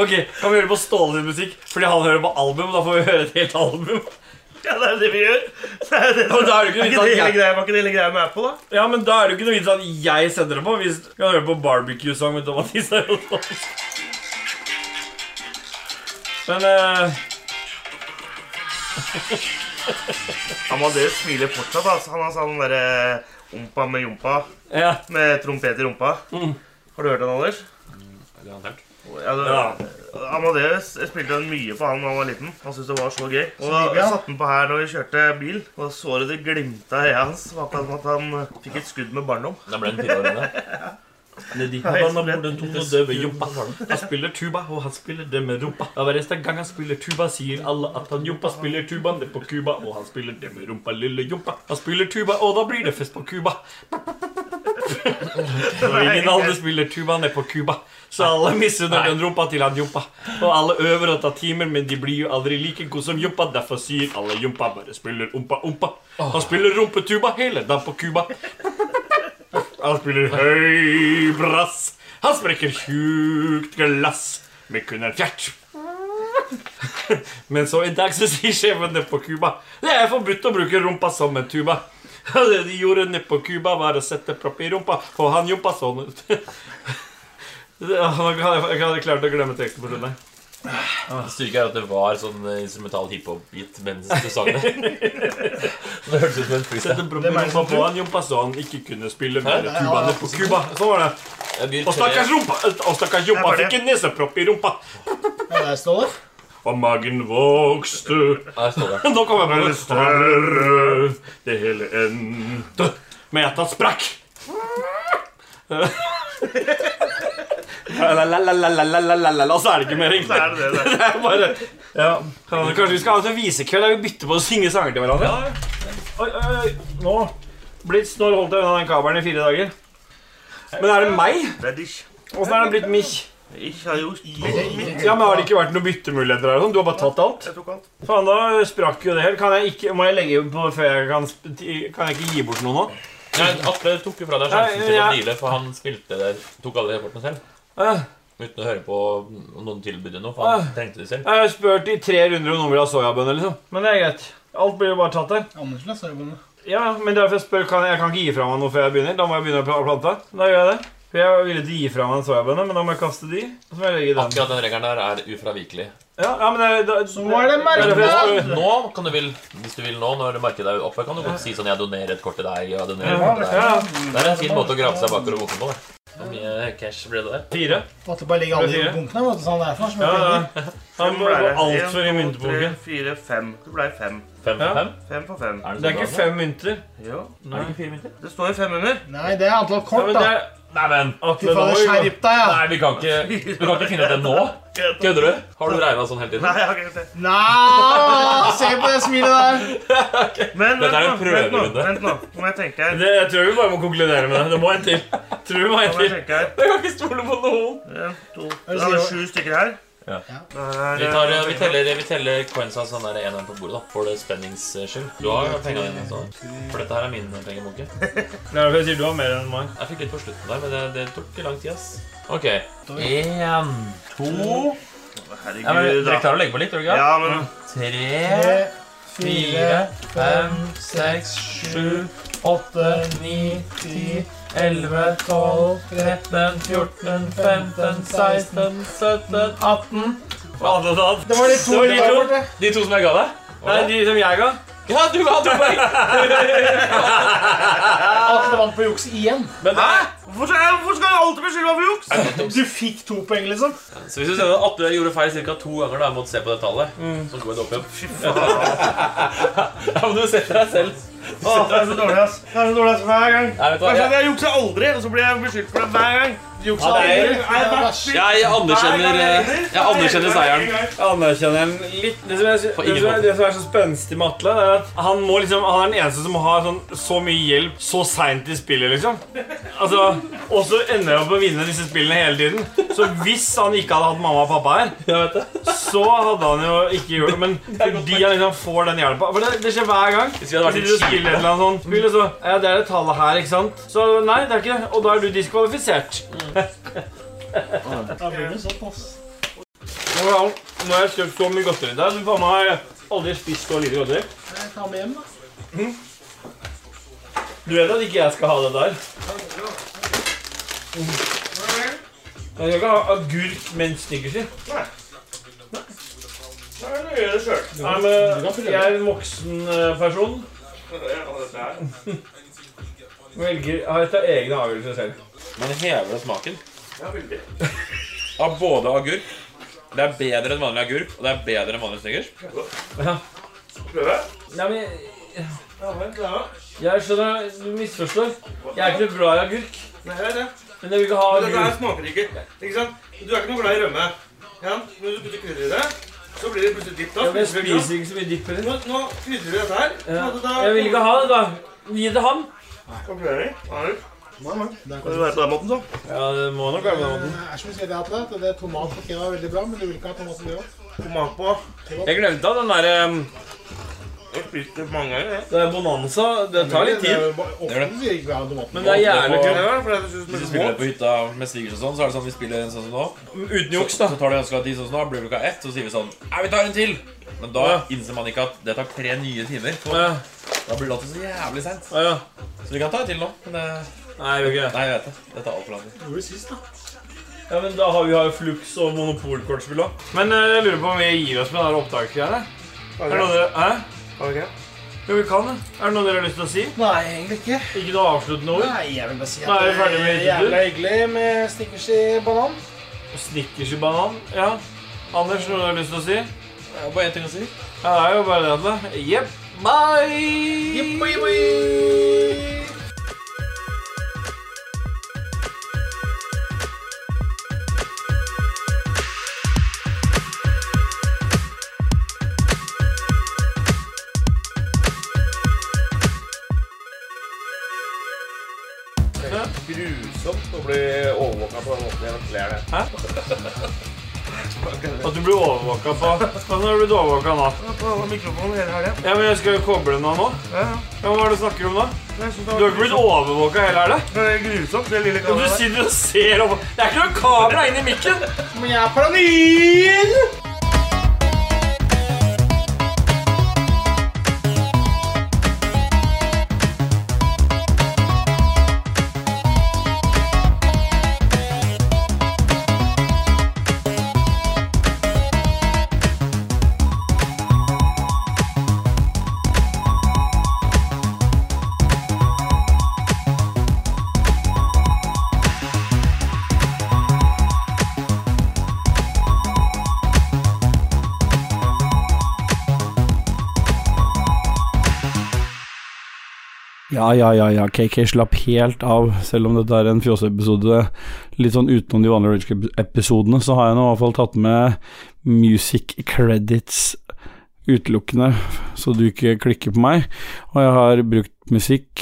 S8: Ok, kan vi høre på Ståle sin musikk? Fordi han hører på album, da får vi høre et helt album.
S9: Ja, det er jo det vi gjør. Det er jo det som...
S8: Ja, men da er det
S9: Er
S8: ikke
S9: ikke
S8: noe
S9: det
S8: vits
S9: hele
S8: at jeg,
S9: greia, var ikke det hele greia med Apple, da?
S8: ja, men da er det jo ikke noe vits at jeg sender det på. Hvis du kan høre på barbecue-sang med Thomas Isar og sånn. Men eh,
S9: Amadeus smiler fortsatt. Altså. Han har sånn derre ompa med jompa
S8: ja.
S9: med trompet i rumpa. Har du hørt den, Anders? Ja, det, Amadeus jeg spilte den mye på han da han var liten. Han syntes det var så gøy. Og
S10: digg, ja.
S9: jeg satte den på her når vi kørte bil, og så det det glimta i øyet hans. Det var akkurat som at han eh, fikk et skudd med barndom.
S7: Da ble den fire år inne.
S8: Det er de han har borden to og døve jumpa. Han spiller tuba, og han spiller det med rumpa. Og hver eneste gang han spiller tuba, sier alle at han jumpa spiller tuba ned på Cuba, og han spiller det med rumpa, lille jumpa. Han spiller tuba, og da blir det fest på Cuba. Når ingen andre spiller tuba ned på Cuba, så alle misunner den rumpa til han jumpa. Og alle øver og tar timer, men de blir jo aldri like gode som jumpa. Derfor sier alle jumpa bare spiller umpa umpa. Han spiller rumpetuba hele dagen på Cuba. Han spiller høy brass. Han sprekker tjukt glass med kun en fjert. Men så en dag så sier sjefen nede på Cuba Det er forbudt å bruke rumpa som en tuba. Og Det de gjorde nede på Cuba, var å sette propp i rumpa, og han jumpa sånn ut. Jeg hadde klart å glemme teksten på slutten. her.
S7: Styrke er at det var sånn eh, instrumental hiphop-beat mens du sang det. Så det hørtes ut som en freestyle.
S8: Sette propp i rumpa på han jumpa så han ikke kunne spille mer tuba nede på Cuba. Sånn var det.
S7: Jeg byr
S8: Og stakkars
S7: tre.
S8: rumpa, og stakkars jumpa fikk en nesepropp i rumpa.
S10: tre. Ja, der står det.
S13: og magen vokste.
S7: Her står det.
S8: Nå kommer jeg på
S13: Ble
S8: det.
S13: større, det hele endte.
S8: Meta sprakk. La-la-la-la-la-la-la-la, så er det ikke mer
S4: Så
S8: riktig.
S4: er det det.
S8: Det er bare ja. Kan- Kanskje vi skal ha en sånn visekveld der vi bytter på å synge sanger til hverandre? Oi, oi, oi. Nå Blitz, nå holdt jeg unna den kabelen i fire dager. Men er det meg?
S4: Det er dich.
S8: Åssen er det blitt mich?
S4: Ich har gjort
S8: Ja, men Har det ikke vært noen byttemuligheter? her? og sånn? Du har bare tatt alt?
S4: Jeg tok alt.
S8: Faen, da sprakk jo det helt. Kan jeg ikke, må jeg legge på før jeg kan sp- ti- Kan jeg ikke gi bort noe nå?
S7: Nei, Atle tok jo fra deg sjansen
S8: Nei,
S7: til å
S8: jeg-
S7: deale, for han spilte det, tok alle de kortene selv.
S8: Eh,
S7: Uten å høre på om noen tilbydde noe, for han trengte det selv.
S8: Jeg har spurt i tre runder om noen vil ha soyabønner, liksom. Men det er greit. Alt blir jo bare tatt her.
S10: Anders la soyabønner.
S8: Ja, men derfor jeg spør, kan jeg, jeg kan ikke gi fra meg noe før jeg begynner. Da må jeg begynne å pla- plante. Da gjør jeg det. For jeg ville ikke gi fra meg en soyabønne, men da må jeg kaste de. Og så må jeg legge den.
S7: Akkurat den regelen der er ufravikelig.
S8: Ja, ja, men det, da,
S10: Så var det
S8: er derfor jeg
S10: merkelig!
S8: spør-
S7: eh, Nå kan du vil, Hvis du vil nå, når markedet er oppe, kan du godt si sånn 'Jeg donerer et kort til deg', og 'Jeg donerer et kort til
S8: Ja,
S7: deg'. Det er en fin måte å grave seg bakover og boken på. da. Hvor mye cash ble det der?
S8: fire.
S10: Måtte bare legge alle
S8: Det er fire.
S10: i bunkene. Måtte sånn der for, som
S8: Ja,
S10: jeg
S8: ja.
S10: penger.
S8: Han
S4: ble
S8: var
S4: det. En,
S8: altfor
S4: to,
S8: i
S4: Tre,
S8: myntboken.
S4: fire, fem. Det ble fem.
S7: Fem for
S8: Ja.
S7: fem?
S4: Fem for fem.
S7: Er
S8: Det er
S7: så
S8: ikke
S7: bra,
S8: fem mynter.
S4: Jo.
S7: da? Er det ikke fire minutter?
S4: Det står jo fem under.
S10: Nei, det er antall
S8: Ja,
S10: kort,
S8: men det
S10: da.
S8: er,
S7: Nei, men
S10: Fy
S8: Atle, da
S10: fader,
S8: må vi
S10: skjerp deg, ja.
S7: Nei, vi kan ikke, vi kan ikke finne ut det nå. Kødder du? Har du regna sånn hele tiden?
S4: Nei, jeg har ikke gjort det.
S10: Nei, se på det smilet der.
S4: Men
S7: Dette
S4: vent
S7: er
S4: nå,
S7: en
S4: vent nå,
S7: prøverunde.
S4: vent nå. Nå må jeg tenke her.
S8: Det, jeg tror vi bare må konkludere med det. Det må en til. Tror vi må en
S4: Nå må jeg
S8: til.
S4: tenke her.
S7: Jeg kan ikke stole på noen.
S4: En, to. Da er det sju stykker her.
S7: Ja.
S4: Da er
S7: Vi,
S4: det-
S7: tar, eh, vi teller, vi teller coinsa sånn der en og en på bordet, da. For det spennings skyld. Du har penga dine, så. For dette her er min pengebunke.
S8: Det er derfor jeg sier du har mer enn meg.
S7: Jeg fikk litt på slutten der, men det, det tok ikke lang tid, ass. OK. Én, to ja, men,
S4: Herregud,
S7: Dere
S4: da.
S7: klarer å legge på litt, tror du ikke?
S4: Ja, men
S7: Tre,
S10: Tre,
S7: fire,
S10: fire,
S7: fem, seks, sju, åtte, ni, ti, elleve, tolv, tretten, fjorten, femten, seksten, sytten, atten.
S10: Det var de to.
S8: var de
S10: Det var
S8: to.
S10: borte.
S7: De to som jeg ga deg?
S8: Nei, de som jeg ga.
S7: Ja, du ga to poeng!
S10: Atle vant på juks igjen.
S7: Men det er
S4: Hvorfor skal jeg- hvorfor skal jeg alltid beskylde meg for juks?
S10: Du fikk to poeng, liksom.
S7: Så hvis du ser at Atle gjorde feil ca. to ganger da, mot se på det tallet,
S8: Mm.
S7: så går det opp igjen.
S4: Fy faen.
S7: Ja, men du setter deg selv.
S4: Åh, det er så dårlig, ass. Det er så dårlig ass hver gang.
S7: Nei, vet du hva?
S4: Kanskje
S7: Jeg,
S4: jeg jukser aldri, og så blir jeg beskyldt for det hver gang.
S10: Juksa aldri.
S4: Nei, det er verst.
S7: jeg anerkjenner, eh, jeg anerkjenner seieren.
S8: Anerkjenner den litt. Det som, jeg, sy-
S7: eh, På
S8: det,
S7: ingen
S8: som er,
S7: måte.
S8: det som er så spenstig med Atle, det er at han, må liksom, han er den eneste som har sånn, så mye hjelp så seint i spillet, liksom. Altså, og så ender han opp med å vinne disse spillene hele tiden. Så hvis han ikke hadde hatt mamma og pappa her,
S7: Jeg vet det.
S8: så hadde han jo ikke gjort det. Men fordi han liksom får den hjelpa For det, det skjer hver gang.
S7: Hvis vi hadde vært
S8: Sitter du og
S7: litt
S8: spiller et eller annet sånt spill, og så Ja, det er det tallet her, ikke sant? Så nei, det er ikke det. Og da er du diskvalifisert.
S10: Da blir det såpass.
S8: Nå har jeg- nå har jeg kjøpt så mye godteri der. Du faen meg har jeg aldri spist så lite godteri.
S10: Jeg tar med hjem, da.
S8: Du vet at ikke jeg skal ha det der. Jeg skal ikke ha agurk med en snickers i. Nei, men jeg er en voksen eh, person. Velger Jeg tar egne avgjørelser selv.
S7: Man hever smaken. Av både agurk Det er bedre enn vanlig agurk, og det er bedre enn vanlig snickers.
S8: Nei, men jeg, jeg skjønner Du misforstår. Jeg er ikke noe glad i agurk.
S4: Nei, jeg vet det.
S8: Men jeg vil ikke ha
S4: Men Dette her
S8: agurk.
S4: smaker ikke. Ikke sant? Du er ikke noe glad i rømme. Ja, men du putter krydder i det, så blir det plutselig dipp. da.
S8: Ja, men Jeg spiser ikke så mye dipp heller.
S4: Nå, nå krydrer du dette her.
S8: Ja. Jeg vil ikke ha det, da. Gi det han.
S4: Kan du være på den måten, så?
S8: Ja, det må nok være på den måten.
S10: Det er som du sier, det, Atle. at Det er tomat på kebab er veldig bra, men du vil ikke ha tomat på kebab.
S4: Tomat på.
S8: Jeg glemte at den der um,
S4: Jeg har spist det mange ganger. jeg.
S8: det er Bonanza Det tar litt tid.
S10: Ofte sier ikke vi har tomat.
S8: Men det er jævlig
S7: Ofte
S4: Det
S8: kult.
S4: er fordi jeg synes det
S7: Hvis vi
S4: smaker
S7: spiller
S4: våt.
S7: på hytta med svigers og sånn, så er det sånn vi spiller en sånn som nå.
S8: Uten
S7: Så,
S8: juks, da.
S7: så tar det ganske lang tid sånn som nå. Blir klokka ett, så sier vi sånn Nei, vi tar en til! Men da innser man ikke at det tar tre nye timer.
S8: Å ja.
S7: Da blir det alltid så jævlig seint.
S8: Å ja.
S7: Så vi kan ta en til nå. Men det,
S8: Nei, jeg vil ikke det.
S7: nei, jeg vet det. Det tar altfor lang tid.
S10: Gjorde du sist, da?
S8: Ja, men da har vi har jo Flux og monopolkortspill òg. Men eh, jeg lurer på om vi gir oss med det her opptaksgreiene. Er det noe dere Hæ?
S4: Ok.
S8: Jo, vi kan det. Er det noe dere har lyst til å si?
S10: Nei, egentlig ikke.
S8: Ikke noe avsluttende ord?
S10: Nei, jeg vil bare si
S8: Nå er vi
S10: at
S8: ferdig
S10: det
S8: med
S10: er
S8: hyttetur.
S10: jævla hyggelig med snickers i banan.
S8: Snickers i banan? Ja. Anders, noe du har lyst til å si?
S7: Det er bare én ting å si.
S14: Ja, det er jo bare det. da. Jepp. Bye!
S15: Grusomt å bli overvåka på den måten. Jeg beklager det.
S14: At du blir overvåka på Hva har du blitt overvåka nå? Ja, men jeg skal jo koble den av nå. Ja, Hva er det du snakker om da? Du har ikke blitt overvåka heller, er det?
S15: Grusomt, det lille
S14: Du sitter og ser over Det er ikke noe kamera inni mikken!
S16: Men jeg er paranoid!
S8: Ja, ja, ja, ja, KK slapp helt av, selv om dette er en fjoseepisode litt sånn utenom de vanlige Rage-episodene, så har jeg nå i hvert fall tatt med music credits utelukkende, så du ikke klikker på meg. Og jeg har brukt musikk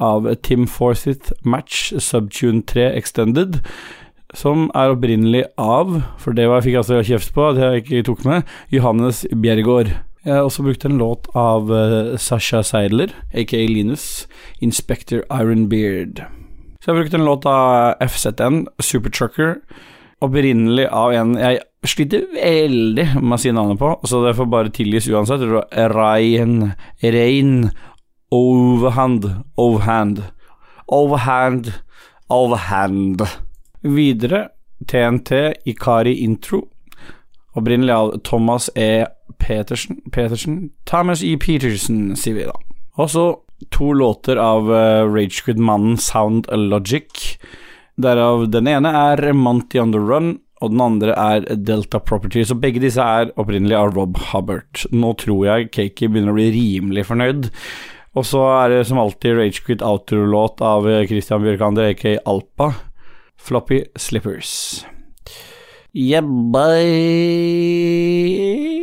S8: av Tim Forsyth Match Subtune 3 Extended, som er opprinnelig av, for det var jeg fikk altså kjeft på at jeg ikke tok med, Johannes Bjerregaard. Jeg har også brukt en låt av eh, Sasha Seidler, aka Linus, 'Inspector Ironbeard'. Så jeg har brukt en låt av FZN, Supertrucker, opprinnelig av en jeg sliter veldig med å si navnet på, så det får bare tilgis uansett. Det var Ryan Rein Overhand Overhand Overhand Overhand. Videre TNT Ikari Intro, opprinnelig av Thomas E. Petersen, Petersen Thomas E. Petersen, sier vi da. Og så to låter av eh, Rage Ragequid-mannen Sound Logic. Derav den ene er Monty on the Run, og den andre er Delta Property. Så begge disse er opprinnelig av Rob Hubbard. Nå tror jeg Cakey begynner å bli rimelig fornøyd. Og så er det som alltid Ragequid outro-låt av eh, Christian Bjørkander, aka Alpa. Floppy Slippers. Yeah, bye.